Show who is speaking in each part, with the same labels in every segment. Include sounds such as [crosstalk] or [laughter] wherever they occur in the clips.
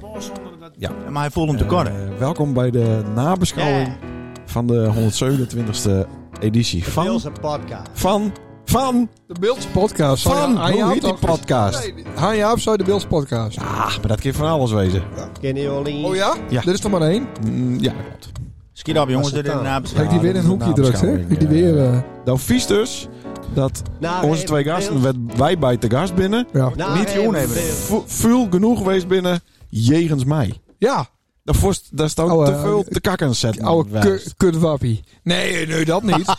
Speaker 1: was zonder dat...
Speaker 2: Ja.
Speaker 3: Maar hij voelt hem te kort. hè?
Speaker 2: Eh, welkom bij de nabeschouwing
Speaker 1: Ja,
Speaker 2: van de 127e editie
Speaker 4: De
Speaker 2: van,
Speaker 4: Beelse podcast.
Speaker 2: van, van,
Speaker 5: De Beeldse podcast.
Speaker 2: van,
Speaker 5: Hij
Speaker 2: hoe heet die
Speaker 5: podcast?
Speaker 2: podcast?
Speaker 5: Han Jaap zou de Beeldse podcast.
Speaker 2: Ah, maar dat kan van alles wezen.
Speaker 4: Kenny Ollie.
Speaker 5: Oh ja?
Speaker 2: Ja.
Speaker 5: Dit is toch maar één?
Speaker 2: Mm, Ja, dat klopt.
Speaker 3: Schiet op jongens,
Speaker 4: Was
Speaker 3: dit
Speaker 4: het
Speaker 3: is een
Speaker 5: Kijk,
Speaker 4: dan?
Speaker 3: nabeschouwing.
Speaker 5: die weer in een
Speaker 2: dat is
Speaker 5: hoekje
Speaker 2: een
Speaker 5: drukt, hè?
Speaker 2: nabeschouwing,
Speaker 5: Die weer...
Speaker 2: eh.
Speaker 5: eh,
Speaker 2: Nou, vies dus dat
Speaker 3: Ah,
Speaker 4: Nou,
Speaker 2: onze
Speaker 4: even
Speaker 2: twee gasten,
Speaker 4: beeld.
Speaker 2: werd- wij bij te gast binnen,
Speaker 5: ja.
Speaker 4: Nou,
Speaker 3: Niet
Speaker 4: even
Speaker 3: doen even.
Speaker 4: beeld.
Speaker 2: vo- veel genoeg geweest binnen, jegens mij.
Speaker 5: Ja,
Speaker 2: Daar vorst- daar staat
Speaker 5: Oude-
Speaker 2: te veel te kakken zetten.
Speaker 5: oude
Speaker 2: wijs.
Speaker 5: ku- kutwappie. Nee, nee, dat
Speaker 2: [laughs]
Speaker 5: niet.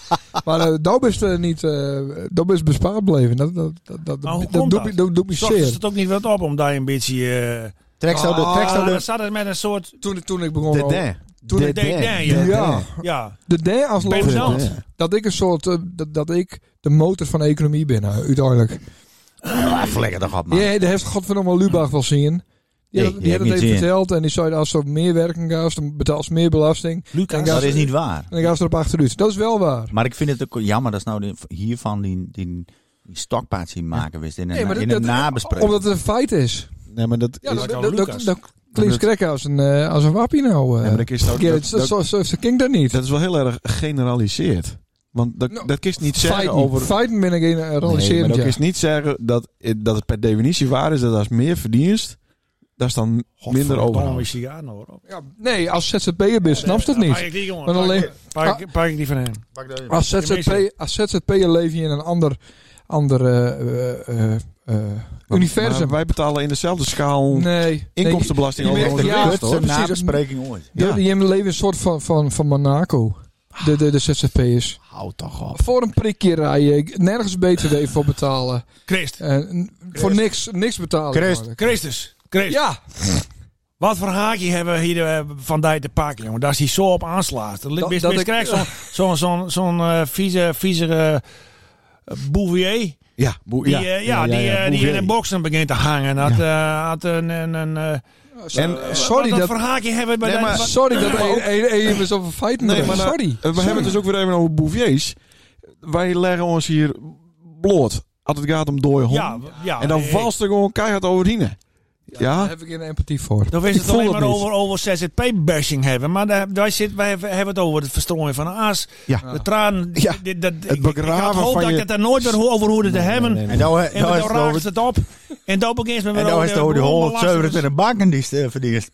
Speaker 5: maar eh dat is eh, niet... eh dat is bespaard blijven. Dat, dat, dat, dat,
Speaker 1: Maar hoe
Speaker 5: dat,
Speaker 1: komt
Speaker 5: doet
Speaker 1: dat?
Speaker 5: me- dat doet me
Speaker 1: Zocht is
Speaker 5: zeer.
Speaker 1: het ook niet wat op om daar een beetje... eh
Speaker 3: Trek zo de, trek zo
Speaker 1: ah, dan
Speaker 3: de...
Speaker 1: staat het met een soort...
Speaker 5: Toen, toen ik begon...
Speaker 3: De
Speaker 5: al-
Speaker 3: de.
Speaker 5: Toen
Speaker 1: De-
Speaker 5: ik-
Speaker 1: de- de-
Speaker 5: ja,
Speaker 1: de-
Speaker 5: ja,
Speaker 1: Ja,
Speaker 5: de de als
Speaker 1: Ben
Speaker 5: logisch-
Speaker 1: zelf.
Speaker 5: Dat ik een soort... eh, dat, dat ik de motor van de economie ben, eh, uiteindelijk.
Speaker 3: Ah, flikker toch op man.
Speaker 5: Ja, dat heeft godverdomme Lubach wel zien. Die,
Speaker 3: Nee,
Speaker 5: had-
Speaker 3: die
Speaker 5: die
Speaker 3: heb
Speaker 5: had
Speaker 3: ik niet
Speaker 5: het even
Speaker 3: zien.
Speaker 5: verteld. En die zei, als ze meer werken gaat, dan betaalt ze meer belasting.
Speaker 1: Lucas.
Speaker 5: En
Speaker 3: Dat
Speaker 5: dan
Speaker 3: is niet waar.
Speaker 5: En dan gaan ze erop achteruit. Dat is wel waar.
Speaker 3: Maar ik vind het ook jammer dat ze nou die- hiervan die, die, die stokpaard zien maken wist in een,
Speaker 5: Nee, maar dat-
Speaker 3: in een
Speaker 5: dat-
Speaker 3: nabespreking.
Speaker 5: Omdat het een feit is.
Speaker 2: Nee, maar dat
Speaker 5: Ja,
Speaker 2: is...
Speaker 5: dat,
Speaker 1: kan
Speaker 5: dat, dat,
Speaker 1: Lucas.
Speaker 5: dat klinkt krek als een, eh, als een wappie nou. eh.
Speaker 2: Nee, maar dat is,
Speaker 5: Ja, dat, dat, zo, zo, zo klinkt dat niet.
Speaker 2: Dat is wel heel erg generaliseerd. Want dat,
Speaker 5: Nou,
Speaker 2: dat kun je niet zeggen
Speaker 5: Feiten,
Speaker 2: over...
Speaker 5: feiten ben ik in eh,
Speaker 2: Nee, maar
Speaker 5: realiserend,
Speaker 2: dat kun
Speaker 5: ja.
Speaker 2: je niet zeggen dat, dat het per definitie waar is dat als meer verdienst, daar is dan minder
Speaker 1: Godverdomme,
Speaker 2: over.
Speaker 1: is die aan hoor.
Speaker 5: Ja, Nee, als ZZP'er bent, snap je dat
Speaker 1: Pak
Speaker 5: niet.
Speaker 1: ik die, jongen.
Speaker 5: Want
Speaker 1: Pak-
Speaker 5: alleen-
Speaker 1: Pak, ik- pak ik die van hem.
Speaker 5: Als
Speaker 1: Die mensen.
Speaker 5: ZZP als ZZP'er leef je in een ander, ander eh, eh, eh, eh,
Speaker 2: Maar
Speaker 5: universum.
Speaker 2: wij betalen in dezelfde schaal
Speaker 5: Nee.
Speaker 2: inkomstenbelasting
Speaker 5: Nee,
Speaker 2: over
Speaker 5: je
Speaker 2: onze
Speaker 5: merkt- ja,
Speaker 2: winst, hoor.
Speaker 3: de
Speaker 5: precies.
Speaker 3: nabespreking ooit.
Speaker 5: Ja. Die hebben leven een soort van, van, van Monaco. De, de, de ZZP'ers.
Speaker 3: Houd toch op.
Speaker 5: Voor een prikje rijden. Nergens btw voor betalen.
Speaker 1: Christ.
Speaker 5: En n- voor niks, niks betalen.
Speaker 3: Christ.
Speaker 5: eigenlijk.
Speaker 1: Christus. Christus.
Speaker 5: Ja,
Speaker 1: Wat voor haakje hebben we hier eh, van die te pakken, jongen? Dat is hij zo op aanslaat. Dat,
Speaker 5: Dat-
Speaker 1: dat,
Speaker 5: dat
Speaker 1: dat
Speaker 5: ik-
Speaker 1: krijgt zo'n zo'n zo'n zo'n eh, vieze, vieze eh, Bouvier.
Speaker 2: Ja, boe-
Speaker 1: Die, eh, ja, die, eh, die in
Speaker 2: boeverij.
Speaker 1: een boksen begint te hangen. Had, eh, had een, een, een, eh,
Speaker 2: En,
Speaker 5: sorry
Speaker 1: wat
Speaker 5: dat.
Speaker 1: voor haakje hebben we bij
Speaker 2: Nee,
Speaker 1: die-
Speaker 2: maar-
Speaker 1: wat-
Speaker 5: Sorry dat je me zoveel feiten
Speaker 2: Nee,
Speaker 5: brengt.
Speaker 1: eh,
Speaker 2: maar nou-
Speaker 5: Sorry.
Speaker 2: We hebben het dus ook weer even over bouviers. Wij leggen ons hier bloot als het gaat om dode honden.
Speaker 1: ja, eh, ja,
Speaker 2: en dan
Speaker 1: nee.
Speaker 2: valt er gewoon keihard overheen.
Speaker 5: Daar
Speaker 1: eh,
Speaker 2: Ja,
Speaker 5: heb ik geen empathie voor.
Speaker 1: Dan is
Speaker 2: Ik
Speaker 1: het
Speaker 2: voel
Speaker 1: alleen
Speaker 2: dat
Speaker 1: maar
Speaker 2: niet.
Speaker 1: over, over ZZP-bashing hebben. Maar daar, daar zit, wij hebben hebben het over het verstrooien van de as.
Speaker 2: Ja.
Speaker 1: De tranen.
Speaker 2: Ja.
Speaker 1: dit- dat, ik- ik
Speaker 2: begraven
Speaker 1: had hoop
Speaker 2: van
Speaker 1: dat
Speaker 2: je-
Speaker 1: ik het daar nooit meer ho- over hoorde te hebben.
Speaker 2: nee, nee.
Speaker 3: En nou,
Speaker 1: En dan
Speaker 3: nou is het
Speaker 1: raakt
Speaker 3: over,
Speaker 1: het op. En dan begint met
Speaker 3: en nou is het over de 127 banken die ze verdienst.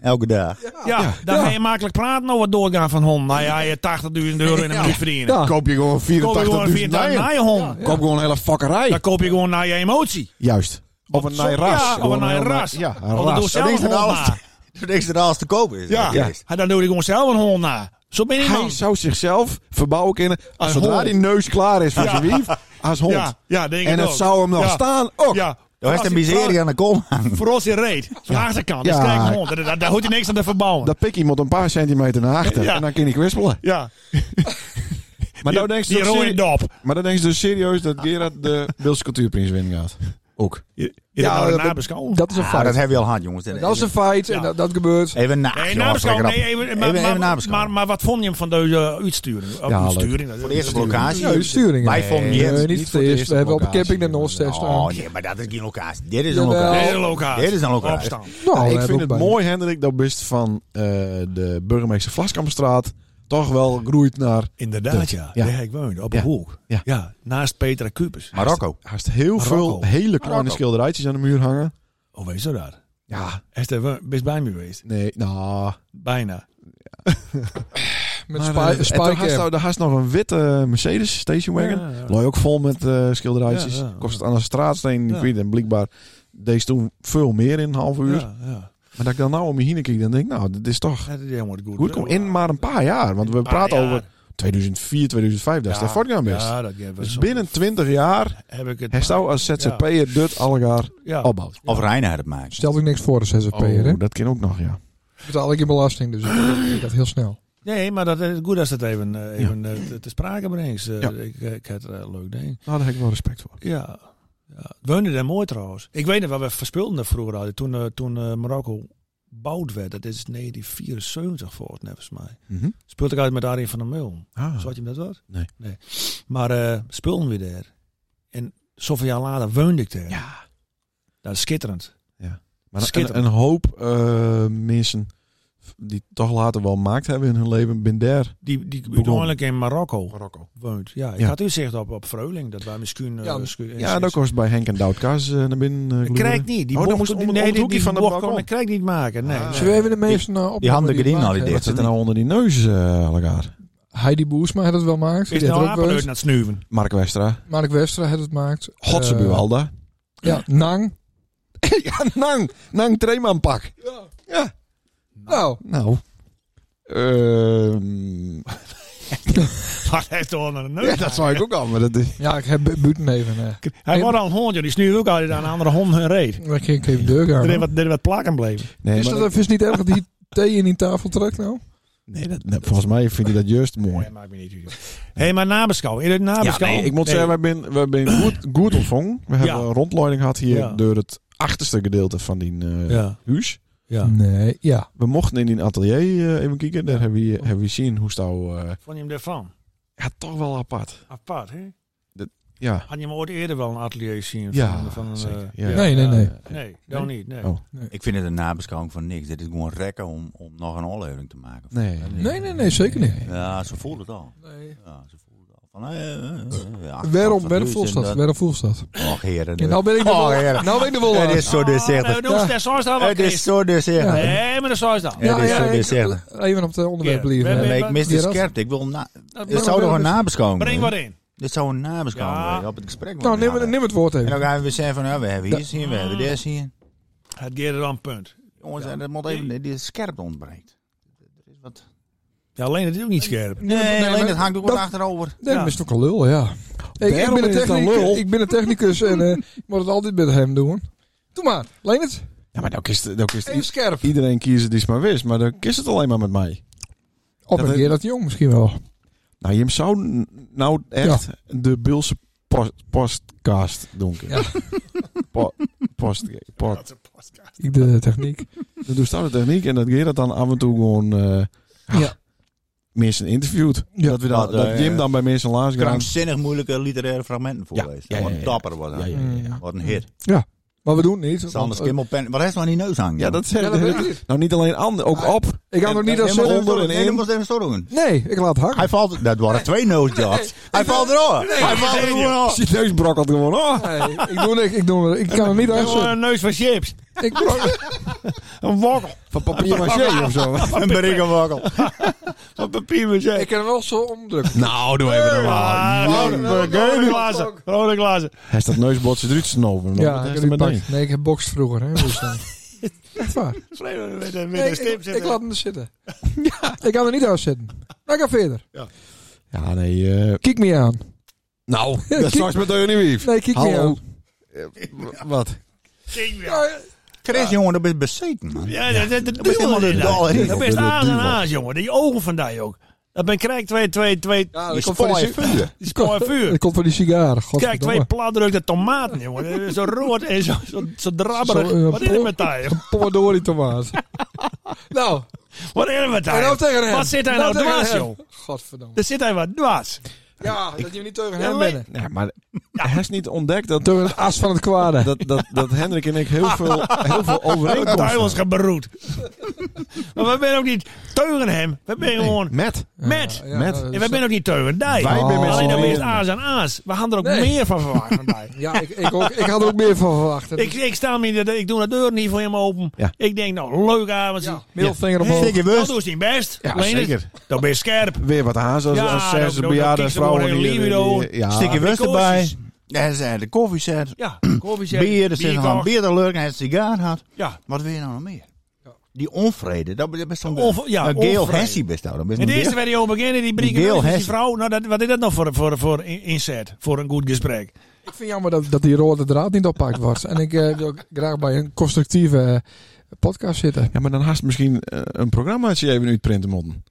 Speaker 3: Elke dag.
Speaker 1: Ja, dan
Speaker 2: Ja.
Speaker 1: ga je makkelijk praten over het doorgaan van hond. Nou ja, je 80.000 euro in een minuut verdienen.
Speaker 5: Ja.
Speaker 2: koop je gewoon 84.000
Speaker 1: Dan koop je gewoon een
Speaker 2: nijen.
Speaker 1: naar je hond.
Speaker 2: Koop gewoon een hele
Speaker 1: Dan
Speaker 2: fakkerij.
Speaker 1: koop je gewoon naar je emotie.
Speaker 2: Juist. Of een
Speaker 1: zo-
Speaker 2: nij ras.
Speaker 1: ja, of
Speaker 2: Gewoon
Speaker 1: een nij
Speaker 2: heel
Speaker 1: ras.
Speaker 2: na- Ja, een
Speaker 1: Want dan doe je
Speaker 2: ras.
Speaker 3: Dat
Speaker 1: zelf
Speaker 3: is
Speaker 1: een
Speaker 3: er
Speaker 1: hond
Speaker 3: alles.
Speaker 1: na.
Speaker 3: Dat is er alles te kopen is.
Speaker 1: Ja.
Speaker 3: Dat
Speaker 2: Ja.
Speaker 3: is het.
Speaker 1: En Dan doe je gewoon zelf een hond na. Zo ben je
Speaker 2: Hij
Speaker 1: man.
Speaker 2: zou zichzelf verbouwen kunnen. Als
Speaker 1: Als
Speaker 2: zodra
Speaker 1: hond.
Speaker 2: die neus klaar is van
Speaker 1: Ja.
Speaker 2: zijn wief. Als hond.
Speaker 1: Ja, ja, denk
Speaker 2: en
Speaker 1: ik
Speaker 2: het
Speaker 1: ook.
Speaker 2: zou hem nog
Speaker 1: Ja.
Speaker 2: staan. Ook.
Speaker 1: Ja.
Speaker 3: Dat is de miserie aan de kom.
Speaker 1: Voor ons in reet. Van de achterkant. Dat is
Speaker 2: Ja.
Speaker 1: kijk een hond. Daar- Daar daar hoort hij niks aan te verbouwen.
Speaker 2: Dat pikkie moet een paar centimeter naar achter.
Speaker 1: Ja.
Speaker 2: En dan kan ik wispelen.
Speaker 1: ja.
Speaker 2: Maar nou
Speaker 1: Die-
Speaker 2: dan denk je
Speaker 1: Die
Speaker 2: toch
Speaker 1: rode
Speaker 2: serie-
Speaker 1: dop.
Speaker 2: maar dan denk je dus serieus dat Gerard de [laughs] Beelse cultuurprins winnen gaat. Ook.
Speaker 5: Ja,
Speaker 1: Ja,
Speaker 5: dat-
Speaker 1: nabeschouwen.
Speaker 5: Dat is een
Speaker 3: Ah, dat
Speaker 5: feit.
Speaker 3: hebben we al gehad, jongens.
Speaker 5: Dat is een feit. En
Speaker 1: Ja.
Speaker 5: dat, dat gebeurt.
Speaker 3: Even na.
Speaker 1: Nee,
Speaker 3: jongens,
Speaker 1: nabeschouwing.
Speaker 3: lekker
Speaker 1: Nee,
Speaker 3: op.
Speaker 1: even, maar,
Speaker 3: Even- even
Speaker 1: maar,
Speaker 3: nabeschouwing.
Speaker 1: Maar, maar wat vond je hem van deze eh, uitsturing? Of
Speaker 2: Ja,
Speaker 1: uitsturing?
Speaker 3: Voor de eerste
Speaker 1: uitsturing.
Speaker 3: locatie.
Speaker 5: Ja, sturing.
Speaker 3: Wij vonden
Speaker 5: Nee,
Speaker 3: die
Speaker 5: niet,
Speaker 3: het
Speaker 2: niet voor
Speaker 5: voor
Speaker 2: de
Speaker 5: de eerste.
Speaker 2: eerste
Speaker 5: We hebben op een
Speaker 2: locatie.
Speaker 5: camping in
Speaker 2: eh.
Speaker 5: Noordstest
Speaker 3: Oh
Speaker 5: staan.
Speaker 3: nee, maar dat is geen locatie. Dit is een
Speaker 5: Jawel.
Speaker 3: locatie.
Speaker 1: Dit is een locatie.
Speaker 3: Dit is een locatie.
Speaker 1: Opstaan.
Speaker 5: Nou,
Speaker 2: ik
Speaker 5: we
Speaker 2: vind
Speaker 5: hebben
Speaker 2: het
Speaker 5: ook bij-
Speaker 2: mooi, Hendrik, dat best van eh, de burgemeester Vlaskampstraat toch wel groeit naar
Speaker 1: Inderdaad, ja.
Speaker 2: Ja.
Speaker 1: Daar ik woonde, op
Speaker 2: Ja.
Speaker 1: een hoek.
Speaker 2: Ja.
Speaker 1: Ja. naast Petra Kupers.
Speaker 3: Marokko.
Speaker 2: haast heel
Speaker 1: Marokko.
Speaker 2: veel hele kleine
Speaker 3: Marokko.
Speaker 2: schilderijtjes aan de muur hangen.
Speaker 1: Oh, weet je dat?
Speaker 2: Ja,
Speaker 1: Hij is er wel- best bij me geweest.
Speaker 2: nee, nou.
Speaker 1: Bijna.
Speaker 5: Met
Speaker 2: Maar, eh, en
Speaker 5: spy-
Speaker 2: toen haast
Speaker 5: spycam.
Speaker 2: nou- Daar haast nog een witte eh, Mercedes station wagon.
Speaker 1: Ja, ja.
Speaker 2: Looi ook vol met eh, schilderijtjes.
Speaker 1: Ja, ja, ja.
Speaker 2: Kost het aan een straatsteen,
Speaker 1: Ja.
Speaker 2: ik weet het, en blijkbaar deed toen veel meer in een half uur.
Speaker 1: Ja, ja.
Speaker 2: Maar dat ik dan nou om me heen kijk, dan denk ik, nou, dit is toch
Speaker 1: Dat is helemaal goed.
Speaker 2: goed. Kom in maar een paar jaar, want we
Speaker 1: Een paar
Speaker 2: praten
Speaker 1: jaar.
Speaker 2: over 2004, 2005, daar is de voortgang best.
Speaker 1: Ja, dat hebben we
Speaker 2: Dus
Speaker 1: zo-
Speaker 2: binnen 20 jaar
Speaker 1: heb ik het.
Speaker 2: hij zou als ZZP'er dit allegaar
Speaker 1: ja.
Speaker 2: opbouwt.
Speaker 3: Of Reinhard het maakt.
Speaker 5: Stelt ik niks voor de ZZP'er. hè?
Speaker 2: Oh, dat kan ook nog, ja.
Speaker 5: Betaal ik je belasting. Dus ik- ik dat heel snel.
Speaker 1: Nee, maar dat is goed als dat even, eh, even eh, te, te sprake brengt. Eh,
Speaker 2: Ja.
Speaker 1: ik, ik had er eh, leuk ding.
Speaker 2: Nou, daar heb ik wel respect voor.
Speaker 1: Ja. ja. Het woonde daar mooi trouwens. Ik weet nog wat we verspilden daar vroeger hadden. Toen, eh, toen eh, Marokko bouwd werd. Dat is 1974 volgens net mij. Speelde ik uit met Arjen van der Meulen.
Speaker 2: Ah.
Speaker 1: Zat je hem dat wat?
Speaker 2: Nee.
Speaker 1: nee. Maar eh speelden we daar. En zoveel jaar later woonde ik daar. Ja. Dat is schitterend.
Speaker 2: Ja. Maar een,
Speaker 1: Schitterend.
Speaker 2: een hoop eh, mensen die toch later wel maakt hebben in hun leven, ben daar.
Speaker 1: Die, die
Speaker 2: Begon.
Speaker 1: uiteindelijk in Marokko
Speaker 2: Marokko.
Speaker 1: woont. Ja, ik
Speaker 2: Ja.
Speaker 1: had u zicht op, op Vreuling. Dat wij misschien... eh,
Speaker 5: Ja,
Speaker 1: misschien-
Speaker 2: Ja, dat kost bij Henk en Doutkaas eh naar binnen. eh,
Speaker 1: Ik
Speaker 2: gluren.
Speaker 1: krijg niet. Die
Speaker 2: Oh, dan
Speaker 1: bocht-
Speaker 2: moest om- om
Speaker 1: nee,
Speaker 2: het
Speaker 1: die-
Speaker 2: hoekje
Speaker 1: die
Speaker 2: van het
Speaker 1: bocht kon
Speaker 2: balkon.
Speaker 1: ik krijg niet maken. Nee,
Speaker 2: Ah.
Speaker 1: nee.
Speaker 5: Zullen we even de mensen nou op
Speaker 3: handen green al die
Speaker 2: Wat zit er nou onder die neus, eh allegaar?
Speaker 5: Heidi Boesma had het wel maakt.
Speaker 1: Is
Speaker 5: Die had
Speaker 1: nou
Speaker 5: het ook wel
Speaker 1: apeluit
Speaker 5: eens.
Speaker 1: naar het snuiven? [laughs]
Speaker 2: Mark Westra.
Speaker 5: Mark Westra had het maakt.
Speaker 2: Godse
Speaker 5: Eh,
Speaker 2: Buwalda.
Speaker 5: Ja, Nang.
Speaker 2: [laughs] ja, Nang. Nang Treeman pak. Ja.
Speaker 5: Nou,
Speaker 2: Nou. Ehm,
Speaker 1: Wat heeft toch naar de neus?
Speaker 2: [laughs] ja, dat zou ik ook al, maar dat is...
Speaker 5: ja, ik heb bu- buiten even. eh,
Speaker 1: Hij wordt al een hond, joh. Die snuiven ook altijd aan een andere hond hun reet.
Speaker 5: Dan kan ik even deur
Speaker 1: Er is
Speaker 5: gaan.
Speaker 1: wat, er is wat plakken bleven.
Speaker 2: Nee,
Speaker 5: Is
Speaker 2: maar
Speaker 5: dat even niet erg dat die thee in die tafel trekt nou?
Speaker 2: nee, dat, nee, volgens mij vind je dat juist mooi.
Speaker 1: Nee, maakt me niet uit. Hé, hey, maar nabeschouwing. In het
Speaker 5: Ah,
Speaker 1: nabeschouwing.
Speaker 2: ik moet zeggen, wij zijn wij zijn goed,
Speaker 5: [clears throat]
Speaker 2: goed ontvangen. We hebben een rondleiding gehad hier
Speaker 1: Ja.
Speaker 2: door het achterste gedeelte van die eh,
Speaker 1: Ja,
Speaker 2: huis.
Speaker 1: ja.
Speaker 2: Hm.
Speaker 5: Nee, ja.
Speaker 2: We mochten in die atelier eh, even kijken. Daar hebben we, hebben we zien hoe stouw... eh
Speaker 1: Vond je hem daarvan?
Speaker 2: ja, toch wel apart.
Speaker 1: Apart, hè?
Speaker 2: Ja.
Speaker 1: Had je hem ooit eerder wel een atelier zien?
Speaker 2: Ja,
Speaker 1: van, van,
Speaker 2: zeker.
Speaker 1: eh,
Speaker 2: Ja.
Speaker 5: Nee, nee, nee.
Speaker 1: Nee, dan niet. Nee.
Speaker 2: Oh.
Speaker 3: Ik vind het een nabeschouwing van niks. Dit is gewoon rekken om, om nog een oplevering te maken.
Speaker 2: Nee.
Speaker 5: Nee, nee, nee, zeker niet.
Speaker 3: Ja, ze voelt het al. Ja, ze voelt het al. Van, eh, eh, eh, eh, ach,
Speaker 5: Waarom?
Speaker 3: wat
Speaker 5: Waarom
Speaker 3: is
Speaker 5: volstad?
Speaker 3: dat?
Speaker 5: Waarom volstad?
Speaker 3: Och, heren.
Speaker 5: Ja, nou ben ik de
Speaker 3: Oh,
Speaker 5: wol-
Speaker 3: heren.
Speaker 5: Nou ben ik de wol.
Speaker 3: Het
Speaker 5: aan.
Speaker 3: is zo
Speaker 1: Oh,
Speaker 3: deurzichtig.
Speaker 1: nee, dat is zo
Speaker 3: Het is zo
Speaker 5: Ja.
Speaker 3: deurzichtig.
Speaker 1: Nee, maar dat is zo is dat.
Speaker 3: Ja, dit is zo, dus
Speaker 5: ik-
Speaker 3: dit is echt.
Speaker 5: Even op het
Speaker 1: Ja.
Speaker 5: onderwerp blijven.
Speaker 1: Ben-
Speaker 3: Ja,
Speaker 5: hè.
Speaker 3: maar ik mis de
Speaker 5: Gerard?
Speaker 3: scherpte. Ik wil na,
Speaker 1: Dat-
Speaker 3: dit zou toch een nabeschouwing
Speaker 1: Breng wat
Speaker 3: worden?
Speaker 1: in.
Speaker 3: Dit zou een nabeschouwing
Speaker 1: Ja.
Speaker 3: worden, Op het gesprek
Speaker 5: Nou,
Speaker 3: worden.
Speaker 5: neem, het- neem het woord
Speaker 3: En dan
Speaker 5: even.
Speaker 3: gaan we weer zeggen van, nou, we hebben hier zien, we hebben dit zien.
Speaker 1: Het geeft er aan punt.
Speaker 3: Jongens, en dat moet even, die scherpte ontbreekt. Er is wat...
Speaker 1: Ja, alleen het is ook niet scherp.
Speaker 3: Nee, alleen
Speaker 5: maar-
Speaker 3: dat hangt ook
Speaker 5: dat-
Speaker 3: wat achterover.
Speaker 5: Nee,
Speaker 1: Ja.
Speaker 5: dat is toch een lul, ja. Ik, ik,
Speaker 2: Daarom
Speaker 5: ben een
Speaker 2: is het een
Speaker 5: technicus,
Speaker 2: lul.
Speaker 5: ik ben een technicus en eh, ik moet het altijd met hem doen. Doe maar, Leonard.
Speaker 2: Ja, maar dan kiest, dan kiest
Speaker 5: Even scherp.
Speaker 2: iedereen kiezen die is maar wist. Maar dan kiest het alleen maar met mij.
Speaker 5: Op een
Speaker 2: Dat-
Speaker 5: keer dat jong misschien wel.
Speaker 2: Nou, je zou n- nou echt de Bilse post, podcast doen.
Speaker 5: Ja.
Speaker 2: Po- post, pod.
Speaker 5: Ik de techniek.
Speaker 2: Dan doe staat de techniek en dat Gerard dan af en toe gewoon eh,
Speaker 5: Ja.
Speaker 2: mensen interviewt.
Speaker 5: Ja.
Speaker 2: Dat, we dan,
Speaker 3: Dat, eh,
Speaker 2: dat Jim dan bij mensen langs gaat.
Speaker 3: Krankzinnig moeilijke literaire fragmenten voorlezen.
Speaker 2: ja,
Speaker 3: Ja,
Speaker 2: ja, ja.
Speaker 3: Wat dapper wordt dat.
Speaker 2: Ja, ja.
Speaker 3: Wat een hit.
Speaker 5: Maar we doen het niet.
Speaker 3: Sander
Speaker 5: want-
Speaker 3: Skimmelpen. Wat heeft nou aan die neus hangen?
Speaker 2: Ja, dat
Speaker 5: Ja,
Speaker 2: zeg
Speaker 5: dat weet ik niet.
Speaker 2: Nou, niet alleen aan, ook
Speaker 5: Ah,
Speaker 2: op.
Speaker 5: Ik ga nog niet als
Speaker 2: helemaal
Speaker 5: zin-
Speaker 2: onder en
Speaker 3: Nee, dat
Speaker 2: in.
Speaker 3: moest even zo doen.
Speaker 5: Nee, ik laat hangen.
Speaker 3: Hij valt... Dat waren twee noosjobs. Hij valt erop. Hij valt er gewoon af.
Speaker 2: Zijn neus brokkelt gewoon. Oh,
Speaker 5: Nee, ik doe niks. Ik, doe, ik kan er niet aan
Speaker 1: Gewoon
Speaker 5: zitten.
Speaker 1: een neus van chips.
Speaker 5: Ik brok-
Speaker 1: Een wokkel.
Speaker 2: van papier [laughs] maché of zo.
Speaker 3: Een berikkenwakkel. Wat papier moet
Speaker 5: Ik kan wel zo omdrukken.
Speaker 2: nou, doe even normaal.
Speaker 1: Ah, Rode rode glazen. Rode glazen.
Speaker 2: Hij staat neusbotsen eruit snoven.
Speaker 5: Ja, ik
Speaker 2: dat
Speaker 5: heb
Speaker 2: is
Speaker 5: die
Speaker 2: meteen.
Speaker 5: pak- Nee, ik heb bokst vroeger. Hè, dus, [laughs] eh. Echt waar.
Speaker 1: Vreemde met een- met
Speaker 5: Nee,
Speaker 1: een
Speaker 5: ik,
Speaker 1: stip
Speaker 5: ik
Speaker 1: zitten.
Speaker 5: laat hem er [laughs] zitten. Ik kan er niet aan zitten. Maar ik ga verder.
Speaker 2: Ja, nee. eh
Speaker 5: Kijk me aan.
Speaker 2: nou, [laughs]
Speaker 5: kijk-
Speaker 2: dat straks met Eugenie Wief.
Speaker 5: Nee, kijk me
Speaker 2: Hallo.
Speaker 5: aan.
Speaker 2: Eh, Wat?
Speaker 1: King weer.
Speaker 5: Ja,
Speaker 3: Chris, jongen, dat ben je bezeten, man.
Speaker 1: Ja, dat, dat, dat
Speaker 3: bent helemaal de dal, hè?
Speaker 1: Dat
Speaker 2: Dat
Speaker 1: best
Speaker 2: bent de
Speaker 1: aas en
Speaker 2: duivel.
Speaker 1: aas, jongen. Die ogen van die ook. Dat ben krijg twee, twee, twee.
Speaker 5: Ja,
Speaker 3: Je
Speaker 5: dat komt van die
Speaker 3: spoor
Speaker 5: sig-
Speaker 3: vuur.
Speaker 1: Die spoor vuur.
Speaker 5: dat komt van die sigaren.
Speaker 1: Kijk, twee
Speaker 5: Godverdomme.
Speaker 1: platdrukte tomaten, jongen. Zo rood en zo, zo, zo drabberig.
Speaker 5: Zo, eh,
Speaker 1: Wat is er
Speaker 5: pol-
Speaker 1: met die?
Speaker 5: Een pomodori tomaat. [laughs] nou,
Speaker 1: Wat is er met die?
Speaker 5: en nou tegen hem.
Speaker 1: Wat zit hij nou
Speaker 5: tegen
Speaker 1: dwaas,
Speaker 5: hem.
Speaker 1: joh?
Speaker 5: Godverdomme.
Speaker 1: Er zit hij wat dwaas.
Speaker 5: Ja, dat je niet
Speaker 1: Ja,
Speaker 5: tegen hem
Speaker 1: maar-
Speaker 5: bent.
Speaker 2: Nee, maar hij is niet ontdekt dat,
Speaker 5: Door het as van het
Speaker 1: [laughs]
Speaker 5: kwade.
Speaker 2: dat, dat, dat Hendrik en ik heel veel, heel veel
Speaker 1: Het
Speaker 2: overeenkomsten
Speaker 1: duivels
Speaker 2: hebben.
Speaker 1: geberoet. maar we zijn ook niet teugen hem. We zijn gewoon
Speaker 2: Met.
Speaker 1: met.
Speaker 5: Ja,
Speaker 2: Met.
Speaker 5: ja,
Speaker 1: En we zijn ook niet teugen die.
Speaker 2: Wij zijn met
Speaker 1: Alleen
Speaker 2: z'n
Speaker 1: dat is
Speaker 2: drieën.
Speaker 1: aas en aas. We gaan er ook
Speaker 5: Nee.
Speaker 1: meer van verwachten van die.
Speaker 5: Ja, ik, ik, ook, ik had er ook meer van verwacht.
Speaker 1: Ik, ik sta hem in de, ik doe de deur niet voor hem open.
Speaker 2: Ja.
Speaker 1: Ik denk, nou, leuk avondje.
Speaker 5: ja, middelvinger omhoog.
Speaker 1: Hey,
Speaker 3: Zeker
Speaker 1: dat
Speaker 3: bewust.
Speaker 1: doet hij best.
Speaker 2: Ja,
Speaker 1: Alleen het-
Speaker 2: zeker.
Speaker 1: Dan ben je scherp.
Speaker 2: Weer wat haas als,
Speaker 1: Ja,
Speaker 2: als
Speaker 1: dan-
Speaker 2: zes
Speaker 1: dan- dan
Speaker 2: bejaarde
Speaker 1: kiezen we gewoon
Speaker 2: vrouwen.
Speaker 1: een
Speaker 2: die-
Speaker 1: libido.
Speaker 2: die- ja.
Speaker 3: Stikje
Speaker 1: Ah,
Speaker 3: wust
Speaker 1: de
Speaker 3: erbij.
Speaker 1: koffies.
Speaker 3: Hij zei de koffiezet.
Speaker 1: Ja, dus koffiezet.
Speaker 3: Bier, er zit nog
Speaker 1: bierkocht.
Speaker 3: een bier te lurken. Hij heeft een sigaar gehad.
Speaker 1: Ja.
Speaker 3: Wat wil je nou nog meer? Die onvrede, dat dat is zo'n
Speaker 1: Onv- ja,
Speaker 3: een geel
Speaker 1: onvrede.
Speaker 3: hessie best nou. Dat is
Speaker 1: Het
Speaker 3: een
Speaker 1: eerste
Speaker 3: geel-
Speaker 1: waar hij over beginnen, die brieken
Speaker 3: Die geel
Speaker 1: neus is die
Speaker 3: hesje.
Speaker 1: vrouw. Nou, dat, wat is dat nou voor, voor, voor in- inzet? Voor een goed gesprek.
Speaker 5: Ik vind jammer dat, dat die rode draad niet oppakt wordt. En ik eh, wil graag bij een constructieve eh, podcast zitten.
Speaker 2: Ja, maar dan haast misschien eh, een programmaatje even uitprinten moeten.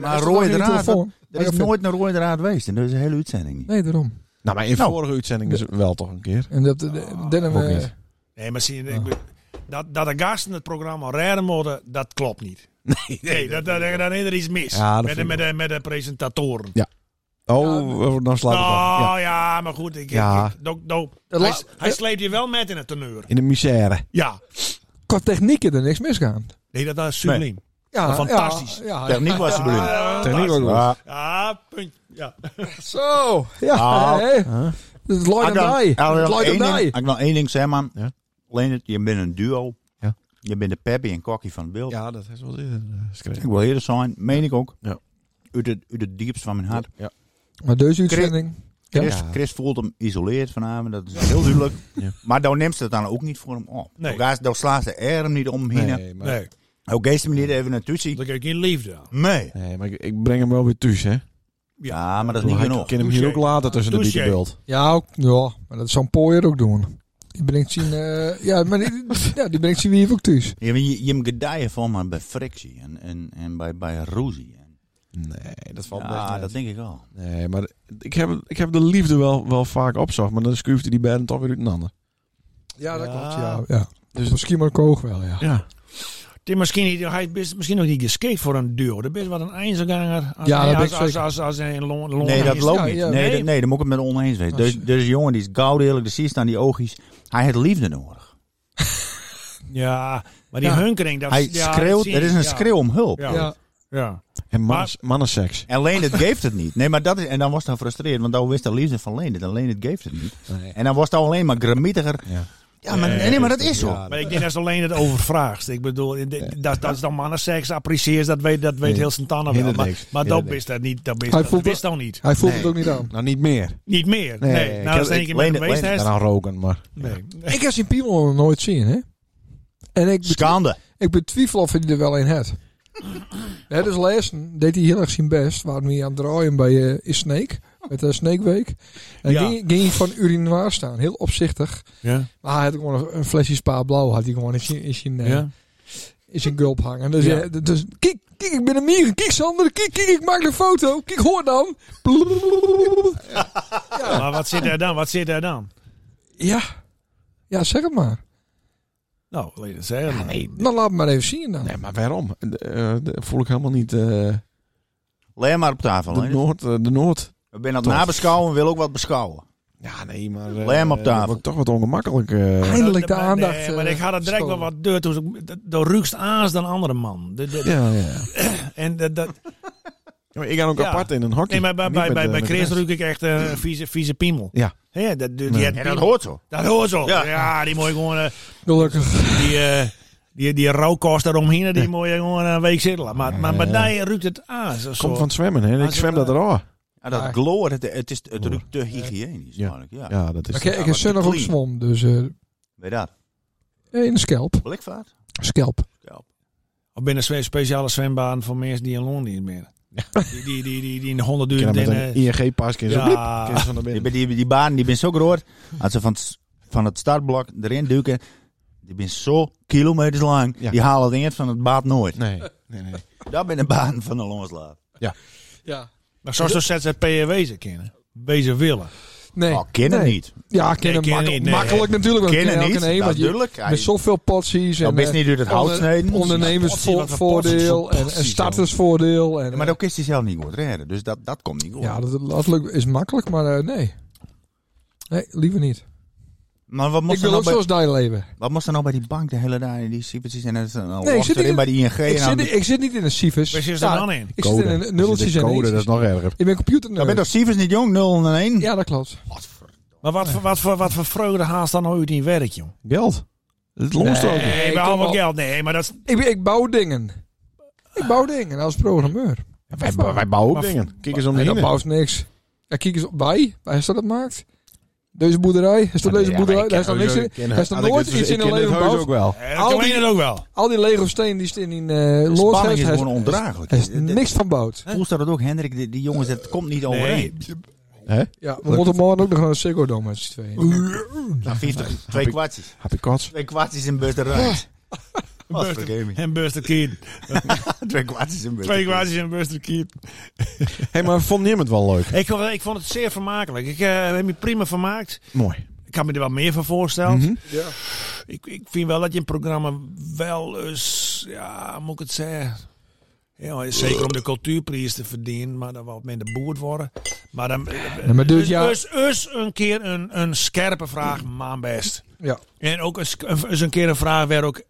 Speaker 3: Maar rode draad, Er
Speaker 5: Maar
Speaker 3: is
Speaker 5: ik vind-
Speaker 3: nooit een rode draad geweest. En dat is een hele uitzending niet.
Speaker 5: Nee, daarom.
Speaker 2: Nou, maar in
Speaker 3: Nou.
Speaker 2: vorige uitzending is wel toch een keer.
Speaker 5: En dat, de,
Speaker 1: Oh,
Speaker 5: dan hebben
Speaker 2: ook
Speaker 5: we-
Speaker 2: niet.
Speaker 1: Nee, maar zie je, ik be- dat, dat de gasten het programma rare moorden, dat klopt niet. Nee, dat, dat, dat, dan is er iets mis.
Speaker 2: Ja, dat
Speaker 1: met,
Speaker 2: vind
Speaker 1: de,
Speaker 2: ik
Speaker 1: met, de, met de presentatoren.
Speaker 2: Oh, dan slaat het
Speaker 1: Nou
Speaker 2: op. Ja.
Speaker 1: ja. maar goed. Ik, ik-
Speaker 2: Ja.
Speaker 1: ik- do- do-
Speaker 5: Dat
Speaker 1: hij,
Speaker 5: la-
Speaker 1: hij sleept je wel met in het teneur.
Speaker 2: In de misère.
Speaker 1: Ja.
Speaker 5: qua techniek is er niks misgaan.
Speaker 1: Nee, dat was subliem.
Speaker 5: Ja,
Speaker 1: Fantastisch.
Speaker 5: Ja, ja,
Speaker 3: Techniek was subliem.
Speaker 1: Ja,
Speaker 5: Techniek was
Speaker 2: Ah.
Speaker 1: fantastisch.
Speaker 3: Ja.
Speaker 1: Ja, punt. Ja.
Speaker 5: Zo. Ja,
Speaker 3: Ah.
Speaker 5: hè.
Speaker 2: Huh?
Speaker 5: Het is Lloyd
Speaker 3: Ik
Speaker 5: en
Speaker 3: wil-
Speaker 5: Dai.
Speaker 3: ik wil
Speaker 5: Het Lloyd en
Speaker 3: Ah, één
Speaker 5: Dai.
Speaker 3: ding- Ik wil één ding zeggen, man.
Speaker 2: Ja.
Speaker 3: Leonard, je bent een duo.
Speaker 2: Ja.
Speaker 3: Je bent de Peppy en Kokkie van het beeld.
Speaker 2: Ja, dat is wel eerder eh, geschreven.
Speaker 3: Ik wil eerder zijn, meen ik ook.
Speaker 2: Ja.
Speaker 3: Uit, het, uit het diepst van mijn hart.
Speaker 2: Ja.
Speaker 5: Maar deze uitzending. Ja.
Speaker 3: Chris, Chris voelt hem isoleerd vanavond, dat is heel duidelijk.
Speaker 2: Ja.
Speaker 3: Maar dan neemt ze het dan ook niet voor hem op.
Speaker 1: Nee.
Speaker 3: Dan, dan slaat ze er hem niet omheen. Nee.
Speaker 2: Nee, maar, nee.
Speaker 1: Nee,
Speaker 3: Ook deze manier even naartoe zien.
Speaker 1: dan kijk ik geen liefde aan.
Speaker 3: Nee.
Speaker 2: maar ik, ik breng hem wel weer thuis, hè.
Speaker 3: Ja, Ah, maar dat is niet
Speaker 2: Ik
Speaker 3: genoeg.
Speaker 2: ken hem hier ook
Speaker 1: Touché.
Speaker 2: later tussen de
Speaker 1: Touché.
Speaker 2: bietenbult.
Speaker 5: Ja, ook, ja, maar dat zou Pooier ook doen. Die brengt zien, eh, ja, maar die, ja, die brengt zien wie ook thuis.
Speaker 3: Je, je, je hem gedijen van maar bij frictie en, en, en bij, bij ruzie. En,
Speaker 2: Nee, dat valt best
Speaker 3: ja,
Speaker 2: mee.
Speaker 3: dat denk ik al.
Speaker 2: Nee, maar ik heb, ik heb de liefde wel, wel vaak opzocht, maar dan schuift hij die beiden toch weer uit een ander.
Speaker 5: Ja,
Speaker 1: dat klopt,
Speaker 5: Ja,
Speaker 1: ja.
Speaker 5: ja.
Speaker 2: Dus-
Speaker 5: Dus misschien maar Koog wel, ja.
Speaker 2: Ja.
Speaker 1: Die misschien, niet- hij is misschien nog niet geschikt voor een duo. Dat is wat een eindselganger. Als,
Speaker 5: Ja,
Speaker 1: als,
Speaker 5: dat ben ik
Speaker 1: als, als,
Speaker 5: zeker.
Speaker 1: als, als een long, long
Speaker 3: Nee, dat
Speaker 1: is-
Speaker 3: loopt
Speaker 5: ja,
Speaker 3: niet.
Speaker 5: ja,
Speaker 3: nee,
Speaker 1: nee.
Speaker 3: dat, nee, daar moet ik het met een oneens wezen. Dus, dus een jongen die is goud eerlijk, de ziet aan die oogjes. Hij heeft liefde nodig.
Speaker 1: Ja, maar die
Speaker 5: Ja.
Speaker 1: hunkering. Dat,
Speaker 3: Hij
Speaker 1: ja,
Speaker 3: schreeuwt,
Speaker 1: zie
Speaker 3: er is
Speaker 1: je,
Speaker 3: een
Speaker 1: ja.
Speaker 3: schreeuw om hulp.
Speaker 1: Ja.
Speaker 5: Ja.
Speaker 1: Ja.
Speaker 2: En mannen,
Speaker 1: Maar-
Speaker 2: mannenseks.
Speaker 3: En Leen het geeft het niet. Nee, maar dat is, en dan was hij frustrerend, want dan wist de liefde van Leen het. En Leen het geeft het niet.
Speaker 2: Nee.
Speaker 3: En dan was het alleen maar gramietiger.
Speaker 2: Ja.
Speaker 3: Ja, maar, nee, maar dat is zo.
Speaker 1: Maar ik denk dat is alleen het overvraagst. Ik bedoel, in de- dat, dat is dan mannenseks, apprecieert, dat weet, dat weet
Speaker 2: Nee.
Speaker 1: heel zijn tanden wel.
Speaker 2: Helemaal
Speaker 1: Maar,
Speaker 2: niks.
Speaker 1: maar dat
Speaker 2: Helemaal
Speaker 1: is dat niet. Dat is
Speaker 5: Hij
Speaker 1: dat,
Speaker 5: voelt
Speaker 1: dat is dan niet.
Speaker 5: Hij voelt
Speaker 2: Nee.
Speaker 5: het ook niet aan.
Speaker 2: Nou, niet meer.
Speaker 1: Niet meer.
Speaker 2: Nee,
Speaker 1: Nee,
Speaker 2: ik
Speaker 1: nou,
Speaker 2: heb-
Speaker 1: dat is één
Speaker 3: ik
Speaker 1: keer met
Speaker 3: leen
Speaker 1: hem
Speaker 3: het-
Speaker 1: geweest. hè.
Speaker 3: leen
Speaker 2: Daarna roken, maar...
Speaker 1: Nee.
Speaker 5: Ik heb zijn piemel nog nooit zien, hè. En ik, bet-
Speaker 3: Schande.
Speaker 5: ik betwijfel of hij er wel een had. Hè, dus lezen deed hij heel erg zijn best. Waar we aan het draaien bij eh, is Snake. Met de Snake Week. En
Speaker 1: Ja.
Speaker 5: ging, ging hij van urinoir staan. Heel opzichtig.
Speaker 1: Ja.
Speaker 5: Maar hij had gewoon nog een flesje spa blauw. Had hij gewoon in zijn, in zijn, eh,
Speaker 1: Ja.
Speaker 5: in zijn gulp hangen. Dus,
Speaker 1: Ja.
Speaker 5: ja. dus kijk, kijk, ik ben een mier. Kijk Sander, kijk, kijk, ik maak een foto. Kijk, hoor dan. Blablabla.
Speaker 1: Maar wat zit er dan? Wat zit er dan?
Speaker 5: Ja. Ja, zeg het maar.
Speaker 1: Nou, weet je dat zeggen. maar.
Speaker 5: Dan laat me maar even zien dan.
Speaker 2: Nee, maar waarom? De- eh, de- voel ik helemaal niet eh,
Speaker 3: Leen maar op tafel.
Speaker 2: de,
Speaker 3: Leen.
Speaker 2: Noord, eh, de Noord.
Speaker 3: We zijn aan het
Speaker 2: Tof.
Speaker 3: nabeschouwen, we willen ook wat beschouwen.
Speaker 2: Ja, nee, maar...
Speaker 3: Leg
Speaker 2: Uh,
Speaker 3: hem op tafel.
Speaker 2: Wordt toch wat ongemakkelijk.
Speaker 1: Ah.
Speaker 2: eh.
Speaker 5: Ja. eindelijk de
Speaker 1: Maar-
Speaker 5: aandacht,
Speaker 1: Nou, nee, maar
Speaker 5: eh,
Speaker 1: ik had het direct wel
Speaker 5: gestolen.
Speaker 1: wat deur toen. ze- dat- Dat ruukst aans dan andere man. De- de-
Speaker 2: Ja, ja. ja.
Speaker 1: En dat, dat,
Speaker 2: Maar ik ga ook
Speaker 1: Ja.
Speaker 2: apart in een hokje.
Speaker 1: nee, maar bij,
Speaker 2: Niet
Speaker 1: bij,
Speaker 2: met,
Speaker 1: bij,
Speaker 2: eh,
Speaker 1: bij
Speaker 2: met de
Speaker 1: Chris
Speaker 2: rest.
Speaker 1: ruik ik echt eh, een vieze, vieze piemel.
Speaker 2: Ja.
Speaker 1: Hè, dat, die,
Speaker 2: Ja.
Speaker 1: had
Speaker 3: En dat
Speaker 1: piemel.
Speaker 3: hoort zo.
Speaker 1: Dat hoort zo.
Speaker 3: Ja.
Speaker 1: Ja, die mooie gewoon eh,
Speaker 5: Gelukkig.
Speaker 1: die, eh die, die rouwkost eromheen, die mooie gewoon een week zitten. laten. Maar, maar bij
Speaker 2: Ja.
Speaker 1: mij ruikt het aan. Zo,
Speaker 2: Komt
Speaker 1: zo.
Speaker 2: van het zwemmen, hè. Ik
Speaker 1: Als
Speaker 2: zwem dat
Speaker 1: het,
Speaker 2: er al.
Speaker 3: Ja, dat
Speaker 5: Ja.
Speaker 3: gloor, het, het is het ruikt te hygiënisch.
Speaker 2: Ja.
Speaker 3: Ja. Ja.
Speaker 2: Ja, dat is...
Speaker 5: Oké, ik
Speaker 3: maar
Speaker 5: heb zonnig ook
Speaker 3: clean.
Speaker 5: zwom. Dus eh
Speaker 3: Weet je dat?
Speaker 5: een scalp.
Speaker 3: Blikvaart?
Speaker 5: Scalp.
Speaker 1: Of binnen een zwe- speciale zwembaan voor mensen die in Londen niet meer. Die, die, die, die, die in de
Speaker 2: Ik
Speaker 1: honderdduizend
Speaker 2: ken hem met
Speaker 1: dingen.
Speaker 2: een ING-pas. Kun je zo... bliep, kun je
Speaker 1: Ja,
Speaker 2: zo naar
Speaker 3: Die,
Speaker 2: binnen.
Speaker 3: die, die baan, die ben zo groot. Als ze van, het s- van het startblok erin duiken, die ben zo kilometers lang.
Speaker 2: Ja.
Speaker 3: Die halen het eind van het baat nooit.
Speaker 2: Nee, nee, nee.
Speaker 3: Dat ben de baan van de loslaat.
Speaker 5: Ja.
Speaker 1: maar zoals de ZZP'er wezen kennen. Wezen willen.
Speaker 5: Nee.
Speaker 3: Oh, kennen
Speaker 5: Nee.
Speaker 3: niet.
Speaker 5: Ja, kennen
Speaker 1: Nee, kennen
Speaker 5: makkel-
Speaker 1: niet, nee.
Speaker 5: makkelijk natuurlijk. want
Speaker 3: Kennen
Speaker 5: elke
Speaker 3: niet,
Speaker 5: een,
Speaker 3: dat
Speaker 5: want
Speaker 3: is
Speaker 5: je-
Speaker 3: duidelijk. Hij-
Speaker 5: Met zoveel potsies.
Speaker 3: Dan
Speaker 5: en
Speaker 3: ben je
Speaker 5: eh,
Speaker 3: niet uit het hout
Speaker 5: onder-
Speaker 3: snijden.
Speaker 1: Potsie, wat voor
Speaker 5: Ondernemersvoordeel
Speaker 1: potsie,
Speaker 5: en,
Speaker 1: potsie,
Speaker 5: en
Speaker 1: joh.
Speaker 5: startersvoordeel. En,
Speaker 3: Ja, Maar ook is hij zelf niet goed redden. Dus dat, dat komt niet goed.
Speaker 5: ja, dat, dat lukt- is makkelijk, maar eh, nee. Nee, liever niet.
Speaker 3: Maar wat
Speaker 5: Ik
Speaker 3: moest, er
Speaker 5: wil
Speaker 3: nou
Speaker 5: ook
Speaker 3: bij,
Speaker 5: zoals die leven.
Speaker 3: wat moest er nou bij die bank de hele dag? in Die zie precies en dan is er een
Speaker 5: Nee, ik zit
Speaker 3: erin
Speaker 5: hier-
Speaker 3: bij die ING.
Speaker 5: Ik
Speaker 3: en
Speaker 5: zit,
Speaker 3: dan-
Speaker 5: ik zit niet in een Cifus.
Speaker 1: nou Waar zit er
Speaker 5: Ja,
Speaker 1: dan in?
Speaker 5: Ik zit in een nulletjes en
Speaker 2: code, dat is
Speaker 5: eentjes.
Speaker 2: nog erger.
Speaker 5: Ik ben computer
Speaker 3: Dan ben je toch Sievers niet jong? 0 en 1?
Speaker 5: Ja, dat klopt.
Speaker 1: Maar wat, voor- wat, voor wat voor vreugde haast dan ooit in werk, jong?
Speaker 2: Geld. Het loont ook.
Speaker 1: Nee,
Speaker 5: Nee,
Speaker 1: maar
Speaker 5: kom
Speaker 1: allemaal
Speaker 5: op.
Speaker 1: geld. Nee, maar dat is...
Speaker 5: Ik, ben- ik bouw dingen. Ik bouw dingen als programmeur.
Speaker 2: Wij, wij bouwen ook
Speaker 1: Maar-
Speaker 2: dingen. Kijk eens om
Speaker 5: En
Speaker 2: de
Speaker 5: dat
Speaker 2: heen.
Speaker 5: bouwt niks. Ja, kijk eens op bij. Waar is dat het maakt? Deze boerderij. Is dat
Speaker 3: Ja,
Speaker 5: deze
Speaker 3: maar
Speaker 5: boerderij?
Speaker 3: ik
Speaker 5: Daar is nog
Speaker 3: ken-
Speaker 5: niks in.
Speaker 2: ken-
Speaker 5: Daar is nog
Speaker 2: had ik
Speaker 5: nooit
Speaker 2: dus-
Speaker 5: iets
Speaker 2: ik
Speaker 5: in een
Speaker 2: ken dit
Speaker 5: leven
Speaker 2: huis
Speaker 5: gebouwd.
Speaker 2: ook wel.
Speaker 1: Eh,
Speaker 5: Al
Speaker 1: Dat
Speaker 5: die-
Speaker 1: kan het ook wel.
Speaker 5: Al die Lego stenen die staan in eh
Speaker 3: De
Speaker 5: Loord
Speaker 3: spanning
Speaker 5: heeft.
Speaker 3: is
Speaker 5: Hij
Speaker 3: gewoon ondraaglijk.
Speaker 5: hij is niks van bout.
Speaker 3: Hoe staat het ook, Hendrik? Die, die jongens, dat komt niet
Speaker 2: Oh,
Speaker 3: overeen.
Speaker 2: Hè?
Speaker 5: Ja, we moeten morgen ook nog naar de Ziggo Dome met z'n tweeën.
Speaker 3: Nou, 50, twee kwartjes.
Speaker 2: Heb ik kots?
Speaker 3: Twee kwartjes in bus de Rijs.
Speaker 1: Ah.
Speaker 3: [laughs] Wat voor gaming.
Speaker 1: En Buster Keaton.
Speaker 3: Twee kwartjes in bus.
Speaker 1: Twee kwartjes en Buster Keaton.
Speaker 2: Hé, maar vond je het wel leuk?
Speaker 1: Ik, vond- ik vond het zeer vermakelijk. Ik eh, heb me prima vermaakt.
Speaker 2: Mooi.
Speaker 1: Ik had me er wel meer van voorstellen.
Speaker 2: Mhm.
Speaker 5: Ja.
Speaker 1: ik, ik vind wel dat je een programma wel eens... Ja, moet ik het zeggen... Ja, zeker om de cultuurprijs te verdienen, maar dan wat minder boerd worden. Maar dan...
Speaker 5: maar dus
Speaker 1: dus,
Speaker 5: ja-
Speaker 1: dus, dus een keer een, een scherpe vraag, man best.
Speaker 5: Ja.
Speaker 1: En ook eens, eens een keer een vraag waar ook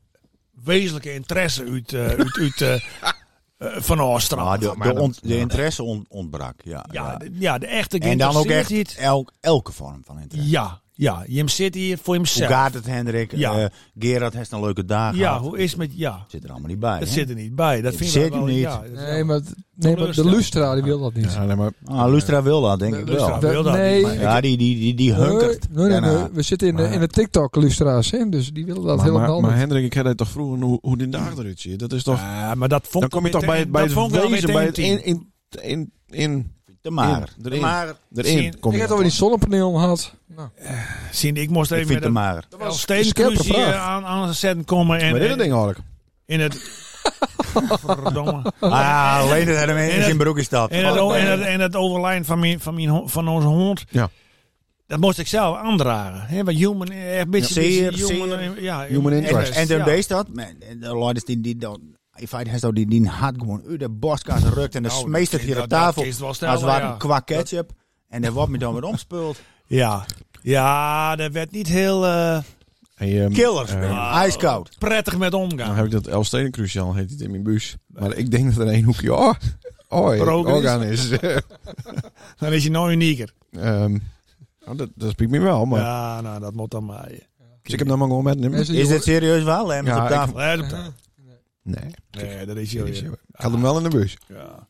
Speaker 1: wezenlijke interesse uit, eh, uit, uit
Speaker 3: [laughs]
Speaker 1: eh, eh, van Oostenrijk.
Speaker 3: Maar Ah, de,
Speaker 2: maar
Speaker 3: de,
Speaker 2: dat-
Speaker 3: ont- de interesse on- ontbrak, ja.
Speaker 1: ja,
Speaker 3: ja.
Speaker 1: de, ja, de echte
Speaker 3: En dan ook
Speaker 1: geïnteresseerd
Speaker 3: echt
Speaker 1: is-
Speaker 3: elk, elke vorm van interesse.
Speaker 1: Ja, ja. Je zit hier voor
Speaker 3: Hoe
Speaker 1: hemzelf.
Speaker 3: gaat het, Hendrik?
Speaker 1: Ja.
Speaker 3: Eh, Gerard heeft een leuke dag
Speaker 1: ja,
Speaker 3: gehad.
Speaker 1: hoe is het met... Ja,
Speaker 3: Zit er allemaal niet bij,
Speaker 1: dat
Speaker 3: hè?
Speaker 1: zit er niet bij. Dat
Speaker 3: Het
Speaker 1: vind
Speaker 3: zit
Speaker 1: ik wel...
Speaker 3: er niet.
Speaker 1: Ja, dat is wel-
Speaker 5: Nee, maar, nee, maar de
Speaker 1: Teleurstelling.
Speaker 5: Lustra die wil dat niet.
Speaker 2: Ja, nee, maar
Speaker 3: Ah, Lustra wil dat, denk
Speaker 5: De-
Speaker 3: ik
Speaker 1: Eh, Lustra
Speaker 3: wel.
Speaker 5: De-
Speaker 1: wil dat
Speaker 5: nee.
Speaker 1: niet, maar-
Speaker 3: Ja, die, die, die, die hunkert. nou,
Speaker 5: Nee, nee, nee,
Speaker 3: daarna.
Speaker 5: we zitten in de, in de TikTok lustra's, hè, dus die willen dat
Speaker 2: maar,
Speaker 5: helemaal
Speaker 2: maar, maar
Speaker 5: niet.
Speaker 2: Hendrik, ik had het toch vroeger hoe, hoe die dag eruit ziet. Dat is toch.
Speaker 1: Ja, maar dat vond
Speaker 2: dan kom je
Speaker 1: ik
Speaker 2: toch bij, het- bij
Speaker 1: dat
Speaker 2: het
Speaker 1: vond ik wel
Speaker 2: wezen,
Speaker 1: meteen
Speaker 2: bij het
Speaker 1: tien.
Speaker 2: in, in, in, in,
Speaker 3: Te maar.
Speaker 2: In, erin.
Speaker 3: Te maar.
Speaker 1: Zie je-
Speaker 2: erin. Kom
Speaker 5: Ik
Speaker 2: je
Speaker 5: had alweer die zonnepaneel gehad. Nou,
Speaker 1: Zien, ik moest
Speaker 3: Ik
Speaker 1: even met
Speaker 3: vind te
Speaker 1: een
Speaker 3: maar.
Speaker 1: dat was
Speaker 5: een scherpe
Speaker 1: steentruzie
Speaker 5: vraag.
Speaker 1: eh, aan, aan het zetten komen. En,
Speaker 2: Wat is dat
Speaker 1: en-
Speaker 2: ding eigenlijk?
Speaker 1: in het... Verdomme.
Speaker 3: Ah, alleen dat hij hem
Speaker 1: En
Speaker 3: in
Speaker 1: het-
Speaker 3: zijn broek is dat. Oh,
Speaker 1: En het, o- en het, en het overlijden van, mijn, van, mijn, ho- van onze hond.
Speaker 2: Ja.
Speaker 1: Dat moest ik zelf aandragen. Hè? Want human, eh, een beetje,
Speaker 3: Zeer,
Speaker 1: beetje human,
Speaker 3: zeer.
Speaker 1: eh, ja,
Speaker 2: Human interest.
Speaker 3: En toen
Speaker 1: ja.
Speaker 3: deed dat. man, en De leiders die die dan... In feite heeft hij die, die had gewoon uit de borstkast gerukt en dan
Speaker 1: Nou, dat
Speaker 3: smeest het
Speaker 1: kind-
Speaker 3: hier op
Speaker 1: dat- dat
Speaker 3: tafel.
Speaker 1: kind is wel
Speaker 3: Als
Speaker 1: sneller,
Speaker 3: het ware
Speaker 1: ja.
Speaker 3: qua ketchup. En daar wordt me dan weer
Speaker 1: [laughs]
Speaker 3: omspeeld.
Speaker 1: Ja. ja, dat werd niet heel eh,
Speaker 2: Hey, ehm,
Speaker 3: Killers,
Speaker 2: eh,
Speaker 3: man. Ijskoud.
Speaker 1: prettig met
Speaker 2: Nou
Speaker 1: omgaan.
Speaker 2: heb ik dat Elsteden cruciaal heet het in mijn buis. Maar ik denk dat er één hoekje oh, oh,
Speaker 1: Roken is.
Speaker 2: orgaan is. [laughs]
Speaker 1: Dan is je nou unieker.
Speaker 2: Ehm, nou, dat, dat spreekt me wel, maar
Speaker 1: Ja, nou, dat moet dan maar. eh,
Speaker 2: dus ik heb dan maar gewoon met hem. Nee.
Speaker 5: mensen die
Speaker 3: Is dit
Speaker 5: horen-
Speaker 3: serieus wel? Hè?
Speaker 2: Ja,
Speaker 3: op
Speaker 2: ik-
Speaker 3: tafel.
Speaker 1: let op dat.
Speaker 2: Kijk,
Speaker 1: Nee, dat is
Speaker 2: dit is-
Speaker 1: je.
Speaker 2: Ik had hem wel in de bus.
Speaker 1: Ja.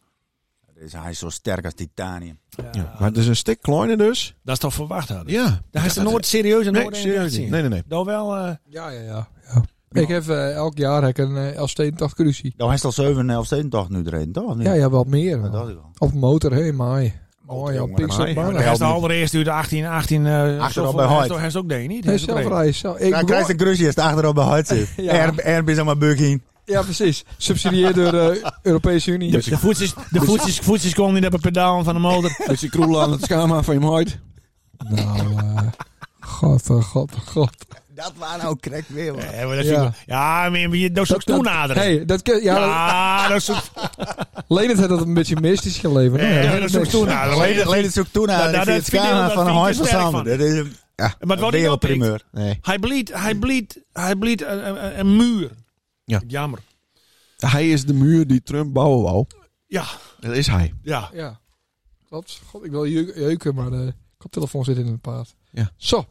Speaker 3: Is hij zo sterk als titanium?
Speaker 2: Ja, maar het is een stuk kleiner dus.
Speaker 1: Dat is toch verwacht hadden?
Speaker 2: Ja.
Speaker 1: Daar is er nooit serieus en
Speaker 2: Nee,
Speaker 1: nooit
Speaker 2: serieus niet. Nee, nee, nee.
Speaker 1: Dan wel. eh,
Speaker 5: Ja, ja, ja. ja. Ik heb eh, elk jaar heb ik een uh, Elstedentocht crucie.
Speaker 3: Nou, hij is al 7,5 stedentocht nu erin, toch? Of niet?
Speaker 5: Ja, ja, wat meer.
Speaker 3: Dat
Speaker 5: man.
Speaker 3: dacht ik al.
Speaker 5: Op motor, hé, hey, mooi. Mooi,
Speaker 3: Motor,
Speaker 5: op
Speaker 3: jongen,
Speaker 5: Pixel
Speaker 2: maai.
Speaker 1: Hij is de
Speaker 3: niet.
Speaker 1: allereerste uur de 18, 18. eh
Speaker 3: Achterop
Speaker 1: zoveel-
Speaker 3: bij
Speaker 1: hij is
Speaker 3: Hoyt.
Speaker 1: toch- Hij is ook deed niet. Hij
Speaker 5: Nee,
Speaker 1: is ook
Speaker 5: zelf
Speaker 1: deed.
Speaker 5: rijden. zelf- Ik
Speaker 3: Hij
Speaker 5: begon-
Speaker 3: krijgt een cruisje als het achterop bij hart zit.
Speaker 5: Ja.
Speaker 3: Ja. Airbnz aan mijn buggy.
Speaker 5: Ja, precies. Subsidieerd door eh Europese Unie.
Speaker 1: De- De voetjes, de voetjes, voetjes komen niet op het pedaal van de motor.
Speaker 2: Met die kroelen aan het schama van je huid.
Speaker 5: Nou, eh, god, oh, god, oh, god.
Speaker 3: Dat waren nou krek weer, man.
Speaker 1: Ja, Eh, maar dat is
Speaker 5: Ja.
Speaker 1: ook- ja, maar je- je- dat is ook
Speaker 5: Dat- dat-
Speaker 1: toenadering.
Speaker 5: Hey, dat ken, ja,
Speaker 1: Ja, dat is ook
Speaker 5: Lenert had dat een beetje mystisch geleverd. hè?
Speaker 1: ja, dat is ook
Speaker 5: niks.
Speaker 1: toenadering.
Speaker 3: Alleen alleen het zoek toen
Speaker 1: Ja,
Speaker 3: aan
Speaker 1: dat-
Speaker 3: ik vind
Speaker 1: Nou, dat
Speaker 3: het
Speaker 1: vind ik-
Speaker 3: schema
Speaker 1: dat
Speaker 3: van een
Speaker 1: vind ik
Speaker 3: huis
Speaker 1: te
Speaker 3: van
Speaker 1: sterk
Speaker 3: Samen.
Speaker 1: van.
Speaker 3: Dat is een
Speaker 1: Maar het wordt niet opgepikt.
Speaker 3: wereldprimeur.
Speaker 2: Nee.
Speaker 1: Hij bleed, hij bleed, hij bleed een, een, een muur.
Speaker 2: Ja.
Speaker 1: Jammer.
Speaker 2: Hij is de muur die Trump bouwen wou.
Speaker 1: Ja,
Speaker 2: Dat is hij.
Speaker 1: ja.
Speaker 5: Ja, klopt. God, ik wil jeuk- jeuken, maar eh, de koptelefoon zit in het paard.
Speaker 2: Ja.
Speaker 5: Zo.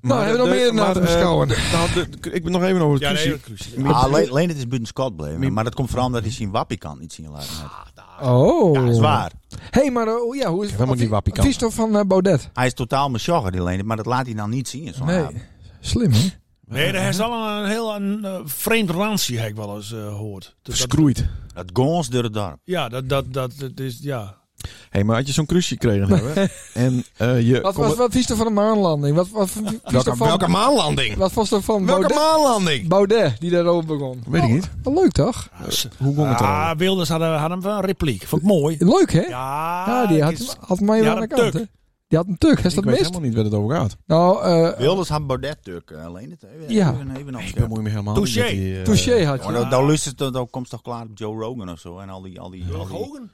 Speaker 5: hebben we nog
Speaker 2: de-
Speaker 5: meer na
Speaker 2: maar,
Speaker 5: te
Speaker 2: eh,
Speaker 5: beschouwen?
Speaker 2: nou, de- Ik ben nog even over het
Speaker 1: Ja, nee,
Speaker 2: crucie.
Speaker 1: dat is
Speaker 2: Mijn
Speaker 3: Ah,
Speaker 2: broer-
Speaker 3: Alleen alleen het is buiten Scott
Speaker 2: Mijn-
Speaker 3: blijven. Maar dat komt vooral omdat hij zijn wappie kan niet zien laten. net.
Speaker 5: Oh.
Speaker 3: Ja, is waar.
Speaker 5: hey, maar eh, oh ja, hoe is
Speaker 2: heb helemaal die wappie kan.
Speaker 5: Vies toch van eh, Baudet?
Speaker 3: Hij is totaal mijn sjogger, die Leendert, maar dat laat hij dan niet zien. in Zo'n
Speaker 5: Nee.
Speaker 3: avond.
Speaker 5: Slim, hè?
Speaker 1: Nee, dat
Speaker 5: [laughs]
Speaker 1: is wel een, een heel een, eh, vreemd ransie, heb ik wel eens eh, gehoord. Dus dat,
Speaker 2: Verschroeid.
Speaker 3: Dat gons door het dorp.
Speaker 1: ja, dat, dat, dat, dat is, ja.
Speaker 2: Hé, maar had je zo'n crucie gekregen hebben en eh, je...
Speaker 5: Wat,
Speaker 2: kon-
Speaker 5: wat, wat vies toch van een maanlanding? Wat, wat, vies toch
Speaker 2: welke,
Speaker 5: van,
Speaker 2: welke maanlanding?
Speaker 5: wat was er van
Speaker 2: Welke
Speaker 5: Baudet,
Speaker 2: maanlanding?
Speaker 5: Baudet die daarover begon?
Speaker 2: Weet ik niet.
Speaker 5: Wat leuk, toch?
Speaker 2: Hoe ging het erover?
Speaker 1: Ah, Wilders had, had hem wel een repliek. Vond ik mooi.
Speaker 5: Leuk, hè?
Speaker 1: Ja,
Speaker 5: Ja, die
Speaker 1: het is-
Speaker 5: had, had mij
Speaker 1: die
Speaker 5: wel aan
Speaker 1: had
Speaker 5: de
Speaker 1: een
Speaker 5: kant,
Speaker 1: tuk.
Speaker 5: hè? Die had een tuk. Is
Speaker 2: Ik weet
Speaker 5: dat mist?
Speaker 2: helemaal niet waar het over gaat.
Speaker 5: Nou, eh
Speaker 3: Wilders had Baudet Turk, eh, Leendert. Even-
Speaker 5: Ja.
Speaker 3: even- Even nog.
Speaker 2: Ik moet me helemaal eh,
Speaker 1: niet Touché.
Speaker 2: niet
Speaker 1: met die,
Speaker 5: touché had
Speaker 3: Maar
Speaker 5: je.
Speaker 3: dan- dan luistert het, dan komt toch klaar op Joe Rogan of zo. En al die, al die, al die,
Speaker 1: Hogan?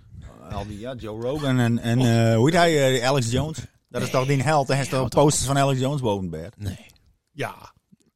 Speaker 3: al die ja, Joe Rogan en, en eh, hoe heet hij, eh, Alex Jones. Dat is toch die held. En hij heeft toch posters van Alex Jones boven bed.
Speaker 2: Nee.
Speaker 1: Ja,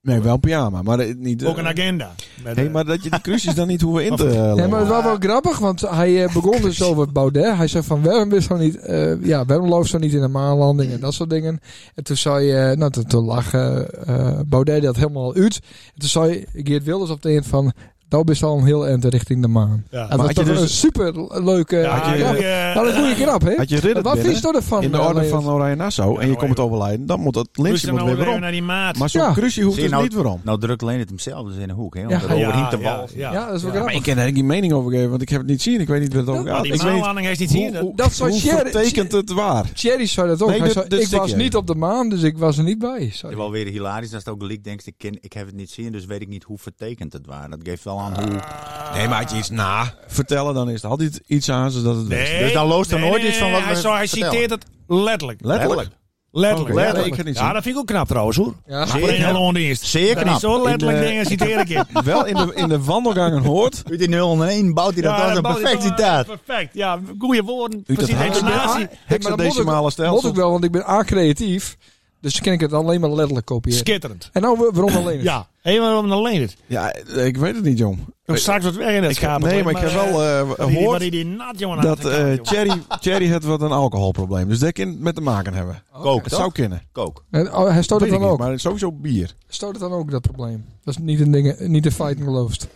Speaker 2: Nee, wel een pyjama, maar eh, niet... eh,
Speaker 1: ook een agenda. Met,
Speaker 2: Hé,
Speaker 1: eh,
Speaker 2: maar dat je die crucies dan niet hoeven in [laughs] te... eh,
Speaker 5: Nee, maar
Speaker 2: leggen.
Speaker 5: het was wel grappig, want hij
Speaker 2: [laughs]
Speaker 5: eh, begon dus over Baudet. Hij zei van, waarom is zo niet, eh, ja, waarom loopt zo niet in de maanlanding en dat soort dingen. En toen zei, eh nou, toen, toen lag eh, eh, Baudet dat helemaal uit. En toen zei Geert Wilders op de eind van, nou bist al een heel eind richting de maan.
Speaker 1: eh, ja.
Speaker 2: Maar
Speaker 5: En dat was
Speaker 2: had je
Speaker 5: toch
Speaker 2: dus-
Speaker 5: een super leuke
Speaker 1: Ja,
Speaker 2: had je-
Speaker 1: die,
Speaker 5: grap.
Speaker 1: eh,
Speaker 5: Nou, een goede grap, hè?
Speaker 2: Had je ridder
Speaker 5: Wat
Speaker 2: binnen,
Speaker 5: vies toch ervan?
Speaker 2: in de
Speaker 5: eh,
Speaker 2: orde
Speaker 5: Leendert?
Speaker 2: van Oranje Nassau en je
Speaker 1: nou
Speaker 2: komt het overlijden, dan moet dat lintje
Speaker 1: Luister
Speaker 2: moet
Speaker 1: nou
Speaker 2: weer
Speaker 1: even
Speaker 2: weer om.
Speaker 1: naar die maat.
Speaker 2: Maar zo'n
Speaker 5: Ja.
Speaker 2: crucie hoeft
Speaker 3: Zie je
Speaker 2: dus niet weer om.
Speaker 3: Nou drukt Leendert hem zelf dus in de hoek. Hè, want
Speaker 5: Ja,
Speaker 3: dat
Speaker 5: ja,
Speaker 3: overhiept de wal.
Speaker 1: ja,
Speaker 5: Ja, dat is wel
Speaker 2: Maar
Speaker 5: grappig.
Speaker 2: ik kan daar geen mening over geven, want ik heb het niet zien. Ik weet niet wat het
Speaker 5: Ja,
Speaker 2: over
Speaker 1: Maar
Speaker 2: gaat.
Speaker 1: die
Speaker 2: Ik weet
Speaker 1: maanlanding heeft niet
Speaker 2: hoe,
Speaker 1: zien. dat-
Speaker 2: hoe,
Speaker 5: Dat zou
Speaker 2: hoe
Speaker 5: Sherry-
Speaker 2: vertekent het waar?
Speaker 5: Thierry zei dat ook.
Speaker 2: Nee,
Speaker 5: Hij
Speaker 2: dit-
Speaker 5: zei,
Speaker 2: dit
Speaker 5: ik
Speaker 2: stukje.
Speaker 5: was niet op de maan, dus ik was er niet bij.
Speaker 3: Het
Speaker 5: Sorry.
Speaker 3: is wel weer hilarisch als het ook leak denkt, ik, ken, ik heb het niet zien, dus weet ik niet hoe vertekend het was. Dat geeft wel aan hoe...
Speaker 5: Ah.
Speaker 2: Nee, maar had je iets na vertellen, dan is het altijd iets aan zodat het
Speaker 1: Nee,
Speaker 2: wist.
Speaker 3: Dus dan loost er
Speaker 1: nee,
Speaker 3: nooit
Speaker 1: nee,
Speaker 3: iets van wat
Speaker 1: Hij,
Speaker 3: we
Speaker 1: zo, hij
Speaker 3: vertellen.
Speaker 1: citeert het letterlijk.
Speaker 2: Letterlijk.
Speaker 1: Letterlijk.
Speaker 2: Oké, ja,
Speaker 1: Letterlijk.
Speaker 2: ik kan niet
Speaker 1: ja,
Speaker 2: zien.
Speaker 1: dat vind ik ook knap trouwens hoor.
Speaker 5: Ja.
Speaker 1: Voor een hele ondienst.
Speaker 3: Zeer
Speaker 1: Dat is
Speaker 3: knap.
Speaker 1: zo letterlijk
Speaker 2: In de-
Speaker 1: dingen citeer ik je.
Speaker 2: Wel in de, in de wandelgangen hoort.
Speaker 3: Uit die 001 bouwt hij dat
Speaker 1: Ja,
Speaker 3: als een
Speaker 1: bouw je
Speaker 3: perfect
Speaker 1: toch-
Speaker 3: citaat.
Speaker 1: Perfect, ja. Goede woorden.
Speaker 2: Uit het
Speaker 1: Precies.
Speaker 2: haar-
Speaker 1: Intonatie.
Speaker 5: Hey, maar dat moet ik-
Speaker 2: hexadecimale
Speaker 5: Moet ik
Speaker 2: stelsel.
Speaker 5: wel, want ik ben A creatief. Dus kan ik het alleen maar letterlijk kopiëren.
Speaker 1: Skitterend.
Speaker 5: en nou, wa- waarom alleen? het?
Speaker 1: Ja, helemaal waarom alleen het.
Speaker 2: Ja, ik weet het niet, jong.
Speaker 1: Om straks wat weg in het
Speaker 2: Ik heb,
Speaker 1: schaap.
Speaker 2: nee, maar ik heb wel eh,
Speaker 1: Wat die- wat
Speaker 2: gehoord
Speaker 1: die, die nat, jongen.
Speaker 2: dat
Speaker 1: aan de kant,
Speaker 2: eh
Speaker 1: jongen.
Speaker 2: Thierry, Thierry had wat een alcoholprobleem. Dus dat kan met te maken hebben.
Speaker 3: Kook,
Speaker 2: Het
Speaker 3: Oh, toch?
Speaker 2: zou kunnen.
Speaker 3: Kook.
Speaker 5: En, oh, hij
Speaker 2: Dat
Speaker 5: stoot het
Speaker 2: weet ik
Speaker 5: dan
Speaker 2: niet,
Speaker 5: ook.
Speaker 2: maar sowieso bier.
Speaker 5: Stoot het dan ook, dat probleem. Dat is niet een ding, niet een fight geloofst.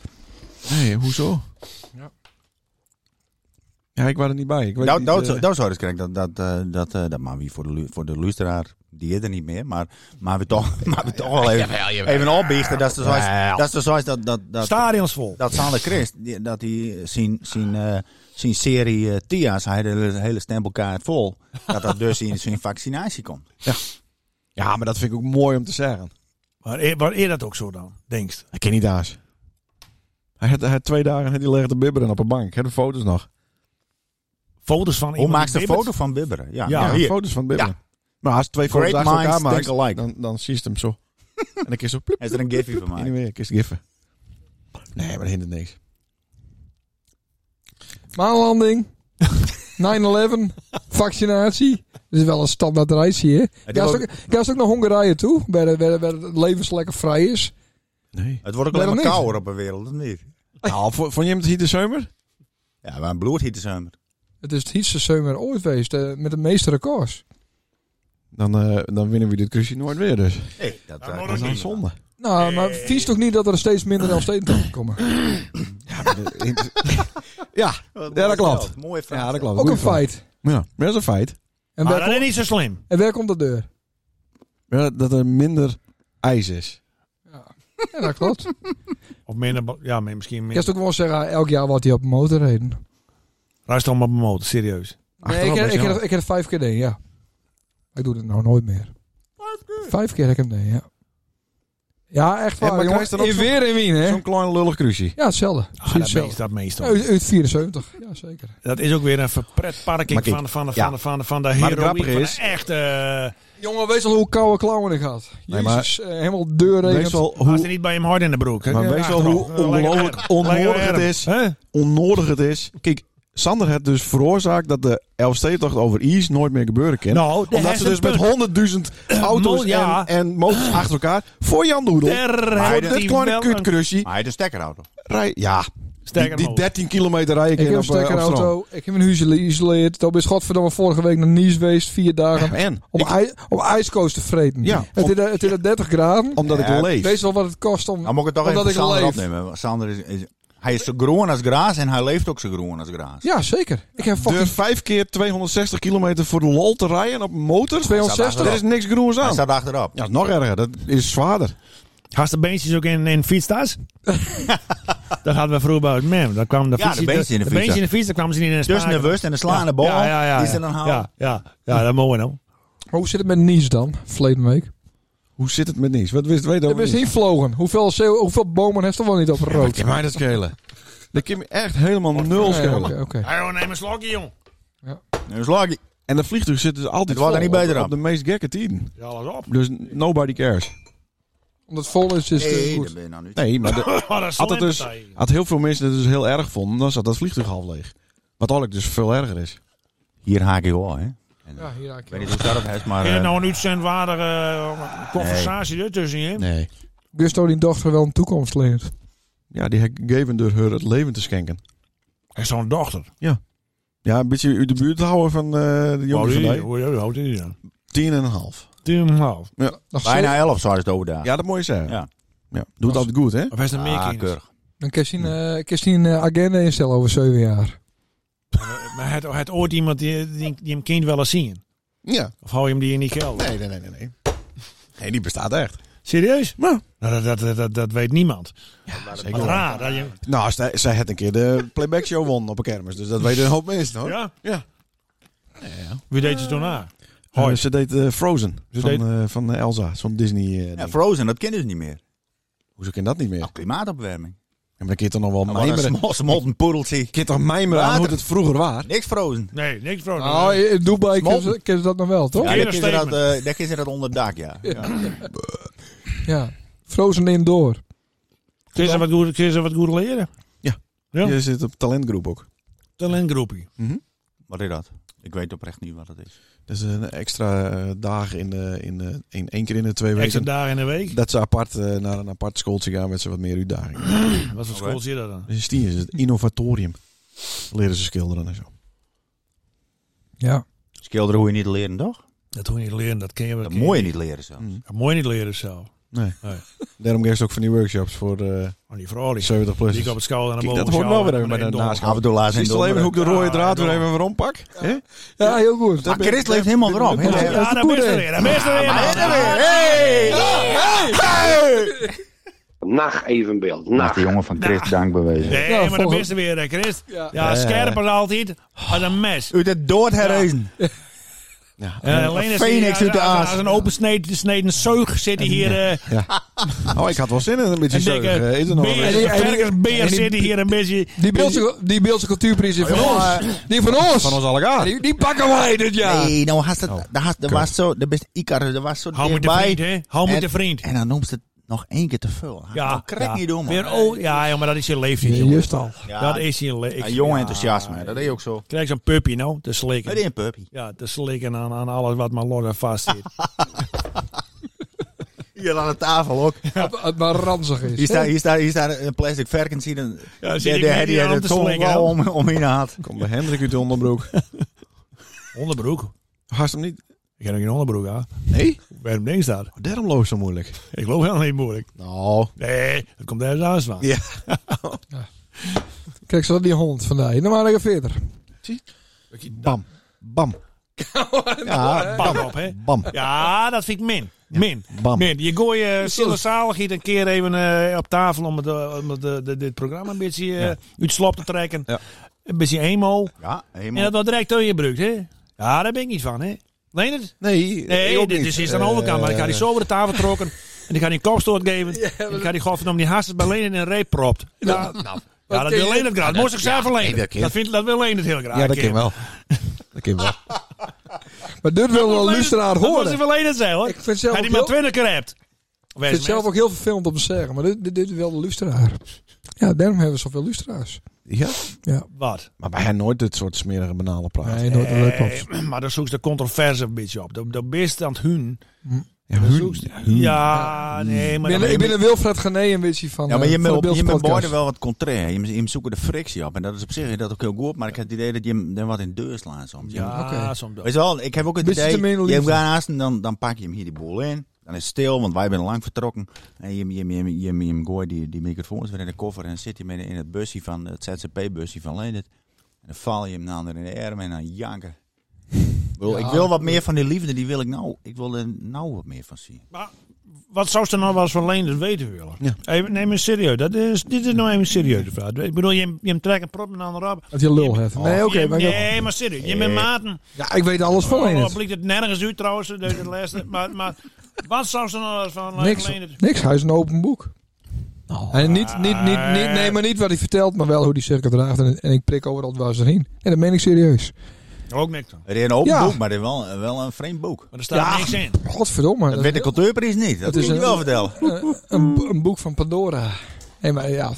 Speaker 2: Nee, hoezo? Ja.
Speaker 5: Ja.
Speaker 2: Ja, ik was er niet bij. Ik weet
Speaker 3: Nou,
Speaker 2: niet,
Speaker 3: nou,
Speaker 2: eh,
Speaker 3: zo- nou zou het krijgen dat, dat, eh, dat, eh, dat maar wie voor de, lu- voor de luisteraar, die is er niet meer, maar, maar we toch, [laughs] maar we toch wel even, even opbiechten. Dat is dus zoals, dat, is dus zoals dat, dat, dat,
Speaker 1: Stadions vol.
Speaker 3: dat Sander Christ, die- dat hij zijn, zijn, eh, zijn serie eh, Tia's, hij had de hele stempelkaart vol, dat dat dus in zijn vaccinatie komt.
Speaker 2: Ja, maar dat vind ik ook mooi om te zeggen.
Speaker 1: Maar eer, maar eer e- dat ook zo dan, denkst.
Speaker 2: Hij ken niet Daas. Hij had, hij had twee dagen had hij legde bibberen op een bank. Hij had de foto's nog.
Speaker 1: Foto's van
Speaker 3: Hoe
Speaker 1: iemand
Speaker 3: maakt ze
Speaker 1: die
Speaker 3: een
Speaker 1: bibbert.
Speaker 3: foto van bibberen? Ja,
Speaker 1: Ja,
Speaker 2: Ja,
Speaker 3: hier.
Speaker 2: foto's van bibberen. Maar als twee foto's
Speaker 3: Great
Speaker 2: achter elkaar
Speaker 3: minds
Speaker 2: maakt,
Speaker 3: think alike.
Speaker 2: dan, dan zie je hem zo. en dan kun je zo plup,
Speaker 3: Hij is er een gifje van
Speaker 2: in de
Speaker 3: mij.
Speaker 2: weer. kun je ze giffen. Nee, maar dat hindert niks. [laughs]
Speaker 5: Maanlanding. 9-11. Vaccinatie. Dat is wel een standaard reis hier.
Speaker 3: die
Speaker 5: Ga ze
Speaker 3: ook-
Speaker 5: ook, ga ze ook naar Hongarije toe, waar, de- waar, de- waar het levenslekker vrij is.
Speaker 2: Nee.
Speaker 3: Het wordt ook
Speaker 5: Nee,
Speaker 3: alleen maar
Speaker 5: dat niet.
Speaker 3: kouder op de wereld, of niet?
Speaker 2: Nou, vond vond je hem het hier de zomer?
Speaker 3: Ja, maar een bloedhietezummer.
Speaker 5: Het is het heetste zomer ooit geweest, eh, met de meeste records.
Speaker 2: Dan, eh, dan winnen we dit crucie nooit weer dus.
Speaker 3: Nee, dat, eh,
Speaker 1: maar
Speaker 2: Dat is een zonde.
Speaker 5: Nou, maar vies toch niet dat er steeds minder Elfsteden komen.
Speaker 2: Ja, maar de- ja, Ja, dat klopt.
Speaker 3: Mooie vraag.
Speaker 2: ja, dat klopt.
Speaker 5: Ook een
Speaker 2: Goeie vraag.
Speaker 5: feit.
Speaker 2: Ja, maar dat is een feit.
Speaker 5: En
Speaker 1: Maar
Speaker 5: waar,
Speaker 1: Ah, dat
Speaker 5: kom-
Speaker 1: is niet zo slim.
Speaker 5: en waar komt de deur?
Speaker 2: Ja, dat er minder ijs is.
Speaker 5: Ja, dat klopt.
Speaker 1: Of minder, bo- ja, maar misschien
Speaker 5: Je kan
Speaker 1: minder.
Speaker 5: toch gewoon zeggen, ah, elk jaar wordt hij op een motor reden.
Speaker 1: Ruist allemaal op mijn motor, serieus.
Speaker 5: Nee, ik,
Speaker 2: Achteraf
Speaker 5: heb- ik,
Speaker 2: best
Speaker 5: heb-
Speaker 2: wel.
Speaker 5: ik heb het vijf keer deed, ja. Ik doe het nou nooit meer. Vijf keer? Vijf keer heb ik hem deed, ja. Ja, echt
Speaker 2: Ja,
Speaker 5: waar,
Speaker 2: maar
Speaker 5: jongen.
Speaker 2: krijg je dan ook
Speaker 5: In
Speaker 2: zo'n-
Speaker 5: weer in Wien, hè?
Speaker 2: Zo'n klein lullig crucie.
Speaker 5: Ja, hetzelfde.
Speaker 1: Ah,
Speaker 5: Precies
Speaker 1: dat, meest,
Speaker 5: hetzelfde.
Speaker 1: dat meestal.
Speaker 5: Uit, uit 74, ja zeker.
Speaker 1: Dat is ook weer een verpretparking
Speaker 3: Maar kijk,
Speaker 1: van, van, de-
Speaker 3: ja.
Speaker 1: van, de- van, de- van de
Speaker 2: het
Speaker 1: heroïne.
Speaker 2: grappige
Speaker 1: Van
Speaker 2: is-
Speaker 1: de echte... eh,
Speaker 5: Jongen, wees al hoe koude klauwen ik had.
Speaker 2: Nee, maar-
Speaker 5: Jezus, eh, helemaal deurregend.
Speaker 2: Wees wel
Speaker 1: Als hij
Speaker 2: hoe,
Speaker 1: niet bij hem hard in de broek. hè?
Speaker 2: maar
Speaker 1: Ja,
Speaker 2: wees wel
Speaker 1: achterop.
Speaker 2: hoe
Speaker 1: Eh, lekker
Speaker 2: ongelooflijk
Speaker 1: warm.
Speaker 2: onnodig
Speaker 1: Lekker
Speaker 2: het
Speaker 1: warm.
Speaker 2: is.
Speaker 1: Hè?
Speaker 2: onnodig het is. Kijk, Sander heeft dus veroorzaakt dat de LST-tocht over IJs nooit meer gebeuren kan.
Speaker 1: Nou, daar
Speaker 2: omdat
Speaker 1: is
Speaker 2: ze
Speaker 1: een
Speaker 2: dus met
Speaker 1: punt.
Speaker 2: 100.000 auto's
Speaker 1: mol, ja.
Speaker 2: en, en motors achter elkaar voor Jan Doedel.
Speaker 1: Daar
Speaker 2: voor
Speaker 1: heeft hij
Speaker 2: dit kleine
Speaker 1: wel een
Speaker 2: kutcrucie.
Speaker 3: Maar hij is een stekkerauto.
Speaker 2: Rij, ja, die,
Speaker 1: sterke
Speaker 2: die
Speaker 1: motor.
Speaker 2: 13 kilometer rijden
Speaker 5: Ik heb
Speaker 2: kan
Speaker 5: een
Speaker 2: op, eh, op stroom.
Speaker 5: stekkerauto, ik heb een huis geïsoleerd. Toen ben godverdomme vorige week naar Nice geweest, vier dagen.
Speaker 2: Ja, en?
Speaker 5: Om,
Speaker 2: Ik-
Speaker 5: ij, om ijskoos te vreten.
Speaker 2: Ja,
Speaker 5: het
Speaker 2: om-
Speaker 5: is daar- het is daar 30 graden.
Speaker 2: Omdat
Speaker 3: Ja,
Speaker 2: ik leef.
Speaker 5: Wees wel wat het kost om...
Speaker 3: Dan Nou, moet ik het toch
Speaker 5: Omdat
Speaker 3: even
Speaker 5: ik
Speaker 3: Sander
Speaker 5: leef.
Speaker 3: opnemen. want Sander is, is- hij is zo groen als graas en hij leeft ook zo groen als graas.
Speaker 5: Ja, zeker. Ik heb fucking
Speaker 2: Durf vijf keer 260 kilometer voor de lol te rijden op een motor.
Speaker 5: 260?
Speaker 2: Er is niks groens
Speaker 3: Hij
Speaker 2: aan.
Speaker 3: staat achterop.
Speaker 2: Ja, dat is nog erger. Dat is zwaarder.
Speaker 1: Had de beentjes ook in, in fietstas? dat hadden we vroeger bij het mem. Dan kwamen de
Speaker 3: Ja, de
Speaker 1: fietsen
Speaker 3: beentjes in de fiets,
Speaker 1: beentjes in de fiets, dan kwamen ze niet in de
Speaker 3: Dus
Speaker 1: spaken.
Speaker 3: nerveus en een slaande
Speaker 1: Ja.
Speaker 3: bal.
Speaker 1: Ja, ja, ja.
Speaker 3: die
Speaker 1: ja.
Speaker 3: ze dan houden.
Speaker 1: ja, ja, ja, dat mooi dan.
Speaker 5: Maar hoe zit het met Nice dan, verleden week?
Speaker 2: Hoe zit het met niets? Wat wist weet
Speaker 5: Er is niet vlogen. Hoeveel, CO hoeveel bomen heeft er wel niet op
Speaker 2: Wat
Speaker 5: rood?
Speaker 2: kan mij dat schelen? Dat kan me echt helemaal nul
Speaker 5: Nee,
Speaker 2: schelen.
Speaker 5: oké, oké.
Speaker 1: Hij neem een slokje, jong.
Speaker 3: Dus lag
Speaker 2: En dat vliegtuig zit dus altijd
Speaker 3: Het wordt er
Speaker 2: vol
Speaker 3: niet beter
Speaker 2: op,
Speaker 3: aan.
Speaker 2: op de meest gekke tien.
Speaker 1: Ja, alles op.
Speaker 2: Dus nobody cares.
Speaker 5: Omdat het vol is, is het eh,
Speaker 3: Nee,
Speaker 5: goed.
Speaker 3: dat ben je nou niet.
Speaker 2: Nee, maar de,
Speaker 1: [laughs] Oh, dat is
Speaker 2: had, het dus,
Speaker 1: slimpartij.
Speaker 2: had heel veel mensen het dus heel erg vonden, dan zat dat vliegtuig half leeg. Wat eigenlijk dus veel erger is.
Speaker 3: Hier haak ik wel, hè. Ik
Speaker 5: Ja, hier raak
Speaker 3: weet
Speaker 5: je wel.
Speaker 3: niet hoe het daarop heeft, maar...
Speaker 1: Geen
Speaker 3: eh,
Speaker 1: nou een uitzendwaardige eh, conversatie ertussen, hè?
Speaker 2: Nee.
Speaker 5: Gusto die dochter wel een toekomst leert.
Speaker 2: Ja, die gegeven door haar het leven te schenken.
Speaker 1: En zo'n dochter.
Speaker 2: Ja, een beetje uit de buurt houden van eh de
Speaker 1: Hoe
Speaker 2: jongens van
Speaker 1: oud is die?
Speaker 2: mij.
Speaker 1: Hoe hoe oud is die dan?
Speaker 2: Tien en een half.
Speaker 1: Tien en een half.
Speaker 5: Nog
Speaker 3: Bijna elf zouden ze het overdag.
Speaker 2: Ja, dat moet je zeggen.
Speaker 3: Ja.
Speaker 2: Ja, Doe het altijd goed, hè?
Speaker 1: Of is er meer
Speaker 3: ah,
Speaker 1: kinderen?
Speaker 3: keurig.
Speaker 5: Dan kan je een, eh, kan je een eh, agenda instellen over zeven jaar.
Speaker 1: Eh, Maar het, het ooit iemand die, die, die hem kind wel eens zien?
Speaker 2: Ja.
Speaker 1: Of hou je hem die in die kelder?
Speaker 2: Nee, nee, nee, nee. Nee, nee die bestaat echt.
Speaker 1: Serieus?
Speaker 2: Nou.
Speaker 1: Nou, dat, dat, dat, dat weet niemand.
Speaker 2: Zeker
Speaker 1: Wat
Speaker 2: wel.
Speaker 1: raar. Dat je,
Speaker 2: Nou, zij, zij had een keer de playback show won op een kermis. Dus dat weten een hoop mensen, hoor.
Speaker 1: ja?
Speaker 2: Ja.
Speaker 1: Wie deed ze toen aan?
Speaker 2: Hoi.
Speaker 1: Hoi.
Speaker 2: ze deed eh, Frozen
Speaker 1: Ze
Speaker 2: van,
Speaker 1: deed-
Speaker 2: eh, van eh, Elsa, zo'n Disney eh,
Speaker 3: Ja,
Speaker 2: ding.
Speaker 3: Frozen, dat kennen ze niet meer.
Speaker 2: Hoezo ken je dat niet meer?
Speaker 3: Nou, klimaatopwarming.
Speaker 2: En dan kun je toch nog wel
Speaker 3: Nou, wat
Speaker 2: mijmeren.
Speaker 3: een smal- smolten poedeltje.
Speaker 2: Kun je toch mijmeren aan
Speaker 3: Water.
Speaker 2: hoe het vroeger was?
Speaker 3: Niks Frozen.
Speaker 1: Nee, niks van.
Speaker 5: Nou, in Dubai
Speaker 3: Smolten.
Speaker 5: kennen ze, kennen ze dat nog wel, toch?
Speaker 3: Oh, Ja,
Speaker 5: Ja.
Speaker 1: Eerder
Speaker 3: daar is er dat,
Speaker 1: statement.
Speaker 3: eh, daar is er dat onder het dak,
Speaker 1: [laughs]
Speaker 3: ja. ja.
Speaker 5: Frozen indoor.
Speaker 1: Kun je ze wat goed, kun je ze wat goed leren? Ja.
Speaker 2: Je zit op talentgroep ook.
Speaker 1: Talentgroepie.
Speaker 3: Wat is dat? Ik weet oprecht niet wat het is.
Speaker 2: Dus een extra eh, dag in, eh, in, eh, in één keer in de twee
Speaker 1: Extra
Speaker 2: weken.
Speaker 1: dagen in de week.
Speaker 2: Dat ze apart eh, naar een apart schooltje gaan met ze wat meer uitdagingen. [laughs]
Speaker 1: Wat voor school zie je dat dan?
Speaker 2: Dus die is het innovatorium. Leren ze schilderen en zo.
Speaker 5: Ja.
Speaker 3: Schilderen hoe je niet leren, toch?
Speaker 1: Dat hoef je niet te leren, dat ken je wel.
Speaker 3: Dat
Speaker 1: ken je
Speaker 3: moet je
Speaker 1: niet.
Speaker 3: niet leren zo.
Speaker 2: Mm.
Speaker 1: Dat moet je niet leren zelf.
Speaker 2: Nee.
Speaker 1: Nee.
Speaker 2: Daarom geeft ze ook van die workshops voor eh
Speaker 1: Maar die vrouw die,
Speaker 2: 70 plus.
Speaker 1: die ik op het schouder en
Speaker 2: Kijk,
Speaker 1: boven.
Speaker 2: dat hoort wel weer even
Speaker 1: maar
Speaker 2: bij de naast-
Speaker 3: Af en toe laat ze in
Speaker 2: Zie je alleen maar hoe ik de rode
Speaker 1: Ja,
Speaker 2: draad weer
Speaker 1: ja.
Speaker 2: even weer ompak? Hè?
Speaker 5: ja, heel goed.
Speaker 3: Ah, Chris leeft helemaal erop.
Speaker 5: Ja,
Speaker 3: Helemaal-
Speaker 1: Ja,
Speaker 5: dat is
Speaker 1: daar
Speaker 5: de
Speaker 1: ben je
Speaker 5: goede.
Speaker 1: er weer. Daar ben je er weer.
Speaker 3: Ah,
Speaker 1: man.
Speaker 3: Hey!
Speaker 4: Nacht evenbeeld.
Speaker 3: Mag
Speaker 4: Nacht.
Speaker 3: de jongen van Chris dank bewezen.
Speaker 1: Nee,
Speaker 5: Ja,
Speaker 1: maar daar
Speaker 5: volgens-
Speaker 1: ben je er weer, hè, Chris.
Speaker 5: Ja.
Speaker 1: Ja, scherp als altijd. Als een mes.
Speaker 3: Uit het dood herrezen.
Speaker 1: En alleen als
Speaker 3: phoenix
Speaker 1: hij-
Speaker 3: uit de
Speaker 1: als-
Speaker 3: aas.
Speaker 1: Als een opensneden zeug zit hij hier. eh,
Speaker 2: [laughs] Oh, ik had wel zin in een beetje
Speaker 1: Een
Speaker 2: zeug. eh, Is er
Speaker 1: dikke
Speaker 2: nog
Speaker 1: beer,
Speaker 2: een?
Speaker 5: En die- en die-
Speaker 1: verkersbeer
Speaker 5: en die-
Speaker 1: zit hij hier een beetje.
Speaker 5: Die Beeldse, die Beeldse cultuurprijs is van ons. Die van ons.
Speaker 2: Van ons allegaar.
Speaker 5: Die, die pakken wij dit jaar.
Speaker 3: Nee, nou had het, daar had, er was zo, de beste Icarus, er was zo
Speaker 1: Oh. Hou me te
Speaker 3: dichtbij.
Speaker 1: vriend, hè? Hou me
Speaker 3: En-
Speaker 1: te vriend.
Speaker 3: En dan noemt ze het nog één keer te veel. Ja,
Speaker 1: Ja,
Speaker 3: nou, krek
Speaker 1: ja.
Speaker 3: niet doen, man.
Speaker 1: Weer, oh, ja, joh, maar dat is je leeftijd,
Speaker 5: Nee,
Speaker 1: jongen.
Speaker 5: juist al.
Speaker 3: Ja,
Speaker 1: dat is je leeftijd.
Speaker 3: ja, jong enthousiasme, dat is ook zo.
Speaker 1: Krijg zo'n puppy nou, te
Speaker 3: Dat
Speaker 1: slikken.
Speaker 3: is een puppy.
Speaker 1: Ja, te slikken aan, aan alles wat maar los en vast
Speaker 3: [laughs]
Speaker 1: zit.
Speaker 3: Hier aan de tafel ook.
Speaker 5: Het- Het maar ranzig is.
Speaker 3: Hier staat, hier, staat, hier staat een plastic varkens hier. een-
Speaker 1: Ja, zit ik
Speaker 3: die- die-
Speaker 1: niet
Speaker 3: die-
Speaker 1: hier
Speaker 3: die-
Speaker 1: aan te
Speaker 3: de tong
Speaker 1: slingen,
Speaker 3: wel om, om in had.
Speaker 2: Komt bij Hendrik uit de onderbroek.
Speaker 1: Onderbroek.
Speaker 2: Haast hem niet.
Speaker 1: Ik heb nog geen onderbroek aan.
Speaker 2: Nee?
Speaker 1: Waarom denk je dat?
Speaker 2: Oh, Daarom loopt zo moeilijk.
Speaker 1: Ik loop helemaal niet moeilijk.
Speaker 2: Nou.
Speaker 1: Nee, dat komt ergens aan van.
Speaker 2: Ja.
Speaker 5: Kijk, zo die hond vandaag. Nou maar even verder.
Speaker 2: Bam. Bam. [laughs] Ja,
Speaker 1: Pak op, hè?
Speaker 2: bam.
Speaker 1: Ja, dat vind ik min. Min.
Speaker 2: Bam.
Speaker 1: Min. Je gooi eh Sille Zaligheid een keer even eh, op tafel om, het, eh, om het, eh, dit- dit programma een beetje eh, uit het slop te trekken.
Speaker 2: Ja.
Speaker 1: Een beetje emo.
Speaker 3: Ja,
Speaker 1: En dat
Speaker 3: helemaal.
Speaker 1: wordt direct door je brukt, hè? Ja, daar ben ik niet van, hè? Nee, dat,
Speaker 2: Nee,
Speaker 1: nee
Speaker 2: ook
Speaker 1: dit
Speaker 2: niet. Eh,
Speaker 1: is, is aan de overkant. Maar ik ga die zo over de tafel trokken.
Speaker 2: [laughs]
Speaker 1: En ik ga die een kopstoot geven. en ik ga die goffen om die haast bij Lenen in een reep propt. Ja, ja dat
Speaker 5: ken
Speaker 1: wil
Speaker 5: je-
Speaker 1: Lenen graag. Dat moest ik zelf alleen.
Speaker 2: dat
Speaker 1: Dat,
Speaker 2: ken-
Speaker 1: vindt- dat wil Lenen heel graag.
Speaker 2: Ja, dat kan
Speaker 1: Kim.
Speaker 2: wel. Dat kan wel.
Speaker 5: Maar dit wil wel een luisteraar
Speaker 1: Dat
Speaker 5: horen.
Speaker 1: moest ik wel Lenen zijn, hoor.
Speaker 5: Ik vind zelf
Speaker 1: Hij
Speaker 5: ook
Speaker 1: die maar
Speaker 5: heel-
Speaker 1: twintig keer hebt.
Speaker 5: Ik vind het zelf ook heel vervelend om te zeggen, maar dit, dit, dit is wel de luisteraar. Ja, daarom hebben we zoveel luisteraars.
Speaker 2: Ja?
Speaker 1: Wat?
Speaker 2: Maar bij hen nooit dit soort smerige banale praat.
Speaker 5: Nee, nooit dat klopt.
Speaker 1: Eh, [clears throat] maar dan zoek je de controverse een beetje op. Dat- Dat best aan het hun.
Speaker 2: Ja, hun. hun.
Speaker 1: Ja, nee, maar...
Speaker 5: Ik
Speaker 1: dan-
Speaker 5: ben, ik ben een Wilfred Gené een beetje van.
Speaker 3: Ja, maar je
Speaker 5: eh, van
Speaker 3: moet
Speaker 5: de
Speaker 3: op- je
Speaker 5: Beeldse
Speaker 3: moet
Speaker 5: podcast.
Speaker 3: beide wel wat contrair. Je moet- Je moet zoeken de frictie op. En dat is op zich is dat ook heel goed. Maar ik heb het idee dat je hem dan wat in deur slaat soms. Je
Speaker 1: Ja,
Speaker 5: Oké.
Speaker 1: soms wel.
Speaker 3: Weet je wel, ik heb ook het
Speaker 5: Beetje te
Speaker 3: idee,
Speaker 5: minder
Speaker 3: je hebt
Speaker 5: liefde.
Speaker 3: haast en dan, dan pak je hem hier die boel in. Dan is het stil, want wij zijn lang vertrokken. En je, je, je, je, je, je gooit die, die microfoons weer in de koffer en zit je midden in het busje van, het ZZP-busje van Leendert. En dan val je hem nou in de arm en dan
Speaker 1: [laughs]
Speaker 3: janken. Ik bedoel,
Speaker 5: Ja.
Speaker 3: ik wil wat meer van die liefde, die wil ik nou. Ik wil er nou wat meer van zien.
Speaker 1: Maar wat zou ze nou wel eens van Leenders weten willen?
Speaker 2: Ja.
Speaker 1: Even, neem me serieus. Dat is, dit is nou even een serieuze vraag. Ik bedoel, je, je hem trekt een prop naar de rap.
Speaker 5: Dat je lul hebt. Nee, oké.
Speaker 1: Oh. Je-
Speaker 5: maar Oh, ja.
Speaker 1: nee, maar serieus. Je bent maten.
Speaker 5: ja, ik weet alles van
Speaker 1: Oh,
Speaker 5: Leendert.
Speaker 1: blikt het nergens uit trouwens. de- de laatste. maar, maar wat zou ze nou wel eens van
Speaker 5: Niks,
Speaker 1: Leenders...
Speaker 5: niks, hij is een open boek. en niet, niet, niet, niet, nee, maar niet wat hij vertelt, maar wel hoe hij zich gedraagt. En, en ik prik overal dwars erheen. En dat meen ik serieus.
Speaker 1: Ook niks van.
Speaker 3: Er is een open
Speaker 5: Ja.
Speaker 3: boek, maar er is wel, wel een vreemd boek.
Speaker 1: Maar er staat niks in.
Speaker 5: Godverdomme.
Speaker 3: Dat weet de cultuurprijs niet, dat
Speaker 5: Het
Speaker 3: kun
Speaker 5: is
Speaker 3: je
Speaker 5: een-
Speaker 3: wel vertellen.
Speaker 5: Eh, een, bo- een boek van Pandora. Nee, maar ja.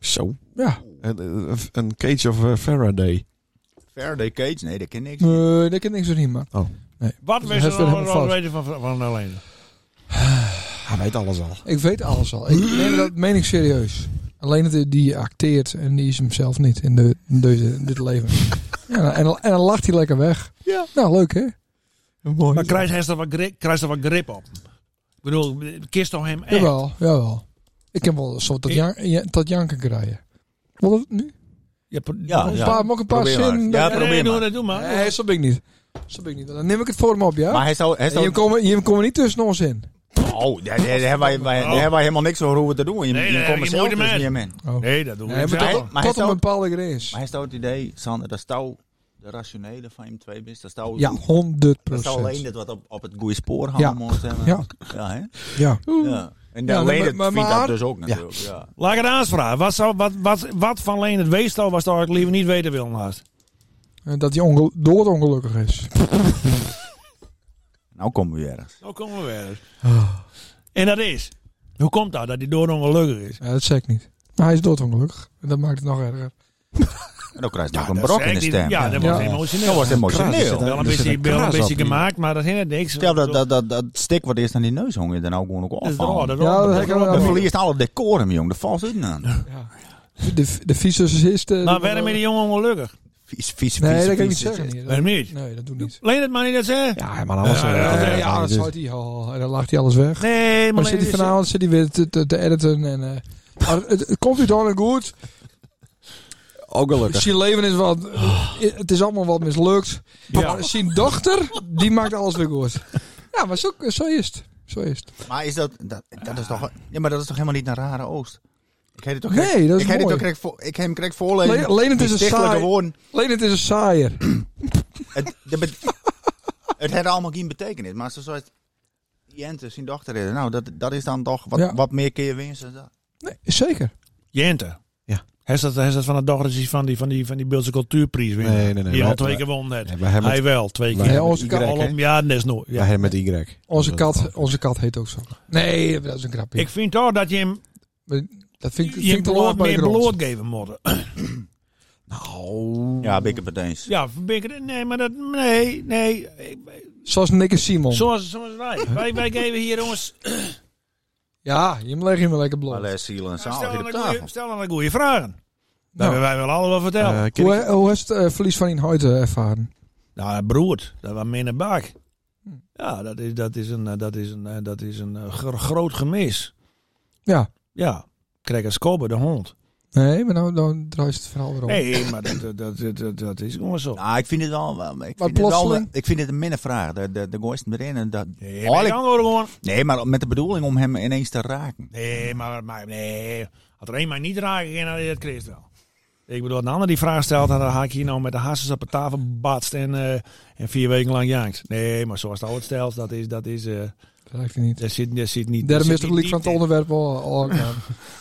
Speaker 2: Zo.
Speaker 5: ja.
Speaker 2: Een, eh, een cage of eh, Faraday.
Speaker 3: Faraday Cage, nee, dat ken ik niks.
Speaker 5: Nee, daar kan niks van man.
Speaker 1: Wat
Speaker 5: Dus
Speaker 1: wil ze
Speaker 5: hij vindt
Speaker 1: nou
Speaker 5: hem
Speaker 1: wel eens
Speaker 5: fout.
Speaker 1: weten van, van van Leenders?
Speaker 2: Hij weet alles al.
Speaker 5: Ik weet alles al. Ik, nee, dat meen ik serieus. Alleen dat die acteert en die is hemzelf niet in, de, in deze, dit leven. Ja, en, dan- en dan lacht hij lekker weg.
Speaker 2: Ja.
Speaker 5: Nou, leuk hè?
Speaker 2: Mooi.
Speaker 1: Maar krijgt hij er wat grip, krijgt er wat grip op? Ik bedoel, kist toch hem echt?
Speaker 5: Jawel, jawel. Ik heb wel een soort dat,
Speaker 1: Ik-
Speaker 5: jan, ja, dat janken krijgen. Wat het nu?
Speaker 1: Ja, pro-
Speaker 3: Ja,
Speaker 5: Een
Speaker 3: ja.
Speaker 5: paar, mag ik een paar
Speaker 3: Probeer maar.
Speaker 5: zinnen?
Speaker 3: Ja,
Speaker 1: Nee,
Speaker 3: probeer
Speaker 1: doe
Speaker 3: maar.
Speaker 1: dat, doe maar.
Speaker 5: Nee, zo ben ik niet. Zo ben ik niet. Dan neem ik het voor hem op, ja?
Speaker 3: Maar hij zou... Hij
Speaker 5: En je
Speaker 3: zou
Speaker 5: komt je komt er niet tussen ons in.
Speaker 3: oh, daar, daar, hebben wij, wij, daar hebben wij helemaal niks over hoe we te doen.
Speaker 1: Nee,
Speaker 3: Je,
Speaker 1: daar
Speaker 3: je
Speaker 1: heb
Speaker 3: komt er
Speaker 1: ik
Speaker 3: zelf
Speaker 1: moeite
Speaker 3: dus
Speaker 1: mee.
Speaker 3: niet meer in.
Speaker 5: Oh.
Speaker 1: Nee, dat doen we
Speaker 5: Nee,
Speaker 1: niet.
Speaker 5: maar
Speaker 3: hij-
Speaker 5: tot,
Speaker 3: maar hij
Speaker 5: tot een
Speaker 3: zou-
Speaker 5: bepaalde grens.
Speaker 3: Maar hij staat het idee, Sander, dat stou de rationele van hem twee is. Dat stou,
Speaker 5: Ja, 100
Speaker 3: dat stou alleen dat wat op, op het goede spoor houden.
Speaker 5: Ja.
Speaker 3: moet, hè, maar-
Speaker 5: Ja.
Speaker 3: Ja, hè?
Speaker 5: Ja.
Speaker 3: ja. En
Speaker 5: Ja,
Speaker 3: alleen
Speaker 5: maar-
Speaker 3: het
Speaker 5: maar-
Speaker 3: vindt
Speaker 5: maar-
Speaker 3: dat dus ook natuurlijk. Ja.
Speaker 1: Laat ik het aanvragen. Wat, zou, wat, wat, wat van alleen het weestal was dat ik liever niet weten wil naast?
Speaker 5: En Dat hij ongel- doodongelukkig is.
Speaker 3: Nou komen we ergens.
Speaker 1: Nou komen we weer eens. En dat is. Hoe komt dat dat die dood ongelukkig is?
Speaker 5: Ja, dat zeg ik niet. Maar hij is doodongelukkig. En dat maakt het nog erger.
Speaker 3: En dan krijg je
Speaker 1: Ja,
Speaker 3: nog een
Speaker 1: dat
Speaker 3: brok
Speaker 1: zei
Speaker 3: in
Speaker 1: ik
Speaker 3: de
Speaker 1: niet.
Speaker 3: stem.
Speaker 1: Ja, dat
Speaker 5: Ja.
Speaker 1: wordt emotioneel.
Speaker 3: Dat wordt
Speaker 2: Kraas is
Speaker 3: emotioneel.
Speaker 2: het, hè?
Speaker 1: Wel een
Speaker 2: Er zit
Speaker 1: beetje, wel een
Speaker 2: kraas
Speaker 1: beetje
Speaker 2: op hier.
Speaker 1: gemaakt, maar dat hindert niks.
Speaker 3: Stel dat, dat, dat, dat stik wat eerst aan die neus hong, is dan ook gewoon ook
Speaker 1: dat is raar.
Speaker 3: afvallen.
Speaker 1: Dat,
Speaker 5: Ja, dat heb ik wel
Speaker 3: Dan
Speaker 5: Ja.
Speaker 3: verliest alle decorum, jong. Dat valt in aan.
Speaker 5: De, de fysiocist. eh,
Speaker 1: maar
Speaker 5: die-
Speaker 1: werden met die jongen ongelukkig?
Speaker 3: Vies, vies,
Speaker 5: Nee,
Speaker 3: vies,
Speaker 5: dat kan ik niet
Speaker 3: vies.
Speaker 5: zeggen. hier.
Speaker 1: Waarom niet?
Speaker 5: Nee, dat doet niet.
Speaker 1: Leen het maar niet dat ze...
Speaker 2: Ja, hij maar alles.
Speaker 1: Ja,
Speaker 2: eh,
Speaker 1: ja,
Speaker 2: eh,
Speaker 1: ja,
Speaker 2: eh,
Speaker 5: Ja, dat
Speaker 2: dit-
Speaker 5: zou hij al. En dan lacht hij alles weg.
Speaker 1: Nee, dus, eh, maar
Speaker 5: Maar zit hij
Speaker 1: Leen-
Speaker 5: vanavond zit hij weer te, te, te editen. En, eh, maar het, het komt u dan goed.
Speaker 2: Ook gelukkig.
Speaker 5: Zijn leven is wat. Het is allemaal wat mislukt.
Speaker 1: Ah. Ja.
Speaker 5: Maar zijn dochter, die maakt alles weer goed. Ja, maar zo, zo is het. Zo is het.
Speaker 3: Maar is dat, dat, dat is toch, ja, maar dat is toch helemaal niet een rare oost? Ik heb het toch
Speaker 5: Nee,
Speaker 3: correct-
Speaker 5: dat is
Speaker 3: ik heb het
Speaker 5: mooi.
Speaker 3: toch correct voor, ik heb hem correct voorlezen.
Speaker 5: Le- alleen het
Speaker 3: Die
Speaker 5: is een
Speaker 3: stichtelijke
Speaker 5: saai-
Speaker 3: woorden.
Speaker 5: Alleen het is een saaier.
Speaker 3: Het, de bet- [laughs] het had allemaal geen betekenis, maar ze zoals Jente, zijn dochter, is, nou dat, dat is dan toch wat,
Speaker 5: Ja.
Speaker 3: wat meer keer winst dan dat.
Speaker 5: Nee, zeker.
Speaker 1: Jente.
Speaker 2: Ja.
Speaker 1: Hij is dat, hij is dat van de dochter van die, van die, van die Beeldse cultuurprijs winnen.
Speaker 2: Nee, nee, nee.
Speaker 1: Die
Speaker 2: Wij-
Speaker 1: al twee
Speaker 2: wij-
Speaker 1: keer won net.
Speaker 2: Nee, wij hebben
Speaker 1: Hij
Speaker 2: het-
Speaker 1: wel, twee
Speaker 2: wij
Speaker 1: keer.
Speaker 5: Nee,
Speaker 2: hebben
Speaker 5: onze
Speaker 2: Y,
Speaker 5: kan-
Speaker 2: hè?
Speaker 1: Alom, ja, dat is nooit.
Speaker 2: Wij
Speaker 1: Ja.
Speaker 2: hebben met Y. Nou,
Speaker 5: Onze
Speaker 2: Dat-
Speaker 5: kat, onze kat heet ook zo. Nee, dat is een grapje.
Speaker 1: Ik vind toch dat je hem,
Speaker 5: dat vind ik,
Speaker 1: je
Speaker 5: vind
Speaker 1: hem
Speaker 5: ik te laag
Speaker 1: beloond,
Speaker 5: bij de
Speaker 1: meer
Speaker 5: grond.
Speaker 1: beloond geven moet.
Speaker 2: Nou.
Speaker 3: Ja, ben ik het met eens.
Speaker 1: Ja, ben ik er- nee, maar dat, nee, nee. Ik-
Speaker 5: Zoals Nick en Simon.
Speaker 1: Zoals, zoals wij. wij. Wij geven hier, jongens,
Speaker 5: Ja, je leg je me lekker blond.
Speaker 3: Alle zielen en zaal
Speaker 1: stel
Speaker 3: hier op
Speaker 1: dan, een goeie,
Speaker 3: tafel.
Speaker 1: stel dan een goede vragen. Dat
Speaker 5: Nou.
Speaker 1: hebben wij wel allemaal verteld.
Speaker 2: Eh, ken ik-
Speaker 5: Hoe, hoe is het eh, verlies van Inhoud eh, ervaren?
Speaker 1: Nou, broert, dat was minder bak.
Speaker 2: Hm.
Speaker 1: Ja, dat is, dat is een, eh, dat is een, eh, dat is een eh, gro- groot gemis.
Speaker 5: Ja.
Speaker 1: Ja, krijg een scober de hond.
Speaker 5: Nee, maar nou, dan draait het verhaal weer om.
Speaker 1: Nee, maar dat, dat, dat, dat, dat is gewoon zo.
Speaker 3: Nou, ik vind het wel, wel- ik
Speaker 5: Maar
Speaker 3: vind het wel,
Speaker 5: plotseling?
Speaker 3: ik vind het een minnenvraag. De, de, de gooist erin en dat.
Speaker 1: Nee,
Speaker 3: Oh,
Speaker 1: maar
Speaker 3: ik-
Speaker 1: ik kan gewoon.
Speaker 3: nee, maar met de bedoeling om hem ineens te raken.
Speaker 1: Nee, maar, maar nee. Had er één mij niet raken ging, dan dat Christ wel. Ik bedoel, een ander die vraag stelt, dan haak je hier nou met de hassels op de tafel batst en, eh, en vier weken lang jankt. Nee, maar zoals het altijd stelt, dat is, dat is, eh
Speaker 5: Dat lijkt me niet.
Speaker 1: daar zit, daar zit niet.
Speaker 5: Daarom
Speaker 1: daar
Speaker 5: is
Speaker 1: zit
Speaker 5: toch
Speaker 1: niet
Speaker 5: liek van het
Speaker 1: diepte in.
Speaker 5: onderwerp al, al gedaan.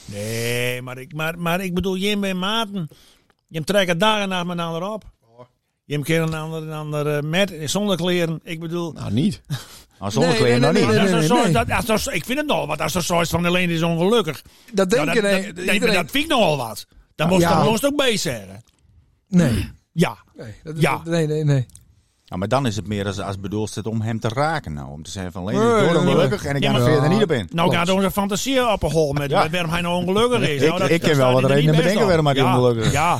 Speaker 1: Nee, maar ik, maar, maar ik bedoel, Jim en Maarten, Jim trekken dagen en nacht met een ander op. Jim keer een ander, een ander eh, met, eh, zonder kleren. Ik bedoel,
Speaker 2: Nou, niet.
Speaker 3: Nou, zonder
Speaker 5: Nee,
Speaker 3: kleren
Speaker 5: nee, nee,
Speaker 3: nog
Speaker 5: nee,
Speaker 3: niet.
Speaker 1: als er
Speaker 5: nee,
Speaker 1: zoiets-
Speaker 5: nee.
Speaker 1: dat- als er zo- ik vind het nogal wat, als er zoiets van alleen is ongelukkig.
Speaker 5: Dat denk
Speaker 1: Nou,
Speaker 5: ik
Speaker 1: dat,
Speaker 5: nee,
Speaker 1: dat, nee, maar
Speaker 5: iedereen.
Speaker 1: dat vind ik nogal wat. Dan moest,
Speaker 5: Ja.
Speaker 1: dan moest ook bij zeggen.
Speaker 5: nee.
Speaker 1: Ja.
Speaker 5: Nee, dat,
Speaker 1: Ja.
Speaker 5: dat- nee, nee, nee.
Speaker 3: Ja, Nou, maar dan is het meer als, als bedoeld om hem te raken. Nou, om te zeggen van alleen
Speaker 5: Nee,
Speaker 3: door
Speaker 5: nee, nee.
Speaker 3: ongelukkig en ik
Speaker 1: Ja,
Speaker 3: ga er
Speaker 5: maar-
Speaker 3: verder niet op in.
Speaker 1: Nou
Speaker 5: Klopt.
Speaker 1: gaat onze fantasie op een hol met
Speaker 3: Ja.
Speaker 1: met waarom hij nou ongelukkig is.
Speaker 3: Ik-
Speaker 1: Nou, dat-
Speaker 3: ik
Speaker 1: dat
Speaker 3: ken wel
Speaker 1: staat
Speaker 3: wat
Speaker 1: hij er
Speaker 3: redenen
Speaker 1: niet best
Speaker 3: bedenken
Speaker 1: op.
Speaker 3: waarom hij
Speaker 1: Ja.
Speaker 3: ongelukkig is.
Speaker 1: Ja,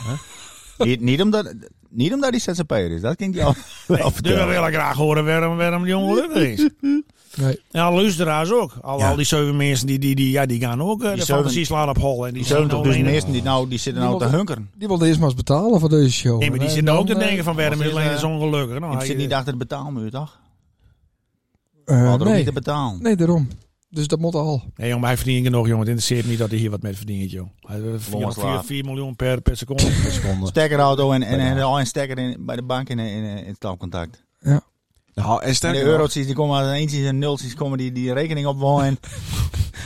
Speaker 3: Niet, niet, omdat, niet omdat hij zzp'er is, dat kan ik jou [laughs] wel
Speaker 1: dus we
Speaker 3: vertellen.
Speaker 1: willen graag horen waarom, waarom die ongelukkig is.
Speaker 3: [laughs]
Speaker 5: Nee.
Speaker 1: En alle luisteraars ook. Al,
Speaker 3: Ja.
Speaker 1: al die zeven mensen die, die, die, ja, die gaan ook eh, de
Speaker 3: zeven-
Speaker 1: fantasie slaan op hol. En die
Speaker 3: Die zijn toch
Speaker 1: nou
Speaker 3: dus
Speaker 1: alleen-
Speaker 3: mensen die, nou, die zitten nou te
Speaker 5: Niemand-
Speaker 3: hunkeren.
Speaker 5: Die wilde eerst maar eens betalen voor deze show.
Speaker 1: Nee, maar die
Speaker 5: En
Speaker 1: zitten
Speaker 5: dan,
Speaker 1: ook te
Speaker 5: eh,
Speaker 1: denken van waarom
Speaker 3: als
Speaker 1: is
Speaker 3: je,
Speaker 1: alleen
Speaker 3: eh,
Speaker 1: is ongelukkig. Nou,
Speaker 3: Ik
Speaker 1: hij,
Speaker 3: zit niet
Speaker 1: eh,
Speaker 3: achter de betaalmuur, toch?
Speaker 5: eh,
Speaker 3: Valt er ook
Speaker 5: nee.
Speaker 3: niet te betalen.
Speaker 5: nee, daarom. Dus dat moet al.
Speaker 1: Nee, jongen, maar hij verdient genoeg, jongen. Het interesseert me niet dat hij hier wat mee verdient, joh. Hij eh, verdient 4,
Speaker 3: Longenslaaf.
Speaker 1: 4 miljoen per, per seconde.
Speaker 2: Seconde.
Speaker 3: Stekkerauto en, en, en, en stekker in, bij de bank in, in, in het klapcontact.
Speaker 2: Nou, en
Speaker 3: En de
Speaker 2: sterker nog,
Speaker 3: eurotjes die komen uit eentjes en nultjes komen die, die rekening [laughs] opwonen.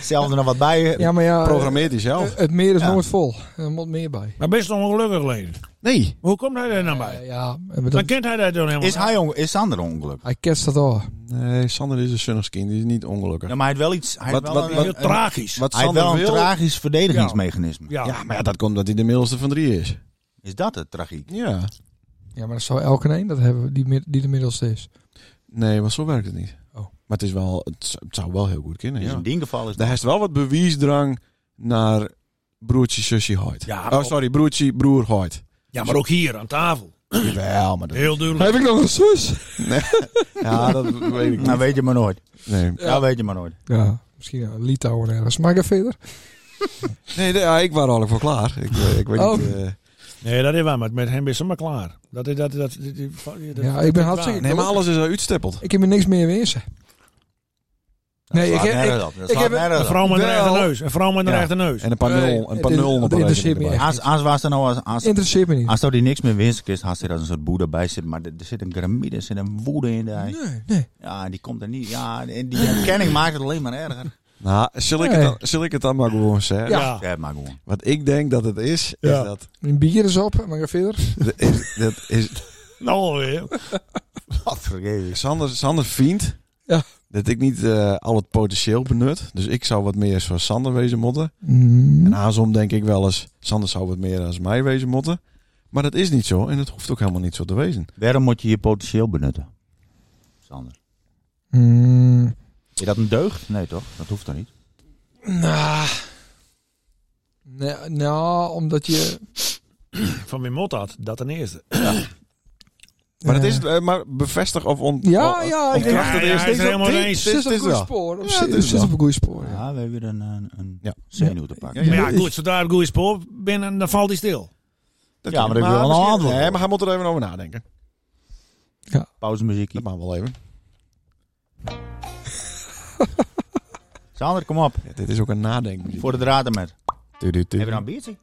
Speaker 3: Zelf er nog wat bij.
Speaker 5: Ja, maar ja,
Speaker 2: programmeert hij
Speaker 5: eh,
Speaker 2: zelf.
Speaker 5: het meer is
Speaker 3: Ja.
Speaker 5: nooit vol. Er moet meer bij.
Speaker 1: maar best ongelukkig, Leen.
Speaker 2: Nee.
Speaker 1: Hoe komt hij daar nou bij?
Speaker 5: Eh, ja, eh,
Speaker 1: Dan
Speaker 5: maar dat,
Speaker 1: kent hij dat dan helemaal
Speaker 3: is, hij on, is Sander ongeluk?
Speaker 5: hij kent dat al.
Speaker 2: Nee, Sander is een zonnig kind. Die is niet ongelukkig.
Speaker 3: Ja, maar hij heeft wel iets. Hij heeft
Speaker 2: Wat-
Speaker 3: wel
Speaker 2: wat-
Speaker 3: een,
Speaker 1: Heel
Speaker 3: een-
Speaker 1: tragisch.
Speaker 2: Wat
Speaker 3: hij heeft wel
Speaker 2: Sander
Speaker 3: een
Speaker 2: wil...
Speaker 3: tragisch verdedigingsmechanisme.
Speaker 1: ja.
Speaker 2: Ja, maar ja, dat komt omdat hij de middelste van drie is.
Speaker 3: Is dat het tragiek?
Speaker 2: Ja.
Speaker 5: Ja, maar dat zou elke een dat hebben die, mid- die de middelste is.
Speaker 2: Nee, maar zo werkt het niet.
Speaker 5: Oh.
Speaker 2: Maar het, is wel, het, z- het zou wel heel goed kunnen,
Speaker 3: Dus
Speaker 2: ja.
Speaker 3: in die geval is dat.
Speaker 2: Daar is wel wat bewijsdrang naar broertje, zusje, hoort.
Speaker 1: Ja,
Speaker 2: oh,
Speaker 1: ook.
Speaker 2: sorry, broertje, broer, hoort.
Speaker 1: ja, maar ook hier aan tafel.
Speaker 2: Wel, maar dat...
Speaker 1: Heel duidelijk.
Speaker 5: Heb ik nog een zus?
Speaker 2: [laughs] Ja, dat weet ik
Speaker 3: [laughs] Nou,
Speaker 2: niet.
Speaker 3: weet je maar nooit.
Speaker 2: Nee,
Speaker 3: Ja, weet je maar nooit.
Speaker 5: Ja, misschien een Litouwen ergens. Maar ik ga verder.
Speaker 2: nee de- ja, ik was er al voor klaar. Ik, eh, ik weet
Speaker 5: Oh.
Speaker 2: niet... eh,
Speaker 1: Nee, dat is waar. Maar met hem is maar klaar. Dat is dat. dat, dat,
Speaker 5: Ja, ik ben hartstikke...
Speaker 2: nee, maar alles is al uitstippeld.
Speaker 5: Ik heb me niks meer wezen. Nee, ik
Speaker 3: Slaat
Speaker 5: heb...
Speaker 3: nergens
Speaker 5: ik-
Speaker 3: op. Dat
Speaker 5: ik
Speaker 3: slaat
Speaker 5: heb-
Speaker 1: Een
Speaker 3: nergens op.
Speaker 1: vrouw met een
Speaker 5: Wel.
Speaker 1: rechte neus. Een vrouw met een
Speaker 2: Ja.
Speaker 1: rechte neus.
Speaker 2: En een paar
Speaker 5: Nee,
Speaker 2: nul, een paar
Speaker 5: het is-
Speaker 2: nul op
Speaker 5: het
Speaker 2: een
Speaker 5: interesseert me echt.
Speaker 3: Als- Als was er nou als- als.
Speaker 5: Interesseert me
Speaker 2: Ah,
Speaker 5: niet.
Speaker 3: Als er die niks meer winst is, had hij dat een soort boer erbij zit. Maar er er zit een gramide, er zit een woede in. Die,
Speaker 5: Nee, nee.
Speaker 3: ja, die komt er niet. Ja, en die herkenning maakt het alleen maar erger.
Speaker 2: Nou, zal ik,
Speaker 5: Nee.
Speaker 2: het dan, zal ik het dan maar gewoon zeggen?
Speaker 1: Ja.
Speaker 3: Ja, maar gewoon.
Speaker 2: Wat ik denk dat het is,
Speaker 1: Ja.
Speaker 2: is dat...
Speaker 5: Mijn bier is op, maar ik ga verder.
Speaker 2: dat is, dat is
Speaker 1: Nou, weer.
Speaker 3: Wat vergeet
Speaker 2: Sander, Sander vindt
Speaker 5: Ja.
Speaker 2: dat ik niet eh, al het potentieel benut. Dus ik zou wat meer zoals Sander wezen motten.
Speaker 5: Mm.
Speaker 2: En aansom denk ik wel eens, Sander zou wat meer als mij wezen motten. Maar dat is niet zo en dat hoeft ook helemaal niet zo te wezen.
Speaker 3: Waarom moet je je potentieel benutten? Sander.
Speaker 2: Hmm.
Speaker 5: Mm,
Speaker 3: Is dat een deugd? Nee toch? Dat hoeft dan niet.
Speaker 5: nou, nee, nou, omdat je...
Speaker 1: Van Wim Mot had, dat ten eerste.
Speaker 2: Maar, dat
Speaker 5: eh,
Speaker 2: is, het, eh, maar bevestig of on,
Speaker 5: Ja, ja, ik
Speaker 2: ontkracht
Speaker 5: denk-
Speaker 2: het
Speaker 1: Ja, ja,
Speaker 2: eerst.
Speaker 1: hij is
Speaker 2: Dit-
Speaker 1: helemaal
Speaker 2: dit-
Speaker 1: eens.
Speaker 2: dit-
Speaker 5: Zit
Speaker 2: dit
Speaker 5: op een
Speaker 2: is
Speaker 5: goed
Speaker 2: wel.
Speaker 5: spoor. Op
Speaker 2: Ja, het
Speaker 5: zich-
Speaker 2: is
Speaker 5: Zit op
Speaker 2: wel.
Speaker 5: een goed spoor. ja.
Speaker 3: Ja, we hebben weer een, een, een
Speaker 2: Ja.
Speaker 3: zenuw te pakken.
Speaker 2: Ja,
Speaker 1: maar ja,
Speaker 2: dat is-
Speaker 1: goed, zodra het goede spoor binnen, dan valt hij stil.
Speaker 2: Dat
Speaker 3: Ja,
Speaker 2: kan.
Speaker 3: maar ik wil wel een
Speaker 2: misschien-
Speaker 3: antwoord.
Speaker 2: Nee, maar hij moet er even over nadenken.
Speaker 3: Pauzemuziekje.
Speaker 2: Dat mag wel even.
Speaker 3: Sander, kom op.
Speaker 2: Ja, dit is ook een nadenken.
Speaker 3: Voor de draad ermee.
Speaker 2: Hebben
Speaker 3: Hebben we een ambitie?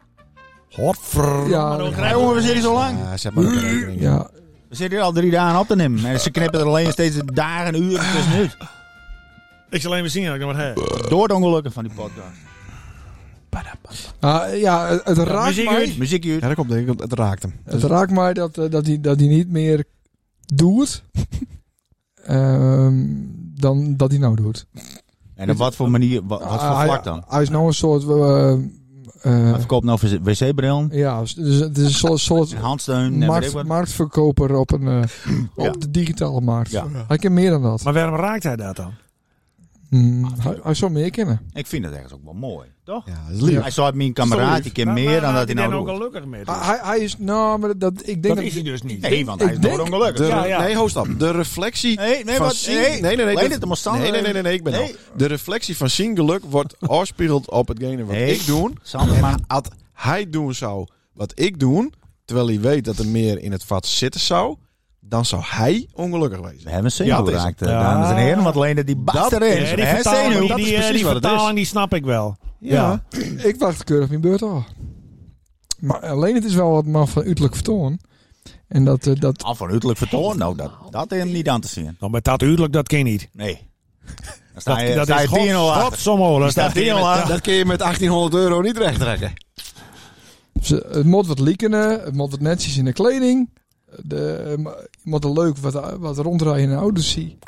Speaker 2: Godver...
Speaker 5: Ja,
Speaker 1: Maar dan
Speaker 5: ja.
Speaker 1: krijg je-
Speaker 3: jongen, we zitten hier zo lang.
Speaker 2: Ja, zet maar ook een rekening. in.
Speaker 5: Ja,
Speaker 3: We zitten hier al drie dagen op te nemen. En ze knippen er alleen steeds dagen, uren tussenuit.
Speaker 1: Ik zal alleen maar zien dat ik nog wat heb.
Speaker 3: Door het ongelukken van die podcast.
Speaker 5: Ah, ja het, het raakt
Speaker 1: muziek
Speaker 5: mij...
Speaker 1: uit.
Speaker 3: Muziekje uit.
Speaker 2: Ja, dat komt denk ik. Het raakt hem.
Speaker 5: Het raakt mij dat, eh, dat, hij, dat hij niet meer
Speaker 2: [laughs]
Speaker 5: doet ehm, dan dat hij nou doet.
Speaker 3: En op wat voor manier, wat, wat voor
Speaker 5: Ah,
Speaker 3: vlak
Speaker 5: hij-
Speaker 3: dan?
Speaker 5: Hij is nou een soort... eh, eh,
Speaker 3: Hij verkoopt nou wc-bril,
Speaker 5: ja, dus het is een soort, soort
Speaker 3: handsteun en weet ik
Speaker 5: markt,
Speaker 3: wat.
Speaker 5: marktverkoper op, een, eh,
Speaker 3: Ja.
Speaker 5: op de digitale markt.
Speaker 3: Ja.
Speaker 5: Hij kan meer dan dat.
Speaker 1: Maar waarom raakt hij dat dan?
Speaker 5: Hmm, hij, hij zou meer kennen.
Speaker 3: Ik vind dat ergens ook wel mooi. Toch?
Speaker 2: Ja, dat is lief.
Speaker 3: Hij zou mijn kameraad, die keer meer dan dat hij
Speaker 1: is
Speaker 3: nou
Speaker 1: ook
Speaker 3: doet.
Speaker 1: gelukkig mee. doet.
Speaker 5: Hij, hij- hij is... Nou, maar dat, ik denk
Speaker 1: Ah, dat
Speaker 5: dat...
Speaker 1: is hij dus niet.
Speaker 3: Nee, want hij
Speaker 5: Ik
Speaker 3: is
Speaker 5: denk-
Speaker 2: De,
Speaker 3: doodongelukkig.
Speaker 1: Ja, ja.
Speaker 2: Nee, hoofdstap. De reflectie
Speaker 3: Nee, nee,
Speaker 2: van
Speaker 3: wat-
Speaker 2: zien... nee,
Speaker 3: nee.
Speaker 2: nee.
Speaker 3: Leid
Speaker 2: dat-
Speaker 3: het hem als Sander
Speaker 2: nee, nee,
Speaker 3: even.
Speaker 2: nee, nee, ik ben
Speaker 3: Nee.
Speaker 2: al. De reflectie van zien geluk wordt afspiegeld op hetgene wat
Speaker 3: Nee.
Speaker 2: ik doe.
Speaker 3: Sander, maar
Speaker 2: Had hij doen zou wat ik doe, terwijl hij weet dat er meer in het vat zitten zou, dan zou hij ongelukkig
Speaker 3: we
Speaker 2: wezen.
Speaker 3: hebben een
Speaker 2: Ja,
Speaker 3: zenuw
Speaker 2: dat is
Speaker 3: geraakt, eh,
Speaker 1: Ja.
Speaker 3: dames en heren. Want alleen dat die bast
Speaker 2: Dat-
Speaker 3: erin.
Speaker 1: Ja, die
Speaker 3: Hè,
Speaker 1: vertaling,
Speaker 3: zenuw.
Speaker 1: die,
Speaker 2: dat is
Speaker 1: die, eh,
Speaker 2: precies
Speaker 1: die
Speaker 2: wat het
Speaker 1: vertaling die snap ik wel.
Speaker 2: Ja.
Speaker 5: Ik wacht keurig mijn beurt af. Maar alleen het is wel wat man van uiterlijk vertoon. En dat, eh, dat
Speaker 3: Af van uiterlijk vertoon, nou, dat, dat is hem niet aan te zien.
Speaker 1: Nou, maar dat huwelijk, dat kan niet.
Speaker 3: Nee. Dan sta
Speaker 1: Dat,
Speaker 3: je,
Speaker 1: dat
Speaker 3: sta
Speaker 1: is
Speaker 3: je 10 al achter.
Speaker 1: godsommel.
Speaker 3: staat 10 al achter.
Speaker 2: Dat kun je met 1800 euro niet recht trekken.
Speaker 5: ze- het moet wat liekenen, het moet wat netjes in de kleding. De, eh, maar je moet er leuk wat, wat rondrijden in de auditie.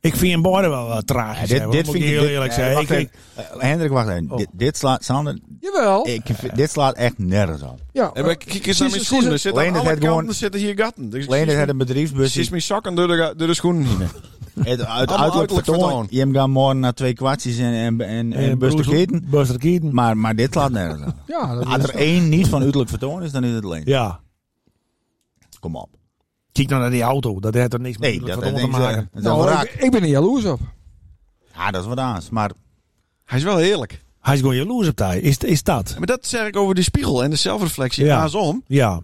Speaker 1: Ik vind hem beide wel eh, tragisch. hè,
Speaker 3: Ja, dit,
Speaker 1: hoor,
Speaker 3: dit
Speaker 1: moet
Speaker 3: vind ik
Speaker 1: heel
Speaker 3: dit-
Speaker 1: eerlijk
Speaker 3: eh,
Speaker 1: zeggen.
Speaker 3: wacht
Speaker 1: Ik- ik-
Speaker 3: even. Eh, Hendrik, wacht even.
Speaker 1: Oh.
Speaker 3: Dit, dit slaat, Sander,
Speaker 5: Jawel.
Speaker 3: ik, vind- dit slaat echt nergens op.
Speaker 5: ja,
Speaker 2: En maar kijk eens
Speaker 5: Precies,
Speaker 2: naar mijn schoenen. Er
Speaker 5: precies.
Speaker 2: zitten aan
Speaker 3: Alleen het
Speaker 2: alle
Speaker 3: had gewoon-
Speaker 2: kanten zitten hier gatten. Dus
Speaker 3: Alleen het had
Speaker 2: precies-
Speaker 3: een bedrijfsbusje.
Speaker 2: Precies mijn zakken door de, ga- door de schoenen heen.
Speaker 3: Het uit,
Speaker 2: Allemaal
Speaker 3: uiterlijk
Speaker 2: uiterlijk
Speaker 3: vertoon.
Speaker 2: vertoon.
Speaker 3: Je hem gaat morgen naar twee kwartjes en, en, en, en bus te keten.
Speaker 1: Buster eh, Keaton.
Speaker 3: Eh, Maar, maar dit slaat nergens op.
Speaker 5: ja, dat
Speaker 3: Als
Speaker 5: is-
Speaker 3: er één niet van uiterlijk vertoon is, dan is het alleen.
Speaker 1: Ja.
Speaker 3: Kom op.
Speaker 1: Kijk nou naar die auto. Dat heeft er niks
Speaker 3: Nee,
Speaker 1: met
Speaker 3: dat,
Speaker 1: wat
Speaker 3: dat,
Speaker 1: om te
Speaker 3: is, eh, dat
Speaker 1: maken.
Speaker 3: is wel
Speaker 5: nou, ik,
Speaker 3: raak.
Speaker 5: ik ben er jaloers op.
Speaker 3: Ja, dat is wat anders. Maar
Speaker 2: Hij is wel heerlijk.
Speaker 1: Hij is gewoon jaloers op hij. Is, is dat?
Speaker 2: Maar dat zeg ik over die spiegel en de zelfreflectie.
Speaker 1: Ja.
Speaker 2: Andersom,
Speaker 1: Ja.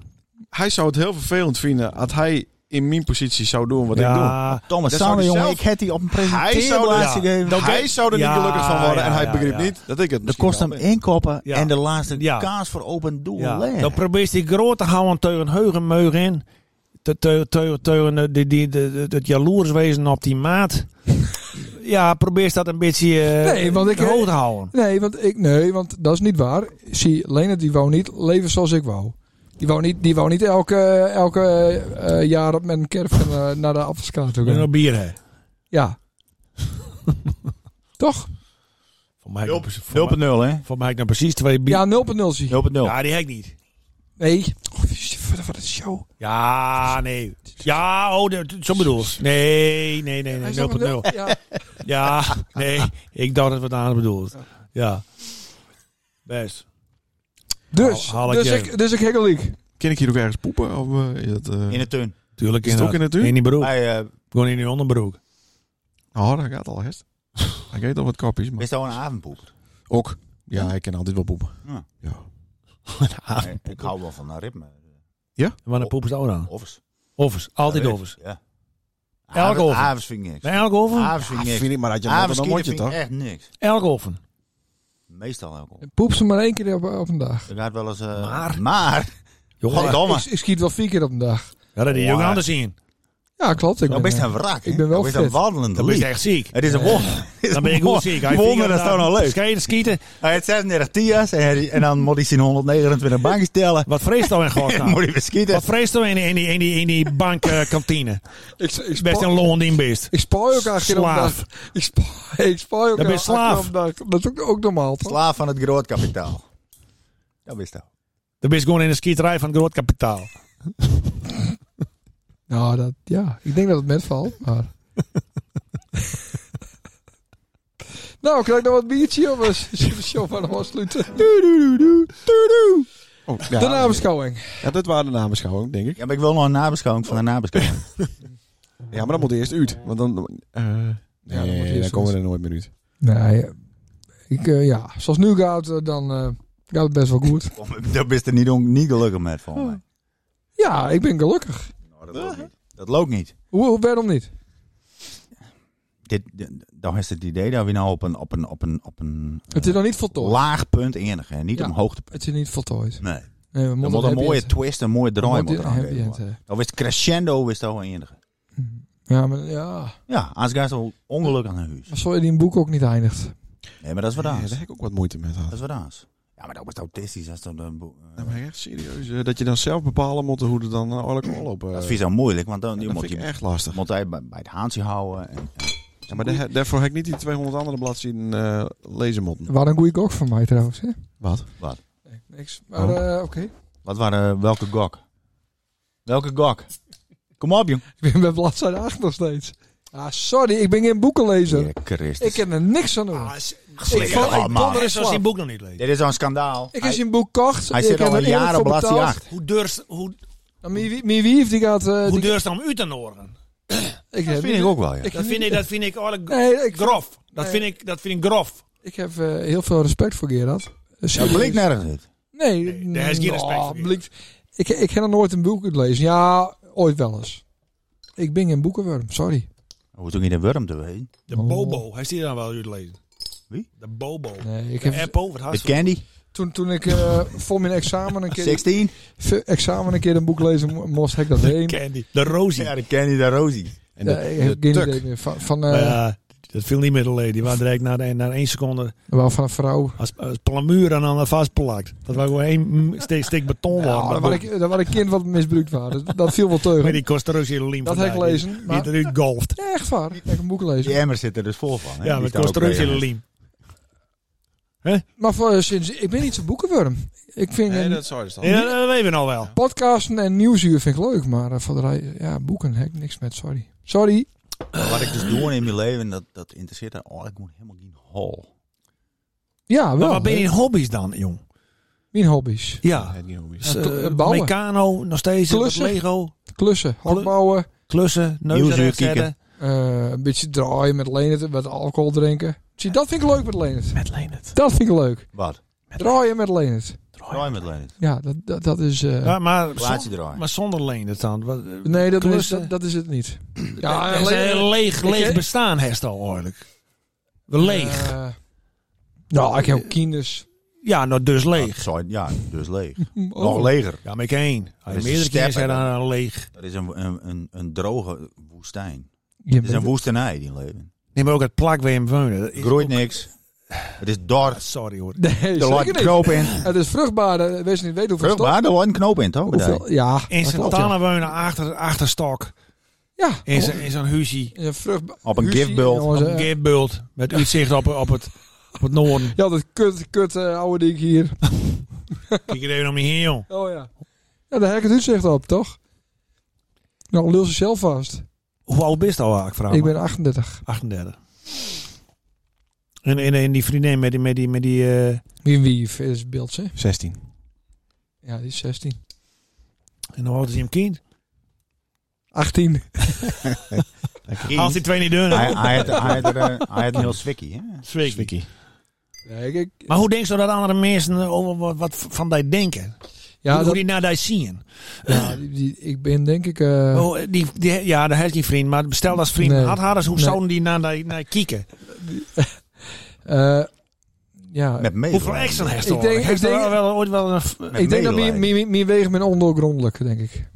Speaker 2: hij zou het heel vervelend vinden als hij in mijn positie zou doen wat ik doe.
Speaker 1: ja.
Speaker 3: Thomas
Speaker 2: Dat zou
Speaker 3: Sander,
Speaker 2: die
Speaker 3: jongen,
Speaker 2: zelf-
Speaker 3: ik had die op een
Speaker 2: Hij zou, er,
Speaker 3: presenteerblaasje gegeven.
Speaker 2: Nou, ja. hij zou er niet
Speaker 1: Ja,
Speaker 2: gelukkig van worden en
Speaker 1: ja,
Speaker 2: hij
Speaker 1: ja,
Speaker 2: begreep
Speaker 1: ja.
Speaker 2: niet dat ik het
Speaker 3: Dat
Speaker 2: misschien
Speaker 3: kost hem
Speaker 2: wel
Speaker 3: inkoppen
Speaker 1: Ja.
Speaker 3: en de laatste
Speaker 1: Ja.
Speaker 3: kaas voor open doel.
Speaker 1: Ja.
Speaker 3: leeg.
Speaker 1: Dan probeert hij groot te houden tegen heugenmeug in. Te- te- te- Tegen eh, die- die- de- de- het jaloerswezen op die maat. Ja, probeer dat een beetje eh,
Speaker 5: Nee, want ik-
Speaker 1: hoog te houden.
Speaker 5: Nee, want ik, nee, want dat is niet waar. Zie, Lena die wou niet leven zoals ik wou. Die wou niet, die wou niet elke, elke eh, jaar op mijn caravan eh, naar de afvalskaart toe
Speaker 1: En
Speaker 5: gaan.
Speaker 1: nog bier hè.
Speaker 5: [laughs] Ja. Toch?
Speaker 1: Voor mij,
Speaker 3: Hulp-
Speaker 1: voor, mij,
Speaker 3: 0.0, hè?
Speaker 1: voor mij heb ik nou precies twee bier.
Speaker 5: Ja, 0.0 zie.
Speaker 3: 0.0.
Speaker 1: Ja, die heb ik niet.
Speaker 5: Nee. Oh, wat een show.
Speaker 1: Ja, nee. Ja, oh, dat- zo bedoel ik. Nee, nee, nee,
Speaker 5: Hij
Speaker 1: nee.
Speaker 5: is op een
Speaker 1: 0.0.
Speaker 5: nul. Ja.
Speaker 1: Ja, nee. Ik dacht dat wat aan bedoelt. Ja. Best.
Speaker 5: Dus,
Speaker 1: Haal- haal ik
Speaker 5: dus,
Speaker 1: je.
Speaker 5: ik, dus ik hekkel ik.
Speaker 2: Ken ik hier ook ergens poepen? Of, eh, is dat, eh,
Speaker 3: In de tuin.
Speaker 1: Tuurlijk
Speaker 2: Is het
Speaker 1: inderdaad.
Speaker 2: ook in het uur?
Speaker 1: In die broek.
Speaker 3: Hij eh,
Speaker 1: Gewoon in die onderbroek.
Speaker 2: Oh, dat gaat al hest. Hij eet al wat kopjes, maar
Speaker 3: is al een avondpoep.
Speaker 2: ook. Ja, ik ken altijd wel poepen.
Speaker 3: Ja.
Speaker 2: Ja.
Speaker 3: Nee, Ik hou wel van dat ritme.
Speaker 1: En waar een poep is dat ook aan?
Speaker 3: Overs.
Speaker 1: Overs. Altijd
Speaker 3: Ja,
Speaker 1: overs.
Speaker 3: Ja.
Speaker 1: Elke
Speaker 3: Havers-
Speaker 1: oven.
Speaker 3: Havers vind ik niks.
Speaker 1: Bij elke oven?
Speaker 3: Havers vind ik
Speaker 2: Ja,
Speaker 3: niks.
Speaker 2: Ah, vind ik, maar dat je dan
Speaker 3: Havers
Speaker 2: dan
Speaker 3: kieten
Speaker 2: moet je
Speaker 3: vind ik
Speaker 2: toch?
Speaker 3: echt niks.
Speaker 1: Elke oven.
Speaker 3: Meestal elke oven.
Speaker 5: Poep ze maar één keer op, op een dag.
Speaker 3: Ik had wel eens... eh,
Speaker 1: Maar-
Speaker 3: Maar... Goddomme.
Speaker 5: Ik, ik schiet wel vier keer op een dag.
Speaker 1: Ja, dat is ook
Speaker 3: Wow.
Speaker 1: anders zien.
Speaker 5: Ja, klopt. Ik
Speaker 3: Dan ben
Speaker 5: ben,
Speaker 3: je
Speaker 5: eh,
Speaker 3: Nou, een wrak. hè?
Speaker 5: ik ben wel
Speaker 3: Dan ben je een
Speaker 5: fit.
Speaker 3: wandelende
Speaker 1: Dan ben je
Speaker 3: lief.
Speaker 1: echt ziek.
Speaker 3: Het is een wonder.
Speaker 1: Dan ben je [laughs] goed ziek. Hij
Speaker 3: Wonder, dat is
Speaker 1: nou
Speaker 3: toch nog leuk.
Speaker 1: Scheiden, skieten.
Speaker 3: Hij heeft 36 tia's en, hij- en dan moet hij zijn 129 bankjes tellen.
Speaker 1: [laughs] Wat vreest dan in
Speaker 3: Dan moet
Speaker 1: godsnaam?
Speaker 3: hij weer schieten.
Speaker 1: Wat vreest dan in die, in die, in die, in die [laughs] bankkantine?
Speaker 5: ik, ik,
Speaker 1: nou? Best een
Speaker 5: spa-
Speaker 1: loon beest.
Speaker 5: ik spaar ook acht keer op een dag. Ik spaar, ik spaar
Speaker 1: Dan
Speaker 5: ook
Speaker 1: ben je
Speaker 5: acht keer
Speaker 1: slaaf.
Speaker 5: op een dag. Dat is ook, ook normaal, toch?
Speaker 3: Slaaf van het grootkapitaal. Dat wist hij.
Speaker 1: Dat Dan ben je gewoon in de skieterij van het groot kapitaal.
Speaker 5: Nou, dat, ja. Ik denk dat het met valt, [laughs] maar... nou, krijg ik nog wat biertje, [laughs] jongens. Zullen we de show maar nog afsluiten? Doe, doe, doe, doe, doe, doe.
Speaker 2: Oh, ja,
Speaker 5: de nabeschouwing.
Speaker 2: ja, dat waren de nabeschouwing, denk ik.
Speaker 3: Ja, maar ik wil nog een nabeschouwing van de nabeschouwing.
Speaker 2: Ja, maar dat moet eerst uit. Want Eh, dan,
Speaker 5: dan moet
Speaker 2: nee,
Speaker 5: eerst
Speaker 2: dan,
Speaker 5: uit.
Speaker 2: komen we er nooit meer uit.
Speaker 5: Nee, eh, ik, eh, ja. Zoals nu gaat, eh, dan eh, gaat het best wel goed.
Speaker 3: Daar ben je er niet, on- niet gelukkig met, volgens mij.
Speaker 5: [laughs] Ja, ik ben gelukkig.
Speaker 3: [laughs] Nou, dat loopt niet. Dat loopt niet.
Speaker 5: Hoe, hoe- waarom niet?
Speaker 3: Dit, dit- dan is het idee dat we nou op een, op een, op een, op een eh,
Speaker 5: Het is nog niet voltooid.
Speaker 3: laag punt enigen. Niet
Speaker 5: Ja.
Speaker 3: op een hoogtepunt.
Speaker 5: Het is niet voltooid.
Speaker 3: Nee.
Speaker 5: Nee, we
Speaker 3: Er
Speaker 5: moeten
Speaker 3: moet een
Speaker 5: happy
Speaker 3: mooie
Speaker 5: end-
Speaker 3: twist, een mooie draai
Speaker 5: we
Speaker 3: moet
Speaker 5: moeten
Speaker 3: er
Speaker 5: een
Speaker 3: aan
Speaker 5: happy end,
Speaker 3: geven.
Speaker 5: eh.
Speaker 3: Dan is het crescendo is dat wel enige.
Speaker 5: Ja, maar ja.
Speaker 3: Ja, als gaat al ongeluk aan huis.
Speaker 5: Maar zo je die een boek ook niet eindigt.
Speaker 3: Nee, maar dat is wat
Speaker 2: Ja,
Speaker 3: anders.
Speaker 2: daar heb ik ook wat moeite mee
Speaker 3: Dat
Speaker 2: gehad.
Speaker 3: is wat anders. Ja, maar dat was autistisch. Dat is dan een bo- eh,
Speaker 2: Ja, maar echt serieus. eh, dat je dan zelf bepalen moet hoe het dan eigenlijk kan lopen.
Speaker 3: dat vind je zo moeilijk, want dan
Speaker 2: Ja,
Speaker 3: je
Speaker 2: dat
Speaker 3: moet
Speaker 2: vind ik
Speaker 3: je
Speaker 2: echt lastig.
Speaker 3: moet hij bij, bij het haantje houden. En,
Speaker 2: Ja, maar daar- daarvoor heb ik niet die 200 andere bladzijden eh lezen moeten.
Speaker 5: Waar een goeie gok van mij trouwens. Hè?
Speaker 2: Wat?
Speaker 5: Nee, niks. Maar
Speaker 2: Oh.
Speaker 5: eh, oké.
Speaker 3: wat waren welke gok? Welke gok? Kom op, jong.
Speaker 5: Ik ben bij bladzijde 8 nog steeds. Ah, sorry, ik ben geen boekenlezer.
Speaker 3: Heer Christus.
Speaker 5: Ik heb er niks aan doen.
Speaker 3: Ah,
Speaker 1: Ah,
Speaker 5: ik
Speaker 3: flikker
Speaker 5: val, ik
Speaker 3: allemaal.
Speaker 5: donder in
Speaker 1: Zoals die
Speaker 5: slaap.
Speaker 1: boek nog niet leest.
Speaker 3: Dit is zo'n skandaal.
Speaker 5: Ik
Speaker 3: Hij-
Speaker 5: heb zijn boek gekocht.
Speaker 3: Hij
Speaker 5: ik
Speaker 3: zit
Speaker 5: heb
Speaker 3: al
Speaker 5: er
Speaker 3: een
Speaker 5: eerlijk
Speaker 3: jaar op
Speaker 5: voor
Speaker 3: bladzij
Speaker 5: betaald.
Speaker 3: 8.
Speaker 1: Hoe durst, hoe,
Speaker 5: Nou, Mijn wie- mijn wief, die gaat... eh,
Speaker 1: hoe
Speaker 5: die,
Speaker 1: durst dan om uit te noren?
Speaker 5: ik
Speaker 3: Dat
Speaker 5: heb
Speaker 3: vind ik ook wel, ja.
Speaker 5: Ik-
Speaker 1: Dat vind ik, dat vind ik eigenlijk
Speaker 5: Nee, ik,
Speaker 1: grof. Dat
Speaker 5: Nee.
Speaker 1: vind ik, dat vind ik grof.
Speaker 5: ik heb eh, heel veel respect voor Gerard.
Speaker 3: Dat
Speaker 5: Serieus.
Speaker 3: blinkt nergens uit.
Speaker 5: Nee,
Speaker 1: Nee, daar is geen
Speaker 5: nou,
Speaker 1: respect voor Gerard.
Speaker 5: blikt- Ik, ik heb nog nooit een boek gelezen. Ja, ooit wel eens. Ik ben geen boekenworm, sorry.
Speaker 3: Hoe toen in de worm te weten?
Speaker 1: De
Speaker 5: Oh.
Speaker 1: Bobo, heeft die dan wel uit lezen?
Speaker 3: Wie?
Speaker 1: De Bobo.
Speaker 5: Nee, ik
Speaker 1: De
Speaker 5: heb,
Speaker 1: Apple, wat
Speaker 3: Met
Speaker 1: hartstikke.
Speaker 3: candy?
Speaker 5: toen, toen ik eh, voor mijn examen een keer,
Speaker 3: 16?
Speaker 5: voor examen een keer een boek lezen mo- moest, heb ik
Speaker 1: [laughs]
Speaker 5: dat heen.
Speaker 1: Candy. De Rosie.
Speaker 3: Ja, de candy, de rosie.
Speaker 2: En
Speaker 5: Ja,
Speaker 2: de-
Speaker 5: ik
Speaker 2: de
Speaker 5: heb geen
Speaker 2: tuk.
Speaker 5: idee meer. Van, van, eh,
Speaker 1: Maar ja, dat viel niet meer te leden. Die waren direct na, de, na één seconde
Speaker 5: wel van een vrouw.
Speaker 1: als, als plamuur aan elkaar vastplakt. Dat was gewoon één mm, steek, steek beton
Speaker 5: Ja,
Speaker 1: worden.
Speaker 5: dat was ik, dat was een kind wat misbruikt was. Dat, dat viel wel
Speaker 1: Maar
Speaker 5: teugen.
Speaker 1: die kost er ook heel liem
Speaker 5: Dat heb ik
Speaker 1: vandaag.
Speaker 5: gelezen.
Speaker 1: Die,
Speaker 5: Maar,
Speaker 1: die eruit golft.
Speaker 5: Ja, echt waar. Ik heb een boek gelezen.
Speaker 3: Die emmer zit er dus vol van. Hè?
Speaker 1: Ja,
Speaker 3: Die
Speaker 1: maar
Speaker 3: staan
Speaker 1: kost
Speaker 3: ook
Speaker 1: er ook
Speaker 3: bij,
Speaker 1: heel
Speaker 3: hè.
Speaker 1: liem.
Speaker 5: Maar voor, eh, sinds, ik ben niet zo'n boekenworm. Ik vind
Speaker 2: Nee,
Speaker 5: een-
Speaker 2: dat zou je dan.
Speaker 1: Ja, dat weten we nou wel.
Speaker 5: podcasten en nieuwsuur vind ik leuk. Maar eh, voor de rij, ja, boeken heb ik niks met. Sorry. Sorry.
Speaker 3: Wat ik dus doe in mijn leven, dat, dat interesseert me. Oh, ik moet helemaal geen hol.
Speaker 5: Ja,
Speaker 1: Maar
Speaker 5: wel.
Speaker 1: wat ben je
Speaker 5: hè.
Speaker 1: in hobby's dan, jong?
Speaker 5: Mijn hobby's.
Speaker 1: Ja.
Speaker 5: Ja,
Speaker 1: Eh,
Speaker 5: to- Dus, bouwen.
Speaker 1: Meccano, nog steeds. wat
Speaker 5: Klussen.
Speaker 1: Lego.
Speaker 5: Klussen, hakbouwen.
Speaker 1: Klussen, neuzen
Speaker 3: Nieuwsuur
Speaker 1: recht
Speaker 3: kieken.
Speaker 1: zetten.
Speaker 5: eh, een beetje draaien met Lenert. Met alcohol drinken. Zie, dat vind ik leuk met Lenert.
Speaker 1: Met Leendert.
Speaker 5: Dat vind ik leuk.
Speaker 3: Wat?
Speaker 5: Draaien met Lenert.
Speaker 3: Draai met Leonard.
Speaker 5: Ja, dat, dat, dat is... eh,
Speaker 1: Ja, maar,
Speaker 3: Plaatje
Speaker 1: zon-
Speaker 3: draaien.
Speaker 1: maar zonder Leendert dan? Wat-
Speaker 5: Nee, dat is,
Speaker 1: Klussen.
Speaker 5: dat, dat is het niet.
Speaker 1: Ja,
Speaker 5: alleen-
Speaker 1: een leeg, leeg
Speaker 5: ik-
Speaker 1: bestaan heeft al eigenlijk. Leeg.
Speaker 5: Eh, nou, ik heb ook kinders.
Speaker 1: ja, nou dus
Speaker 3: Ah,
Speaker 1: leeg.
Speaker 3: sorry, Ja, dus leeg.
Speaker 5: Oh.
Speaker 3: Nog leger.
Speaker 1: Ja, maar ik één. Hij
Speaker 3: is
Speaker 1: meerdere
Speaker 3: een
Speaker 1: keer
Speaker 3: stepper
Speaker 1: zijn aan nou, leeg.
Speaker 3: Dat is een, een, een, een droge woestijn.
Speaker 5: Je
Speaker 3: Het is een
Speaker 5: bent-
Speaker 3: woestenij, die leven.
Speaker 1: Neem maar ook het plak weer in wonen. Dat
Speaker 3: Er
Speaker 1: is
Speaker 3: groeit
Speaker 1: ook-
Speaker 3: niks. Het is dorp.
Speaker 1: Sorry hoor.
Speaker 5: Nee,
Speaker 3: Er
Speaker 5: zeker
Speaker 3: loopt
Speaker 5: niet.
Speaker 3: een knoop in.
Speaker 5: Het is vruchtbaar. eh, Wees niet weet hoeveel stof-
Speaker 3: Vruchtbaar, er loopt een knoop in, toch?
Speaker 5: hoeveel- Ja,
Speaker 1: In
Speaker 5: dat
Speaker 1: zijn
Speaker 5: klopt, ja.
Speaker 1: tannen wonen achter, achter stok.
Speaker 5: Ja,
Speaker 1: In zijn, in zo'n huzie.
Speaker 5: een vruchtbaar.
Speaker 3: Op een
Speaker 5: Huzie,
Speaker 3: gifbult.
Speaker 5: jongens, eh,
Speaker 1: Geerbult. Met uitzicht op, op, het, op het noorden. [laughs]
Speaker 5: Ja, dat kut, kut eh, oude ding hier.
Speaker 1: Kijk er even om je heen, jong.
Speaker 5: Oh ja. Ja, daar heb ik het uitzicht op, toch? Nou, lul ze zelf vast.
Speaker 1: Hoe oud bist al? Ik vraag
Speaker 5: ik
Speaker 1: me.
Speaker 5: ben 38.
Speaker 1: 38. En, en, en die vriendin met die... Met die, met die eh,
Speaker 5: Wie wief is beeld, hè?
Speaker 2: 16.
Speaker 5: Ja, die is 16.
Speaker 1: en hoe oud is hij hem kind?
Speaker 5: 18.
Speaker 1: Als die twee niet doen.
Speaker 3: Hij hij had- hij had er, eh, hij had een heel zwikkie, hè?
Speaker 1: Zwikkie.
Speaker 5: Nee, ik, ik-
Speaker 1: Maar hoe denk je dat andere mensen over wat, wat van die denken?
Speaker 5: ja,
Speaker 1: hoe,
Speaker 5: dat,
Speaker 1: hoe die naar die zien? [laughs]
Speaker 5: ja die, die- ik ben denk ik... eh,
Speaker 1: Oh, die, die, ja, dat heeft geen vriend. Maar stel als vriend
Speaker 5: Nee.
Speaker 1: had hadden, hoe
Speaker 5: Nee.
Speaker 1: zouden die naar die, naar die kijken?
Speaker 5: eh, ja,
Speaker 3: Met mee.
Speaker 1: Hoeveel extra heeft
Speaker 5: Ik denk-
Speaker 1: Heeft
Speaker 5: ik
Speaker 1: er
Speaker 5: denk-
Speaker 1: wel ooit wel een... v-
Speaker 5: ik denk dat
Speaker 3: medelijden.
Speaker 5: mijn- mijn mijn wegen ben ondoorgrondelijk, denk ik.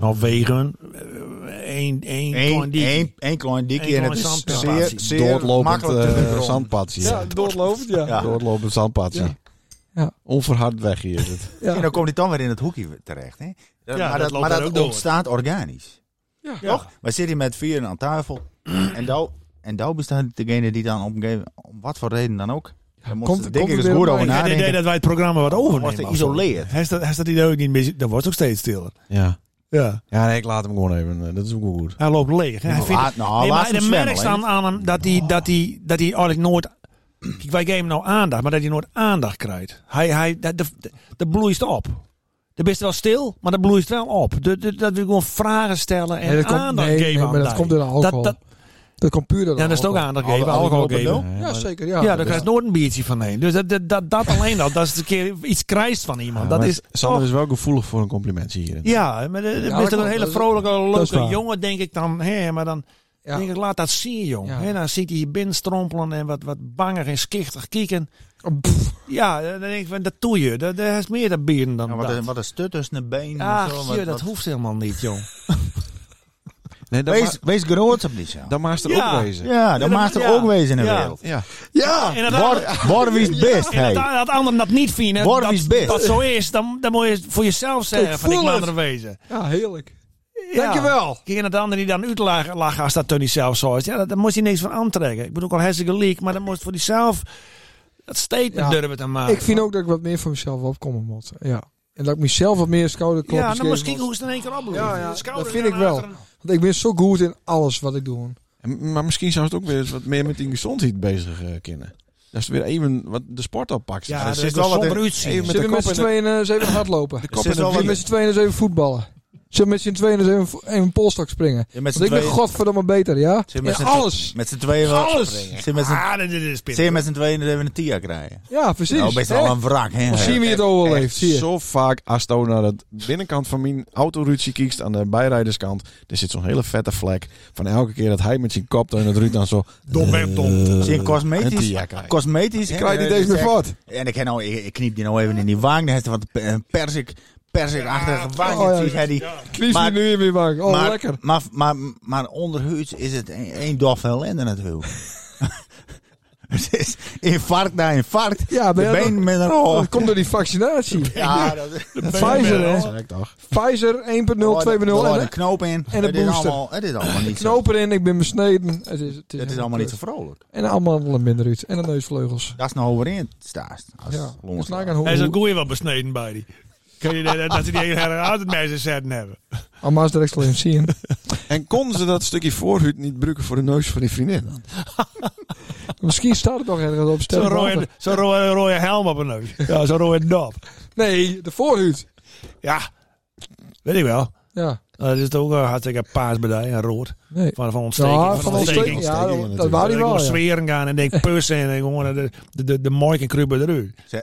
Speaker 1: Nou, wegen. Eén, Eh, één,
Speaker 3: Eén,
Speaker 1: klein ding.
Speaker 3: één, één klein
Speaker 1: Eén
Speaker 3: dikje en het
Speaker 1: klein
Speaker 3: is
Speaker 1: zandpad.
Speaker 3: zeer, zeer
Speaker 2: Doodlopend
Speaker 3: makkelijk te
Speaker 2: eh
Speaker 3: verbranden.
Speaker 2: zandpadje.
Speaker 5: doorlopend,
Speaker 3: Ja.
Speaker 2: Doodlopend zandpadje.
Speaker 5: Ja. Ja.
Speaker 2: Onverhard weg hier. is het.
Speaker 5: Ja.
Speaker 3: En dan komt hij dan weer in het hoekje terecht. Hè? Dat-
Speaker 1: dat
Speaker 3: maar dat,
Speaker 1: loopt
Speaker 3: maar
Speaker 1: daar
Speaker 3: dat
Speaker 1: ook door.
Speaker 3: ontstaat organisch.
Speaker 5: Ja.
Speaker 1: Ja.
Speaker 3: We zitten met [clears throat] vieren aan tafel. en daar en daar bestaat degene die dan op een gegeven om wat voor reden dan ook, Daar moest
Speaker 5: komt-
Speaker 3: er,
Speaker 5: komt
Speaker 3: denk ik
Speaker 5: het
Speaker 3: eens
Speaker 5: weer
Speaker 3: goed
Speaker 5: op
Speaker 3: over
Speaker 5: mij?
Speaker 1: Ik had het idee
Speaker 3: nadenken.
Speaker 1: dat wij het programma wat overnemen.
Speaker 3: Wordt geïsoleerd.
Speaker 1: Hij staat- hij staat die ook niet meer. Dat wordt ook steeds stiller.
Speaker 2: Ja.
Speaker 1: Ja.
Speaker 2: Ja, nee, ik laat hem gewoon even. eh, Dat is ook wel goed.
Speaker 1: Hij loopt leeg. Hij vindt-
Speaker 3: Laat- nou,
Speaker 1: nee,
Speaker 3: laat
Speaker 1: maar
Speaker 3: hem
Speaker 1: de
Speaker 3: zwemmen,
Speaker 1: merk
Speaker 3: hè.
Speaker 1: staan aan hem dat hij, dat hij, dat hij eigenlijk nooit. Kijk, wij geven nou aandacht, maar dat hij nooit aandacht krijgt. Hij, hij, dat, dat, dat bloeit op. Dan ben je wel stil, maar dat bloeit wel op. Dat, dat, dat we gewoon vragen stellen en
Speaker 5: Nee, dat komt-
Speaker 1: aandacht
Speaker 5: nee,
Speaker 1: geven
Speaker 5: nee,
Speaker 1: aan
Speaker 5: maar dat
Speaker 1: die.
Speaker 5: komt door de alcohol.
Speaker 1: Dat, dat,
Speaker 5: Dat komt puur door
Speaker 1: ja, dat is het ook
Speaker 5: alcohol.
Speaker 1: aandacht
Speaker 3: Al-
Speaker 1: geven,
Speaker 3: al-
Speaker 1: alcohol
Speaker 3: al-
Speaker 1: geven.
Speaker 3: al-
Speaker 5: Ja, zeker. Ja,
Speaker 1: Oh, Ja, daar krijgt nooit een biertje van heen. Dus dat, dat, dat, dat alleen al, dat is een keer iets krijgt van iemand. Dat is,
Speaker 2: Sander is wel gevoelig voor een compliment hier.
Speaker 1: ja, maar dat,
Speaker 5: Ja,
Speaker 1: dat is
Speaker 5: dat
Speaker 1: toch een
Speaker 5: klopt.
Speaker 1: hele
Speaker 5: Dat is-
Speaker 1: vrolijke,
Speaker 5: dat is
Speaker 1: leuke
Speaker 5: waar.
Speaker 1: jongen, denk ik dan. Hè, maar dan,
Speaker 5: Ja.
Speaker 1: Denk ik, laat dat zien, jong.
Speaker 5: Ja.
Speaker 1: Hè, dan ziet hij je binnenstrompelen en wat, wat banger en schichtig kieken.
Speaker 5: Oh, Pff,
Speaker 1: Ja, dan denk ik, van, dat doe je. Dat, dat is meer dat bieren dan
Speaker 3: Ja, wat,
Speaker 1: dat.
Speaker 3: een- wat een stut tussen de benen. en
Speaker 1: Ach,
Speaker 3: zo,
Speaker 1: joh,
Speaker 3: wat-
Speaker 1: dat
Speaker 3: wat-
Speaker 1: hoeft helemaal niet, jong.
Speaker 2: Nee, dat
Speaker 3: Wees,
Speaker 2: maakt
Speaker 3: wees groot op die zaal.
Speaker 2: dat maakt er
Speaker 1: Ja.
Speaker 2: ook wezen.
Speaker 3: Ja, dat
Speaker 1: Ja,
Speaker 3: maakt er
Speaker 1: ja.
Speaker 3: ook wezen in de
Speaker 1: Ja.
Speaker 3: wereld.
Speaker 2: Ja.
Speaker 3: Ja,
Speaker 1: En dat
Speaker 3: word- word wie het best.
Speaker 1: En dat,
Speaker 3: hey.
Speaker 1: dat anderen dat niet vinden,
Speaker 3: Word
Speaker 1: dat,
Speaker 3: is best.
Speaker 1: dat zo is, dan, dan moet je het voor jezelf zeggen.
Speaker 5: Ik
Speaker 1: Van ik
Speaker 5: voel
Speaker 1: laat
Speaker 5: het.
Speaker 1: er wezen.
Speaker 5: ja, heerlijk.
Speaker 1: Ja.
Speaker 5: Dankjewel.
Speaker 1: Kijk, en dat anderen die dan uitlachen lachen als dat toen hij zelf zo is. Ja, dat- daar moest hij niks van aantrekken. Ik bedoel, ook al hartstikke leak, maar dan moest voor zichzelf dat statement
Speaker 5: Ja.
Speaker 1: durven te maken.
Speaker 5: Ik vind ook dat ik wat meer voor mezelf opkomen moet. Ja. En dat ik mezelf wat meer schouderklopjes
Speaker 1: ja, nou,
Speaker 5: geven
Speaker 1: dan moest ik
Speaker 5: moet.
Speaker 1: hoe ze het in één keer oplopen.
Speaker 5: Ja, ja,
Speaker 1: De schouders
Speaker 5: dat vind ik
Speaker 1: gaan
Speaker 5: wel.
Speaker 1: achteren.
Speaker 5: Want ik ben zo goed in alles wat ik doe.
Speaker 2: En- Maar misschien zou het ook weer eens wat meer met die gezondheid bezig eh kunnen. Dat is weer even wat de sport oppakt.
Speaker 1: Ja,
Speaker 2: Er
Speaker 1: dat
Speaker 2: zit
Speaker 1: is
Speaker 2: wel
Speaker 1: wel
Speaker 2: wat in-
Speaker 1: somber uitzien.
Speaker 2: even met
Speaker 5: Zullen
Speaker 2: de
Speaker 5: we met
Speaker 2: kop
Speaker 5: z'n
Speaker 2: in de-
Speaker 5: tweeën eh, eens
Speaker 2: [clears throat]
Speaker 5: even hardlopen?
Speaker 2: de
Speaker 5: Zullen
Speaker 2: kop
Speaker 3: zit
Speaker 2: in
Speaker 3: wel
Speaker 2: de
Speaker 3: wat
Speaker 5: we
Speaker 2: wielen.
Speaker 5: met z'n tweeën eens even voetballen? Zullen we met z'n tweeën eens even vo- even een polstok springen?
Speaker 3: Ja, met z'n
Speaker 5: Want ik ben
Speaker 3: tweeën-
Speaker 5: godverdomme beter, ja?
Speaker 3: Zit
Speaker 5: Ja,
Speaker 3: met z'n twe-
Speaker 5: alles.
Speaker 3: Met z'n tweeën wel.
Speaker 1: Alles.
Speaker 3: Zit met z'n-
Speaker 1: Ah, dit dit is pittig.
Speaker 3: zit met z'n tweeën even een TIA krijgen.
Speaker 5: Ja, precies.
Speaker 3: Nou, best
Speaker 5: Hè?
Speaker 3: wel een wrak, hè?
Speaker 5: Dan zien we je het
Speaker 2: Echt
Speaker 5: overleeft, zie je.
Speaker 2: Zo vaak als je nou naar de binnenkant van mijn autoruitje kijkt, aan de bijrijderskant, er zit zo'n hele vette vlek. Van elke keer dat hij met zijn kop tegen het ruit dan zo...
Speaker 1: Dom, hè, dom.
Speaker 2: eh,
Speaker 3: Zie je
Speaker 2: een
Speaker 3: cosmetisch?
Speaker 2: tia krijgt.
Speaker 3: Cosmetisch.
Speaker 2: Ik
Speaker 3: hè,
Speaker 2: krijg niet
Speaker 3: eh,
Speaker 2: eens meer
Speaker 3: zeg-
Speaker 2: voort.
Speaker 3: En ik, ken nou, ik, ik kniep die nou even in die wang. Dan heeft hij wat pe- eh, persik, persikachtige wang.
Speaker 5: oh ja,
Speaker 3: Precies, hè, die-
Speaker 5: Knies
Speaker 3: Maar-
Speaker 5: me nu in mijn bank. Oh,
Speaker 3: maar,
Speaker 5: lekker.
Speaker 3: Maar, maar, maar onderhuids is het een, een dof ellende natuurlijk. [laughs] het is infarct na infarct.
Speaker 5: Ja,
Speaker 3: de
Speaker 5: ben je
Speaker 3: been
Speaker 5: dat-
Speaker 3: met een
Speaker 5: Dat
Speaker 3: hoog.
Speaker 5: komt door die vaccinatie.
Speaker 3: Ja, dat is... Oh,
Speaker 5: Pfizer, eh, hè?
Speaker 2: Ja, ik toch.
Speaker 5: Pfizer 1.0, 2.0.
Speaker 3: Er
Speaker 5: En
Speaker 3: een knoop in.
Speaker 5: en de
Speaker 3: het is
Speaker 5: booster.
Speaker 3: allemaal, het is allemaal niet zo.
Speaker 5: knopen in, ik ben besneden. Het is, het is,
Speaker 3: Het is allemaal niet zo vrolijk.
Speaker 5: En de amandelen minder uit. En de neusvleugels.
Speaker 3: Dat is nou overin staast. Als
Speaker 5: Ja,
Speaker 3: longen-
Speaker 5: dus laat ik aan
Speaker 1: Hij is een
Speaker 5: hoe...
Speaker 1: goeie wel besneden bij die. Kun je dat, dat ze die hele uit het meisje zetten hebben?
Speaker 5: Amaas direct slim zien.
Speaker 2: En konden ze dat stukje voorhuid niet gebruiken voor de neus van die vriendin? dan?
Speaker 5: Misschien staat het nog ergens
Speaker 1: Zo'n
Speaker 5: op stel.
Speaker 1: rode, zo rode, rode helm op een neus. Ja, zo'n rode dop.
Speaker 5: Nee, de voorhuid.
Speaker 1: Ja, weet ik wel.
Speaker 5: Ja,
Speaker 1: Nou, Dat is toch ook een hartstikke paars bij die en rood.
Speaker 5: nee.
Speaker 1: Van, van ontsteking.
Speaker 5: Ja, van ons
Speaker 2: ontsteking.
Speaker 5: Ja,
Speaker 2: Ontsteking
Speaker 5: dat- dat
Speaker 2: natuurlijk.
Speaker 5: waar
Speaker 1: Dat
Speaker 5: die
Speaker 1: ik wel
Speaker 5: wel. ja.
Speaker 1: zweren gaan en denk pussen en gewoon de, de, de, de moik en krubben eruit.
Speaker 3: Ze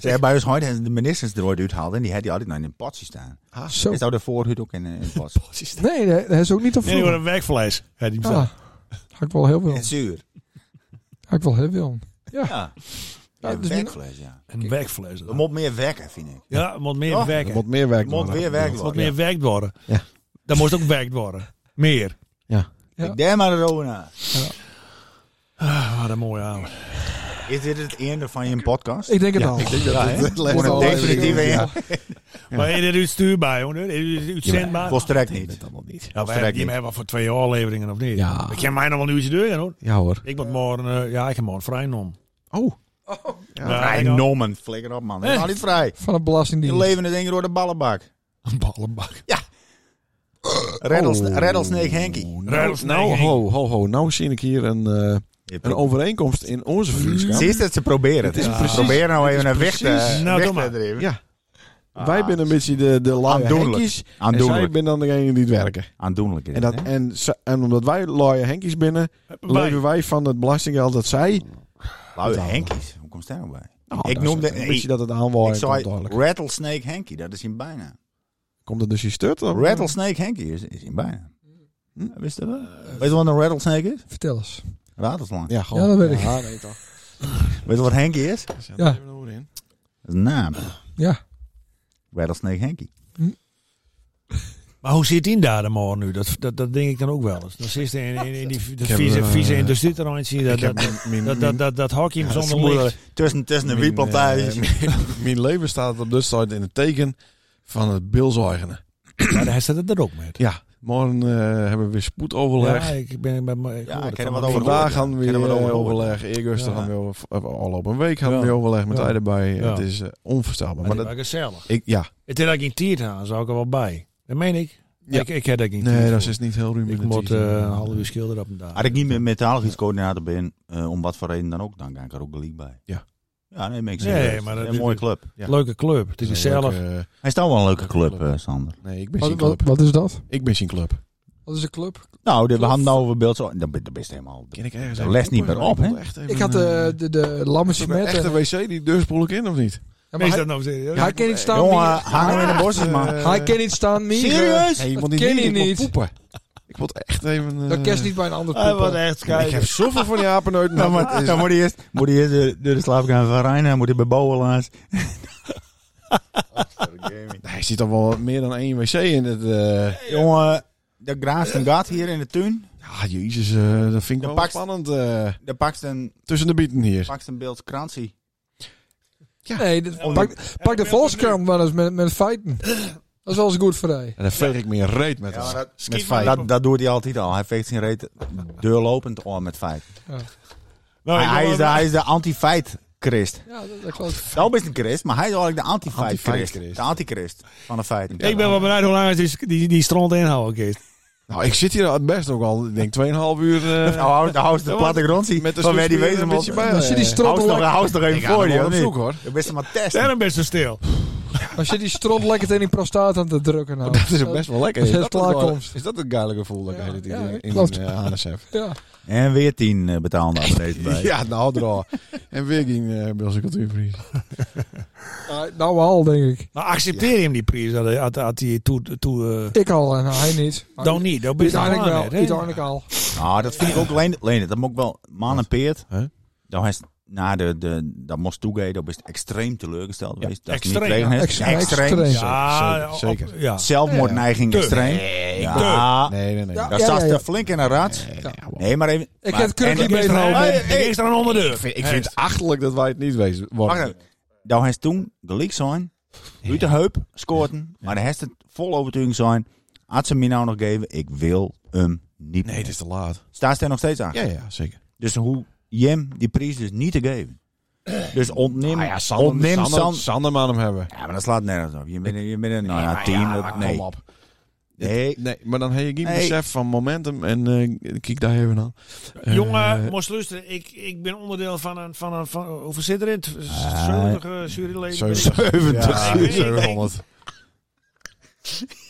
Speaker 3: hebben bij ons ooit de ministers er ooit uitgehaald. En die had die altijd nog in een potje staan.
Speaker 5: Zo.
Speaker 3: Is nou de voorhuid ook in een in een potje?
Speaker 5: Nee, nee, dat is ook niet op
Speaker 1: Nee,
Speaker 5: vroeger.
Speaker 1: een wegvlees. Ja, die
Speaker 5: Ah, had ik wel heel veel.
Speaker 3: En zuur.
Speaker 5: Had ik wel heel veel.
Speaker 3: Ja.
Speaker 5: Ja,
Speaker 3: Ja,
Speaker 5: dus niet-
Speaker 3: werkvlees, ja.
Speaker 1: Een wegvlees.
Speaker 3: Er moet meer wekken, vind ik.
Speaker 1: Ja, er moet meer
Speaker 3: Ja,
Speaker 2: Er
Speaker 1: werken.
Speaker 2: moet meer werk
Speaker 3: Er moet
Speaker 2: worden.
Speaker 3: weer werk
Speaker 1: Er moet
Speaker 3: worden.
Speaker 1: meer werkt worden.
Speaker 2: Ja.
Speaker 1: Dat moest ook werkt worden. Meer.
Speaker 5: Ja.
Speaker 3: Ik denk maar erover na.
Speaker 1: Ah, wat een mooie avond.
Speaker 3: Is dit het einde van je podcast?
Speaker 5: Ik denk het al.
Speaker 3: Ja, hè?
Speaker 2: Het lijkt
Speaker 3: Gewoon een
Speaker 2: wel
Speaker 3: definitieve
Speaker 2: even-
Speaker 3: einde.
Speaker 1: Maar is dit uitstuurbaar, jongen? Is dit uitzendbaar?
Speaker 3: Volstrekt niet.
Speaker 1: Ja, wij
Speaker 3: Volstrekt
Speaker 1: hebben, die
Speaker 3: niet.
Speaker 1: hebben we voor twee afleveringen of niet?
Speaker 2: Ja.
Speaker 1: Ik ken mij nog wel een uurtje deur, hoor.
Speaker 2: Ja hoor.
Speaker 1: Ik moet morgen, eh, ja, ik heb morgen vrij nom.
Speaker 2: Oh.
Speaker 1: Ja,
Speaker 3: Hij
Speaker 1: ik ook.
Speaker 3: nomen. Flikker op, man. Dat is
Speaker 1: Eh.
Speaker 3: al niet vrij.
Speaker 5: Van de
Speaker 3: Je
Speaker 5: belastingdienst.
Speaker 3: leven is één keer door de ballenbak.
Speaker 1: Een ballenbak.
Speaker 3: Reddelsna-
Speaker 2: Oh.
Speaker 3: Rattlesnake Henkie.
Speaker 2: Nou,
Speaker 1: Rattlesnake
Speaker 2: nou,
Speaker 1: Henkie.
Speaker 2: ho, ho, ho. Nou zie ik hier een, eh, een overeenkomst in onze vriendschap.
Speaker 3: Zie je dat ze proberen? Het
Speaker 2: is precies-
Speaker 3: Probeer nou even een weg te
Speaker 2: precies-
Speaker 1: Nou,
Speaker 3: weg
Speaker 1: doe
Speaker 3: te
Speaker 1: maar.
Speaker 3: drijven.
Speaker 2: Ja. Wij zijn een beetje de, de laaie
Speaker 3: Ah. Aandoenlijk.
Speaker 2: henkies. En zij
Speaker 3: Aandoenlijk.
Speaker 2: ben dan degene die het werken.
Speaker 3: Aandoenlijk is
Speaker 2: En, dat,
Speaker 3: het, hè?
Speaker 2: en, ze- en omdat wij laaie henkies binnen,
Speaker 1: Wij.
Speaker 2: leven Eh, wij van het belastinggeld dat zij...
Speaker 3: Lauwe Henkies. Hoe komt daar nou bij?
Speaker 2: Nou,
Speaker 3: Ik
Speaker 2: dat
Speaker 3: noemde-
Speaker 2: is Een beetje
Speaker 3: ik-
Speaker 2: Oh, dat het aanwaaien
Speaker 3: Ik
Speaker 2: komt
Speaker 3: zei
Speaker 2: eigenlijk.
Speaker 3: Rattlesnake Henkie. Dat is in bijna.
Speaker 2: Komt het dus je stut? of-
Speaker 3: Rattlesnake Henkie is, is in bijna. Hm? Wist je dat? Weet je wat een rattlesnake is?
Speaker 5: Vertel eens.
Speaker 3: Ratelslang.
Speaker 2: Ja, gewoon.
Speaker 5: Ja, dat weet ik.
Speaker 2: Ja, nee, toch.
Speaker 3: Weet je wat Henkie is? Dat
Speaker 2: Zet
Speaker 5: Ja.
Speaker 2: er even een oor in.
Speaker 3: is een naam.
Speaker 5: Ja.
Speaker 3: Rattlesnake Henkie.
Speaker 1: Maar hoe zit die daar de morgen nu? Dat, dat, dat denk ik dan ook wel eens. Dan zit hij in, in, in die dat
Speaker 2: heb,
Speaker 1: vieze,
Speaker 2: eh,
Speaker 1: vieze industrieterreintje. Dat,
Speaker 2: Ik heb
Speaker 1: dat,
Speaker 2: mijn- mijn-
Speaker 1: dat,
Speaker 2: mijn-
Speaker 1: dat, dat, dat hockey hem
Speaker 2: Ja, dat
Speaker 1: zonder
Speaker 2: is
Speaker 1: licht.
Speaker 3: Tussen, tussen de wietplantages.
Speaker 2: Mijn, eh, Mijn leven staat op dit tijd in het teken van het bilzuigenen.
Speaker 1: Maar hij staat het er ook met.
Speaker 2: Ja, Morgen eh, hebben we weer spoedoverleg.
Speaker 1: Ja, ik ben met me.
Speaker 3: Ja, ik ken er wat
Speaker 1: over.
Speaker 3: over.
Speaker 2: Vandaag
Speaker 3: ja.
Speaker 2: gaan we
Speaker 3: Kunnen we
Speaker 2: weer
Speaker 3: het
Speaker 2: eh,
Speaker 3: over horen?
Speaker 2: overleg. Eergisteren
Speaker 1: Ja.
Speaker 2: gaan we over, eh, al op een week gaan
Speaker 1: Ja.
Speaker 2: we weer overleg met
Speaker 1: Ja.
Speaker 2: hij erbij.
Speaker 1: Ja.
Speaker 2: Het is eh, onvoorstelbaar.
Speaker 1: Maar
Speaker 2: Maar
Speaker 1: dat
Speaker 2: dat,
Speaker 1: is gezellig.
Speaker 2: ik, ja,
Speaker 1: Het is dat ik in tiert aan, zou ik er wel bij. Dat meen ik.
Speaker 2: Ja.
Speaker 1: Ik, ik heb dat geen
Speaker 2: nee,
Speaker 1: tiert
Speaker 2: dat is
Speaker 1: voor.
Speaker 2: dus niet heel ruim. in
Speaker 1: Ik
Speaker 2: de
Speaker 1: moet
Speaker 2: titel.
Speaker 1: eh, een half uur schilderen op een dag.
Speaker 3: Had ik niet meer met de haligheidscoördinator ben, eh, om wat voor reden dan ook, dan kan ik er ook de league bij.
Speaker 2: Ja.
Speaker 3: Ja, nee, makes
Speaker 1: Nee,
Speaker 3: sense.
Speaker 1: maar dat
Speaker 3: Een
Speaker 1: is-
Speaker 3: mooie club.
Speaker 2: ja.
Speaker 1: Leuke club. Het is
Speaker 2: Een leuke,
Speaker 1: gezellig.
Speaker 2: eh,
Speaker 3: Hij is toch wel een leuke club,
Speaker 2: Club.
Speaker 3: eh, Sander.
Speaker 2: nee, ik ben
Speaker 5: Wat,
Speaker 2: zijn
Speaker 5: wat,
Speaker 2: club.
Speaker 5: wat is dat?
Speaker 2: Ik ben zijn club.
Speaker 5: Wat is een club?
Speaker 3: Nou, de, we
Speaker 5: Club.
Speaker 3: hadden nou over beeld zo. Dan ben je helemaal.
Speaker 2: Ken ik ergens
Speaker 3: De
Speaker 2: even
Speaker 3: les niet
Speaker 2: oppakken?
Speaker 3: meer op,
Speaker 2: Ik
Speaker 3: hè?
Speaker 2: moet echt even
Speaker 5: Ik had
Speaker 2: een,
Speaker 5: de,
Speaker 2: eh,
Speaker 5: de, de lammetje
Speaker 2: is dat een
Speaker 5: met... eh,
Speaker 2: echte
Speaker 5: en-
Speaker 2: wc die deur spoel ik in of niet?
Speaker 5: Ja, maar
Speaker 1: Is
Speaker 5: hij,
Speaker 1: dat nou serieus?
Speaker 5: hij kan niet staan.
Speaker 3: Jongen,
Speaker 5: mieren.
Speaker 3: hangen we in de bossen, man.
Speaker 2: Eh,
Speaker 5: Hij kan niet staan. mieren.
Speaker 3: Serieus?
Speaker 2: Hey, je
Speaker 5: Dat
Speaker 2: moet niet
Speaker 5: ken
Speaker 2: liegen,
Speaker 5: je
Speaker 2: ik
Speaker 5: niet.
Speaker 2: moet poepen. Ik moet echt even... eh,
Speaker 5: Dat kerst niet bij een ander
Speaker 3: Hij wordt
Speaker 5: poepen.
Speaker 3: echt
Speaker 2: Ik heb zoveel van die apen
Speaker 5: [laughs]
Speaker 2: uit.
Speaker 3: [laughs] Dan moet, dan moet hij eerst, moet hij eerst eh, door de slaapkamer van Reina, moet hij bij Bouwelaars.
Speaker 2: Hij zit al wel meer dan één wc in het... eh,
Speaker 3: Jongen, de graast een gat hier in de tuin.
Speaker 2: Ja, jezus, eh, dat vind ik
Speaker 3: De
Speaker 2: wel
Speaker 3: pakst-
Speaker 2: spannend. eh,
Speaker 3: De pakst een,
Speaker 2: tussen de bieten hier.
Speaker 3: pakst een beeld krantie.
Speaker 5: Nee, dat- pak, pak de Volkskrant maar eens met, met feiten. Dat is wel eens goed voor hij.
Speaker 2: En dan veeg ik meer reet met,
Speaker 3: Ja, maar dat-
Speaker 2: met
Speaker 1: Schiet maar
Speaker 2: vijf.
Speaker 1: even
Speaker 3: Dat, dat doet hij altijd al. Hij veegt zijn reet deurlopend om met feit.
Speaker 1: Nou, ik
Speaker 3: hij, hij
Speaker 1: wil-
Speaker 3: is de, hij is de anti-feit christ.
Speaker 5: Ja, dat, dat klopt.
Speaker 3: Nou best een christ, maar hij is eigenlijk de anti-feit
Speaker 2: Anti-feit
Speaker 3: christ.
Speaker 2: christ.
Speaker 3: De anti-christ van de feiten.
Speaker 1: Ik ben wel benieuwd hoe lang het die, die, die stront inhouden is.
Speaker 2: Nou, ik zit hier al het best ook al, ik denk 2,5 uur.
Speaker 3: [laughs]
Speaker 2: eh,
Speaker 3: Nou, hou- nou, hou eens de platte grond zien.
Speaker 2: met de
Speaker 3: van waar die
Speaker 2: snoepspier
Speaker 3: wezen
Speaker 2: een
Speaker 3: moet.
Speaker 2: beetje bij.
Speaker 5: Dan zit die
Speaker 2: eh,
Speaker 5: strot
Speaker 3: Hou eens nog-
Speaker 5: lekker,
Speaker 3: hou eens nog
Speaker 2: Ik
Speaker 3: even
Speaker 2: ga
Speaker 3: voor
Speaker 2: hem
Speaker 3: je,
Speaker 2: wel
Speaker 3: of
Speaker 2: op
Speaker 3: niet?
Speaker 2: zoek, hoor.
Speaker 3: Je bent hem maar testen.
Speaker 1: Daarom ben je zo stil.
Speaker 5: dan zit die strot lekker tegen die prostaat aan te drukken. Nou.
Speaker 2: Dat is ook best wel lekker.
Speaker 5: Als je
Speaker 2: Is dat,
Speaker 5: het klaar
Speaker 2: het,
Speaker 5: komt.
Speaker 2: is dat het geile gevoel dat ik
Speaker 5: Ja,
Speaker 2: ja, in,
Speaker 5: ja,
Speaker 2: in,
Speaker 5: klopt.
Speaker 2: mijn, eh, anus
Speaker 5: [laughs]
Speaker 2: heb?
Speaker 5: Ja.
Speaker 3: En weer 10 eh, betaalde abonnees bij.
Speaker 2: Ja, nou, draai. En weer ging eh bij onze cultuurprijs.
Speaker 5: Nou, Nou al, denk ik.
Speaker 1: Maar accepteer je hem die prijs dat hij- dat- dat hij toe... toe eh
Speaker 5: Ik al en hij niet. Maar
Speaker 1: dan niet, dat ben je
Speaker 5: Uiteindelijk wel.
Speaker 1: net, hè?
Speaker 5: Uiteindelijk al.
Speaker 3: Nou, dat vind ik ook Leen. Leen, dat moet ik wel. Man en Peert.
Speaker 2: Huh?
Speaker 3: Dat is na de, de dat moest toegeven, dat is extreem teleurgesteld geweest. dat
Speaker 1: extreem,
Speaker 3: Extreem.
Speaker 1: ja.
Speaker 3: Niet
Speaker 5: Extreem.
Speaker 3: extreem. extreem.
Speaker 5: Extreem.
Speaker 1: Ja,
Speaker 2: Zeker, zeker,
Speaker 1: op-
Speaker 2: zeker.
Speaker 1: ja.
Speaker 3: Zelfmoordneiging
Speaker 1: Ja.
Speaker 3: extreem. ja. Nee.
Speaker 2: Nee, nee, nee.
Speaker 5: Ja.
Speaker 3: Dat zat er flink in een rat. Nee, maar even.
Speaker 5: Ik
Speaker 3: maar-
Speaker 5: heb het krukje
Speaker 3: en-
Speaker 1: Ik is er
Speaker 5: Hey,
Speaker 1: al-
Speaker 5: hey,
Speaker 1: ik is er aan onder de
Speaker 2: Ik
Speaker 1: deur.
Speaker 2: vind, ik vind het achterlijk dat wij het niet wezen
Speaker 3: Wacht
Speaker 2: worden.
Speaker 3: even. Nou, hij is toen gelijk zijn. Uit de heup scoorten. Maar hij heeft het vol overtuiging zijn. Had ze mij nou nog geven, ik wil hem
Speaker 2: Nee,
Speaker 3: niet. meer.
Speaker 2: het is te laat.
Speaker 3: Staat ze er nog steeds aan?
Speaker 2: Ja, ja, zeker.
Speaker 3: Dus hoe Jim die prijs dus niet te geven. Dus ontneem,
Speaker 2: Nou ja,
Speaker 3: ontneem
Speaker 2: Sander, Sander,
Speaker 3: San-
Speaker 2: Sanderman hem hebben. Ah,
Speaker 3: Ja, maar dat slaat nergens op. Je bent, je bent een nou ja, team. dat- nee.
Speaker 2: Kom op.
Speaker 3: nee.
Speaker 2: Nee, maar dan heb je geen
Speaker 3: Nee.
Speaker 2: besef van momentum en eh, kijk daar even aan. Eh,
Speaker 1: Jongen, moest luisteren, ik, ik ben onderdeel van een... Van een van, hoeveel zit erin? T- 70 eh, juryleden.
Speaker 2: Zeventig. [laughs]
Speaker 3: 70.
Speaker 2: Ja,
Speaker 1: Nee, nee, nee.
Speaker 2: 700.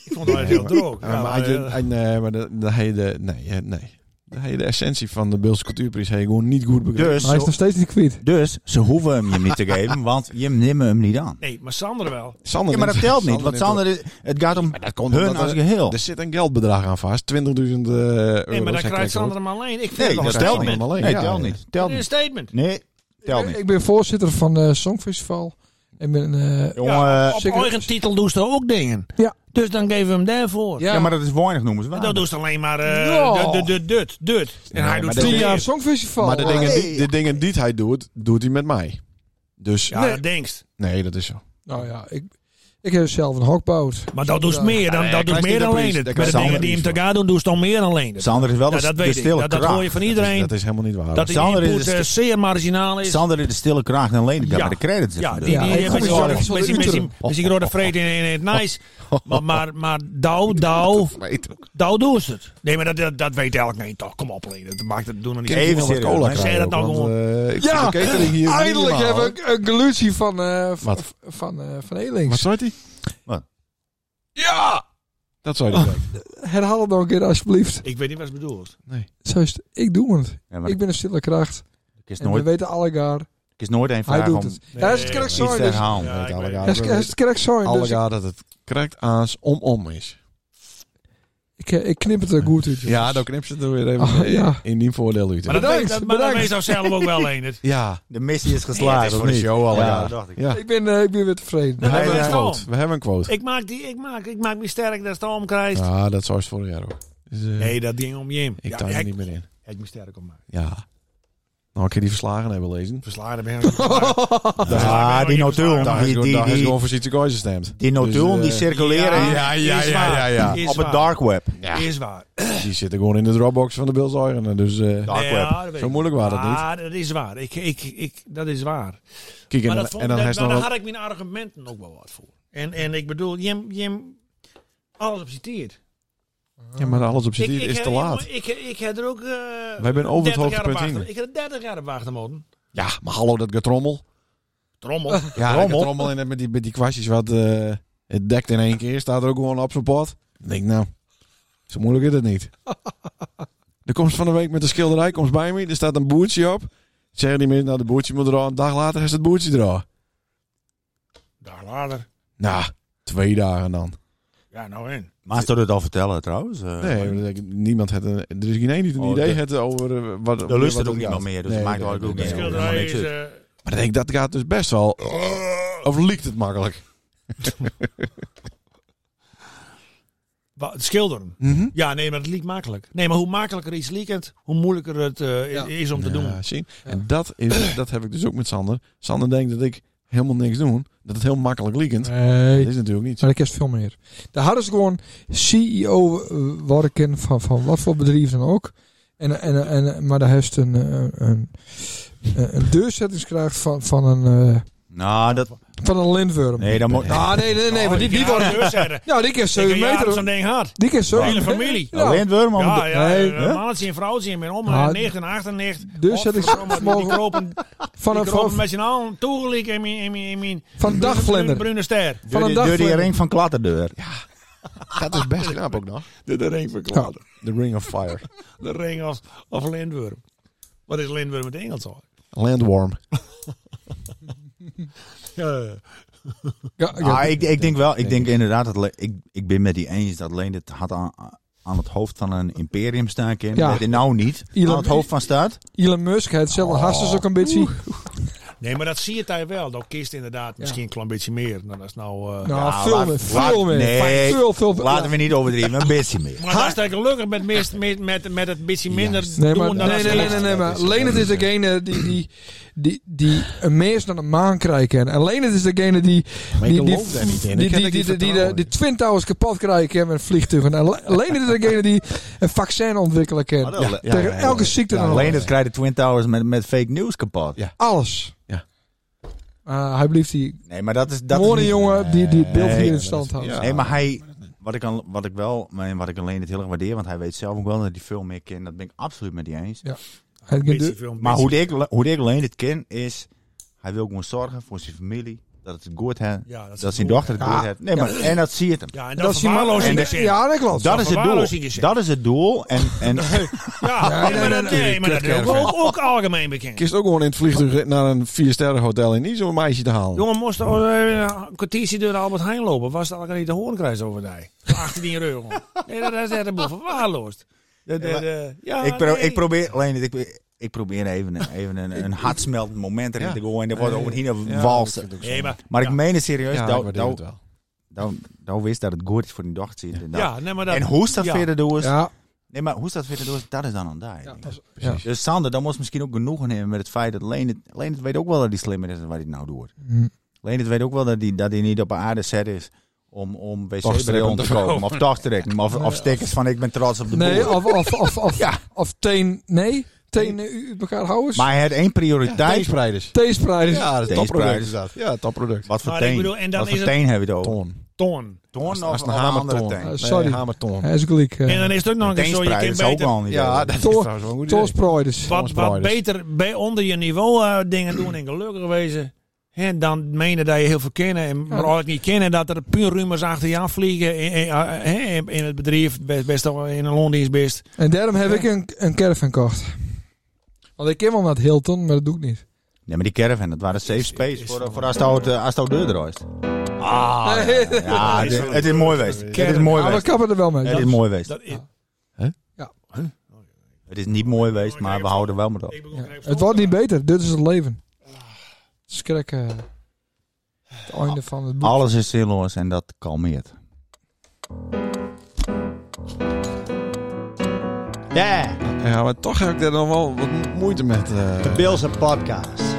Speaker 1: Ik vond het wel heel droog.
Speaker 2: [laughs] Ja,
Speaker 1: Ja,
Speaker 2: maar had je-
Speaker 1: eh,
Speaker 2: had- nee, maar dan dan heb je de, nee, eh, nee. Dan heb je de essentie van de Beelse Cultuurprijs heb je gewoon niet goed begrepen.
Speaker 3: Dus,
Speaker 5: Hij is
Speaker 3: ze,
Speaker 5: nog steeds niet kwijt.
Speaker 3: dus ze hoeven hem je niet [laughs] te geven, want je neemt hem niet aan.
Speaker 1: Nee, maar Sander wel.
Speaker 2: Sander
Speaker 3: Ja, [laughs] maar dat
Speaker 2: neemt-
Speaker 3: telt niet, want
Speaker 2: neemt-
Speaker 3: Sander is, het gaat om
Speaker 2: dat komt
Speaker 3: hun
Speaker 2: omdat
Speaker 3: als
Speaker 2: er-
Speaker 3: geheel.
Speaker 2: Er zit een geldbedrag aan vast, 20.000 eh euro.
Speaker 1: Nee, maar dan
Speaker 2: Zij
Speaker 1: krijgt
Speaker 2: kijken
Speaker 1: Sander hem alleen. Ik vind
Speaker 3: Nee,
Speaker 1: het wel
Speaker 3: dat
Speaker 1: een
Speaker 3: telt
Speaker 1: statement.
Speaker 3: niet.
Speaker 2: alleen.
Speaker 3: Nee,
Speaker 2: Ja,
Speaker 3: telt
Speaker 2: ja.
Speaker 3: niet. Telt
Speaker 1: Dit is een
Speaker 3: niet.
Speaker 1: statement.
Speaker 3: Nee, telt
Speaker 5: Ik-
Speaker 3: niet.
Speaker 5: Ik ben voorzitter van het Songfestival. Ik ben, eh,
Speaker 1: Ja,
Speaker 3: Jongen,
Speaker 1: op
Speaker 5: zeker-
Speaker 1: eigen titel doet ze ook dingen.
Speaker 5: Ja.
Speaker 1: Dus dan geven we hem daarvoor.
Speaker 5: ja,
Speaker 3: ja, maar dat is weinig noemen ze
Speaker 1: En
Speaker 3: waar.
Speaker 1: dat doet ze alleen maar eh,
Speaker 5: Ja.
Speaker 1: dut, dut, dut, dut. En
Speaker 2: Nee,
Speaker 1: hij doet
Speaker 2: maar
Speaker 5: tien
Speaker 1: veel
Speaker 5: jaar
Speaker 1: meer.
Speaker 5: Songfestival.
Speaker 3: Oh,
Speaker 2: Maar de
Speaker 5: Ah,
Speaker 2: dingen, die, de dingen die hij doet, doet hij met mij. Dus
Speaker 1: Ja,
Speaker 2: nee.
Speaker 1: dat denkst.
Speaker 2: nee, dat is zo.
Speaker 5: Nou ja, ik, ik heb zelf een hokboot.
Speaker 1: Maar dat doet
Speaker 5: Ja.
Speaker 1: meer dan,
Speaker 2: Ja,
Speaker 1: dat doet
Speaker 2: daar krijgt
Speaker 1: meer
Speaker 2: hij
Speaker 1: dan
Speaker 2: de
Speaker 1: alleen
Speaker 2: prijs.
Speaker 1: het.
Speaker 2: Daar
Speaker 1: Bij de dingen
Speaker 2: krijgt Sander
Speaker 1: die hem
Speaker 2: de
Speaker 1: te gaan doen, doet ze dan meer dan alleen het.
Speaker 3: Sander is wel
Speaker 1: Ja,
Speaker 3: de,
Speaker 1: dat
Speaker 3: de
Speaker 1: weet ik.
Speaker 3: stille
Speaker 1: Dat, dat
Speaker 3: kracht.
Speaker 1: hoor je van iedereen.
Speaker 2: Dat is helemaal niet waar.
Speaker 1: Dat die
Speaker 3: Sander is
Speaker 1: input
Speaker 3: de
Speaker 1: eh, zeer marginaal is.
Speaker 3: Sander is de stille kracht en Leen, ik
Speaker 1: Ja.
Speaker 3: maar de credits
Speaker 1: Ja, die,
Speaker 3: ervan doen.
Speaker 1: die, die,
Speaker 5: Ja, ik
Speaker 1: met die-
Speaker 5: hoor het.
Speaker 1: met die- met die- met die- met die grote vreet in, in het nice. Maar, maar, maar Douw, Douw, Douw doet het. Nee, maar dat, dat, dat weet elk een toch. Kom op, Leen. Dat maakt het doen er niet
Speaker 3: Even
Speaker 1: uit.
Speaker 2: Even
Speaker 3: serieus,
Speaker 2: cola
Speaker 1: maar zeg
Speaker 2: krijgen
Speaker 1: dat nou
Speaker 2: ook, want, eh, ik
Speaker 5: Ja,
Speaker 2: vind de catering hier
Speaker 5: Eindelijk
Speaker 2: minimaal.
Speaker 5: heb ik een gelutie van, eh van,
Speaker 2: Wat?
Speaker 5: van, eh, van
Speaker 2: Wat
Speaker 5: Elings.
Speaker 2: zei hij? eh,
Speaker 5: Ja!
Speaker 2: Dat zei
Speaker 3: Oh.
Speaker 2: hij.
Speaker 5: Herhaal het nog een keer alsjeblieft.
Speaker 1: Ik weet niet wat ze bedoelt.
Speaker 5: Zoals ik doe het.
Speaker 3: Ja, maar
Speaker 5: Ik ben een stille kracht.
Speaker 3: ik is
Speaker 5: En we
Speaker 3: nooit,
Speaker 5: weten allegaar.
Speaker 3: ik is nooit een
Speaker 5: Hij
Speaker 3: vraag
Speaker 5: doet
Speaker 3: om
Speaker 5: het.
Speaker 3: iets
Speaker 5: Ja, dat is
Speaker 1: Nee,
Speaker 5: het correct
Speaker 1: nee,
Speaker 3: te
Speaker 5: zo'n. Dus,
Speaker 3: herhalen.
Speaker 1: Ja, ik
Speaker 2: alle
Speaker 1: weet
Speaker 2: gaar-
Speaker 5: dat is- dat is het correct zo'n.
Speaker 2: Alle
Speaker 5: Dus
Speaker 2: gaar dat het correct aans om om is.
Speaker 5: ik, eh, ik knip het er goed uit.
Speaker 2: Ja, dan knip ze er weer even
Speaker 3: Oh.
Speaker 5: Ah, ja.
Speaker 2: in die voordeel uit.
Speaker 1: Maar dat,
Speaker 5: Bedankt,
Speaker 1: weet- dat, maar dat
Speaker 5: bedankt.
Speaker 1: weet zo zelf ook wel, Leen.
Speaker 2: ja,
Speaker 3: De missie is
Speaker 1: Nee,
Speaker 3: geslaagd.
Speaker 1: het is
Speaker 3: of
Speaker 2: voor de
Speaker 3: niet?
Speaker 2: show al, [laughs]
Speaker 3: Ja,
Speaker 2: ja.
Speaker 3: dat dacht ik.
Speaker 2: ja.
Speaker 5: Ik ben, eh, ik ben weer tevreden.
Speaker 2: We
Speaker 1: dat
Speaker 2: hebben
Speaker 1: is
Speaker 2: een
Speaker 1: wel.
Speaker 2: quote. We hebben een quote.
Speaker 1: Ik maak, die, ik, maak, ik maak me sterk dat Storm krijgt.
Speaker 2: Ja, dat was vorig jaar ook. Dus, eh,
Speaker 1: Nee, dat ging om Jim.
Speaker 2: ik
Speaker 1: ja,
Speaker 2: sta er
Speaker 1: ik,
Speaker 2: niet meer in.
Speaker 1: ik me sterk om maken.
Speaker 2: Ja. Nou, ik heb die verslagen hebben lezen. [laughs]
Speaker 1: Verslagen ben
Speaker 3: Ja, die notulen.
Speaker 2: Daar is
Speaker 3: Die,
Speaker 2: gewoon-
Speaker 3: die,
Speaker 2: daar is
Speaker 3: die,
Speaker 2: gewoon voor iets Guys gestemd.
Speaker 3: die notulen die
Speaker 2: Dus, eh,
Speaker 3: circuleren
Speaker 2: Ja, ja, ja, ja, ja.
Speaker 3: op het dark web.
Speaker 1: Is waar.
Speaker 2: Die zitten gewoon in de Dropbox van de Bills Eigenen. Dus eh,
Speaker 3: Dark
Speaker 1: Nee,
Speaker 3: web.
Speaker 1: ja, dat weet
Speaker 2: zo
Speaker 1: ik.
Speaker 2: moeilijk was dat niet.
Speaker 1: Ah, dat is waar. Ik, ik, ik, dat is waar.
Speaker 2: Kijk,
Speaker 1: Maar
Speaker 2: en, dan-
Speaker 1: dat vond,
Speaker 2: en dan
Speaker 1: dat-
Speaker 2: heeft
Speaker 1: daar
Speaker 2: nog
Speaker 1: had ik mijn argumenten ook wel wat voor. En, en ik bedoel, Jim, Jim alles op citeert.
Speaker 2: Ja, maar alles op
Speaker 1: Ik,
Speaker 2: z'n
Speaker 1: ik,
Speaker 2: tijd is
Speaker 1: heb-
Speaker 2: te laat.
Speaker 1: Ik, ik, ik heb er ook. eh Wij
Speaker 2: zijn over het hoogtepunt heen.
Speaker 1: Ik heb 30 jaar op wachten moeten.
Speaker 2: Ja, maar hallo, dat getrommel. [laughs]
Speaker 1: Trommel.
Speaker 2: Ja,
Speaker 3: Rommel.
Speaker 2: rommel. rommel en met die, met die kwastjes wat eh, het dekt in één keer, staat er ook gewoon op zijn pot. Ik denk, nou, zo moeilijk is het niet. [laughs] De komst van de week met de schilderij komt bij me, er staat een boertje op. Zeggen die mensen, nou, de boertje moet er al, een dag later is het boertje er al.
Speaker 1: Daar later.
Speaker 2: Nou, twee dagen dan.
Speaker 1: Ja, nou in.
Speaker 3: Maar ze het al vertellen trouwens. eh,
Speaker 2: Nee, want ik- niemand had een, er is geen één die een
Speaker 3: Oh,
Speaker 2: idee
Speaker 3: de-
Speaker 2: had over eh, wat...
Speaker 3: de lust
Speaker 2: wat
Speaker 3: er ook niet
Speaker 2: gaat.
Speaker 3: meer meer, dus
Speaker 2: Nee,
Speaker 3: het maakt
Speaker 2: nee,
Speaker 3: ook
Speaker 2: nee,
Speaker 3: niet
Speaker 2: nee.
Speaker 1: Schilderij
Speaker 3: helemaal
Speaker 1: is.
Speaker 3: niks
Speaker 1: eh,
Speaker 2: Maar ik denk, dat gaat dus best wel... Of liekt het makkelijk?
Speaker 1: wa- schilderen.
Speaker 2: Mhm.
Speaker 1: Ja, nee, maar het liep makkelijk. Nee, maar hoe makkelijker iets liekent, hoe moeilijker het eh,
Speaker 5: Ja.
Speaker 1: is om te
Speaker 2: Ja,
Speaker 1: doen.
Speaker 2: Zien?
Speaker 5: Ja.
Speaker 2: En dat, is, dat heb ik dus ook met Sander. Sander denkt dat ik helemaal niks doe. Dat het heel makkelijk liekend. Dat
Speaker 5: Nee.
Speaker 2: is natuurlijk niet. zo.
Speaker 5: Maar ik is veel meer. Daar hadden ze gewoon CEO werken van, van wat voor bedrijf dan ook. En, en, en, maar daar heeft een, eh, een, eh, een, een doorzettingskracht van, van een, eh,
Speaker 3: Nou, dat...
Speaker 5: van een lintworm.
Speaker 3: Nee, dan moet...
Speaker 5: Ah, nee, nee,
Speaker 1: Oh,
Speaker 5: nee. Want die,
Speaker 2: [laughs]
Speaker 5: die worden...
Speaker 1: worden.
Speaker 5: Ja, die is 7
Speaker 1: Zeker ja, zo'n
Speaker 5: meter.
Speaker 1: ding hard.
Speaker 5: Die is zo.
Speaker 1: Hele familie.
Speaker 2: Oh,
Speaker 5: Ja.
Speaker 3: Lindworm, om
Speaker 1: Ja,
Speaker 3: de-
Speaker 1: ja, eh,
Speaker 5: Nee,
Speaker 1: een
Speaker 3: hè?
Speaker 1: mannetje en vrouwtje en mijn om
Speaker 5: Ah,
Speaker 1: en
Speaker 2: Nou,
Speaker 1: nicht en acht en nicht.
Speaker 5: dus dat is-
Speaker 2: [laughs]
Speaker 1: Godverdomme, die kropen,
Speaker 5: Van een,
Speaker 1: die kropen
Speaker 5: van,
Speaker 1: met z'n allen toegeliek in mijn, in mijn, in mijn
Speaker 5: van dagvlinder.
Speaker 1: bruine ster.
Speaker 5: Van
Speaker 3: Door
Speaker 5: een
Speaker 3: die- door die
Speaker 5: dagvlinder.
Speaker 3: ring van klatterdeur.
Speaker 2: Dat is best knap ook nog.
Speaker 1: De, ring van
Speaker 5: Klaas.
Speaker 2: The Ring of Fire.
Speaker 1: De ring of, of lindworm. Wat is lindworm in het Engels al?
Speaker 2: Landworm.
Speaker 1: Ja,
Speaker 5: Ja, ja.
Speaker 3: Ah, ik, ik denk wel, ik
Speaker 2: Denk
Speaker 3: denk inderdaad, dat Le- ik, ik ben met die eens dat Leen het had aan, aan het hoofd van een imperium staan kan.
Speaker 5: Ja.
Speaker 3: Dat hij nou niet
Speaker 5: Elon-
Speaker 3: aan het hoofd van staat.
Speaker 5: Elon Musk heeft zelf oh. ook een beetje.
Speaker 1: Nee, maar dat zie je daar wel. Dat kist inderdaad misschien een klein beetje meer. Nou, dat is nou... eh,
Speaker 5: Nou,
Speaker 3: Ja,
Speaker 5: veel
Speaker 3: Ah, laat-
Speaker 5: meer.
Speaker 3: laat-
Speaker 5: Veel meer.
Speaker 3: nee.
Speaker 5: Veel, veel, veel-
Speaker 3: Laten
Speaker 5: ja.
Speaker 3: we niet overdrijven, een beetje
Speaker 5: [laughs]
Speaker 3: meer.
Speaker 1: Maar dat is eigenlijk gelukkig met, mis- met, met, met het beetje minder
Speaker 5: Nee,
Speaker 1: doen dan
Speaker 5: maar, nee,
Speaker 1: als
Speaker 5: nee, nee, nee, nee, maar Lenert is degene die, die, die, die een meest dan een maan krijgen. En Lenert is degene die...
Speaker 2: Maar ik
Speaker 5: die, die,
Speaker 2: geloof daar niet in.
Speaker 5: Die,
Speaker 2: Ik heb
Speaker 5: die,
Speaker 2: er geen
Speaker 5: die, die, die,
Speaker 2: vertrouwen
Speaker 5: die,
Speaker 2: in.
Speaker 5: die Twin Towers kapot krijgen met
Speaker 2: [laughs]
Speaker 5: vliegtuigen. En Le- Lenert is degene die een vaccin ontwikkelen kan.
Speaker 3: Maar dat-
Speaker 2: Ja,
Speaker 5: Tegen
Speaker 2: ja, ja.
Speaker 5: elke ziekte
Speaker 2: Ja,
Speaker 5: dan
Speaker 3: Alleen
Speaker 5: ook.
Speaker 3: dat krijgt de Twin Towers met, met fake news kapot.
Speaker 2: Ja.
Speaker 5: Alles.
Speaker 2: Ja.
Speaker 5: Eh, hij blijft die
Speaker 3: Nee, maar dat is... Dat is
Speaker 5: mooie
Speaker 3: niet-
Speaker 5: jongen die, die het beeld
Speaker 3: Nee,
Speaker 5: hier in
Speaker 2: dat
Speaker 5: stand
Speaker 2: is-
Speaker 5: houdt.
Speaker 2: ja.
Speaker 3: Nee, maar hij... Wat ik, al, wat ik wel, en wat ik alleen het heel erg waardeer, want hij weet zelf ook wel dat hij veel meer kent. Dat ben ik absoluut met die eens.
Speaker 5: Hij kan
Speaker 1: Beetje
Speaker 5: de-
Speaker 1: veel,
Speaker 3: Maar
Speaker 1: beetje-
Speaker 3: hoe ik, hoe ik alleen het ken is, hij wil gewoon zorgen voor zijn familie. Dat het goed heeft.
Speaker 1: Ja, dat is
Speaker 3: Dat
Speaker 1: het
Speaker 3: zijn
Speaker 1: doel.
Speaker 3: dochter het goed
Speaker 5: Ja.
Speaker 3: heeft. Nee, maar, en dat zie je hem.
Speaker 1: Ja, en
Speaker 5: Dat
Speaker 1: dat dus
Speaker 5: is
Speaker 1: is
Speaker 5: die
Speaker 1: verwaarlozing.
Speaker 5: man-
Speaker 1: is in.
Speaker 5: Ja, dat klopt.
Speaker 3: Dat is het
Speaker 1: verwaarlozing is
Speaker 3: doel.
Speaker 1: het.
Speaker 3: Dat is het doel. En, en
Speaker 1: Ja,
Speaker 5: nee,
Speaker 1: [laughs] nee, maar dat,
Speaker 5: nee,
Speaker 1: nee, maar dat is ook, ook, ook algemeen bekend.
Speaker 2: Kist ook gewoon in het vliegtuig naar een viersterren hotel en niet zo'n meisje te halen.
Speaker 1: Jongen, moest er, eh, een kwartiertje door de Albert Heijn lopen. Was het al niet de hoornkruis over die? Voor 18 euro. Nee, dat is echt een boel verwaarloosd. De- de- de- Ja,
Speaker 3: ik, pro-
Speaker 1: nee.
Speaker 3: ik probeer alleen het- ik, pro- ik probeer even, een- even een,
Speaker 1: [laughs]
Speaker 3: een hardsmeltend moment erin
Speaker 2: Ja.
Speaker 3: te gooien. En dat wordt over het heen
Speaker 2: Ja,
Speaker 3: walsen.
Speaker 2: ik vind het ook zo.
Speaker 1: Nee, maar,
Speaker 3: Maar
Speaker 1: ja.
Speaker 3: ik meen het serieus.
Speaker 2: Ja, ik
Speaker 3: nou,
Speaker 2: waardeer het
Speaker 3: nou,
Speaker 2: wel.
Speaker 3: nou, nou wist dat het goed is voor die dochter. En, dat-
Speaker 1: ja, nee, maar dat,
Speaker 3: Nou. en hoe is dat
Speaker 1: ja.
Speaker 3: verder doen?
Speaker 5: Ja,
Speaker 3: Nee, maar hoe is dat verder doen? Dat is dan een dag.
Speaker 5: ja,
Speaker 3: denk ik.
Speaker 5: dat is- ja.
Speaker 2: Precies.
Speaker 3: Dus Sander, dan moest misschien ook genoegen nemen met het feit dat Leen het, Leen het weet ook wel dat hij slimmer is dan wat hij nou doet.
Speaker 2: Mm.
Speaker 5: Hm.
Speaker 3: Leen het weet ook wel dat hij, dat hij niet op een aarde set is om, om
Speaker 2: Tochtstrek
Speaker 3: wc-bril
Speaker 2: om
Speaker 3: te
Speaker 2: te
Speaker 3: komen. Of tochtstrek. Of, of stickers van ik ben trots op de boer.
Speaker 5: Nee, of, of, of, [laughs] of,
Speaker 3: Ja.
Speaker 5: of teen. Nee, teen eh, uit elkaar houden.
Speaker 3: Maar hij had één prioriteit.
Speaker 2: Teenspreiders.
Speaker 5: Teespreiders.
Speaker 2: Ja, dat is
Speaker 3: Teenspreiders.
Speaker 2: topproduct is dat. Ja, topproduct.
Speaker 3: wat voor
Speaker 1: Maar ik
Speaker 3: teen?
Speaker 1: bedoel, en dan
Speaker 3: wat
Speaker 1: is
Speaker 3: voor
Speaker 1: het-
Speaker 3: teen hebben we het over?
Speaker 2: Ton.
Speaker 1: Toon.
Speaker 3: Ton
Speaker 2: Als
Speaker 3: of
Speaker 2: een
Speaker 3: of een andere
Speaker 2: hamerton.
Speaker 3: teen?
Speaker 5: Eh,
Speaker 2: Nee,
Speaker 5: sorry.
Speaker 2: hamerton.
Speaker 5: Hij is gelijk. eh.
Speaker 1: En dan is het ook nog eens zo, je
Speaker 3: Teenspreiders
Speaker 1: kunt
Speaker 3: is ook
Speaker 1: beter,
Speaker 3: al niet.
Speaker 2: Ja, dat is
Speaker 5: Tor-
Speaker 2: trouwens wel een goed idee.
Speaker 5: Toorspreiders.
Speaker 1: wat, wat
Speaker 2: Spanspriders.
Speaker 1: beter bij onder je niveau eh, dingen doen en gelukkig wezen. En dan menen dat je heel veel kennen en maar ook niet kennen dat er puur rumors achter je aanvliegen in, in, eh, in- in het bedrijf, best, best wel in een loondienst best.
Speaker 5: En daarom heb ik een, een caravan gekocht. Want ik ken wel naar het Hilton, maar dat doe ik niet.
Speaker 3: Nee, maar die caravan, dat waren safe space
Speaker 1: is
Speaker 3: voor,
Speaker 1: van-
Speaker 3: voor als het oude- als het oude deur draait.
Speaker 1: Ah,
Speaker 5: Nee.
Speaker 3: Ja, het is- het is mooi geweest. Het is mooi
Speaker 5: Ja, Ah, we
Speaker 3: geweest.
Speaker 5: kappen er wel mee.
Speaker 3: Het is mooi geweest.
Speaker 1: dat is,
Speaker 3: Het is niet mooi geweest, maar we houden wel met op.
Speaker 1: ik bedoel,
Speaker 5: Ja.
Speaker 1: ik heb
Speaker 5: Het wordt niet beter. Dit is het leven.
Speaker 1: Ah.
Speaker 5: Het is krek, eh, het einde van het boek.
Speaker 3: Alles is zinloos en dat kalmeert.
Speaker 6: Ja,
Speaker 2: Ja, maar toch heb ik daar nog wel wat moeite met. eh.
Speaker 6: de Bills en podcast.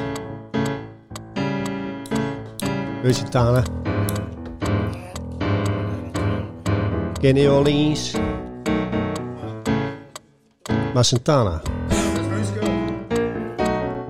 Speaker 6: Weet je, Tana? Kenny Orleans. Maar Santana.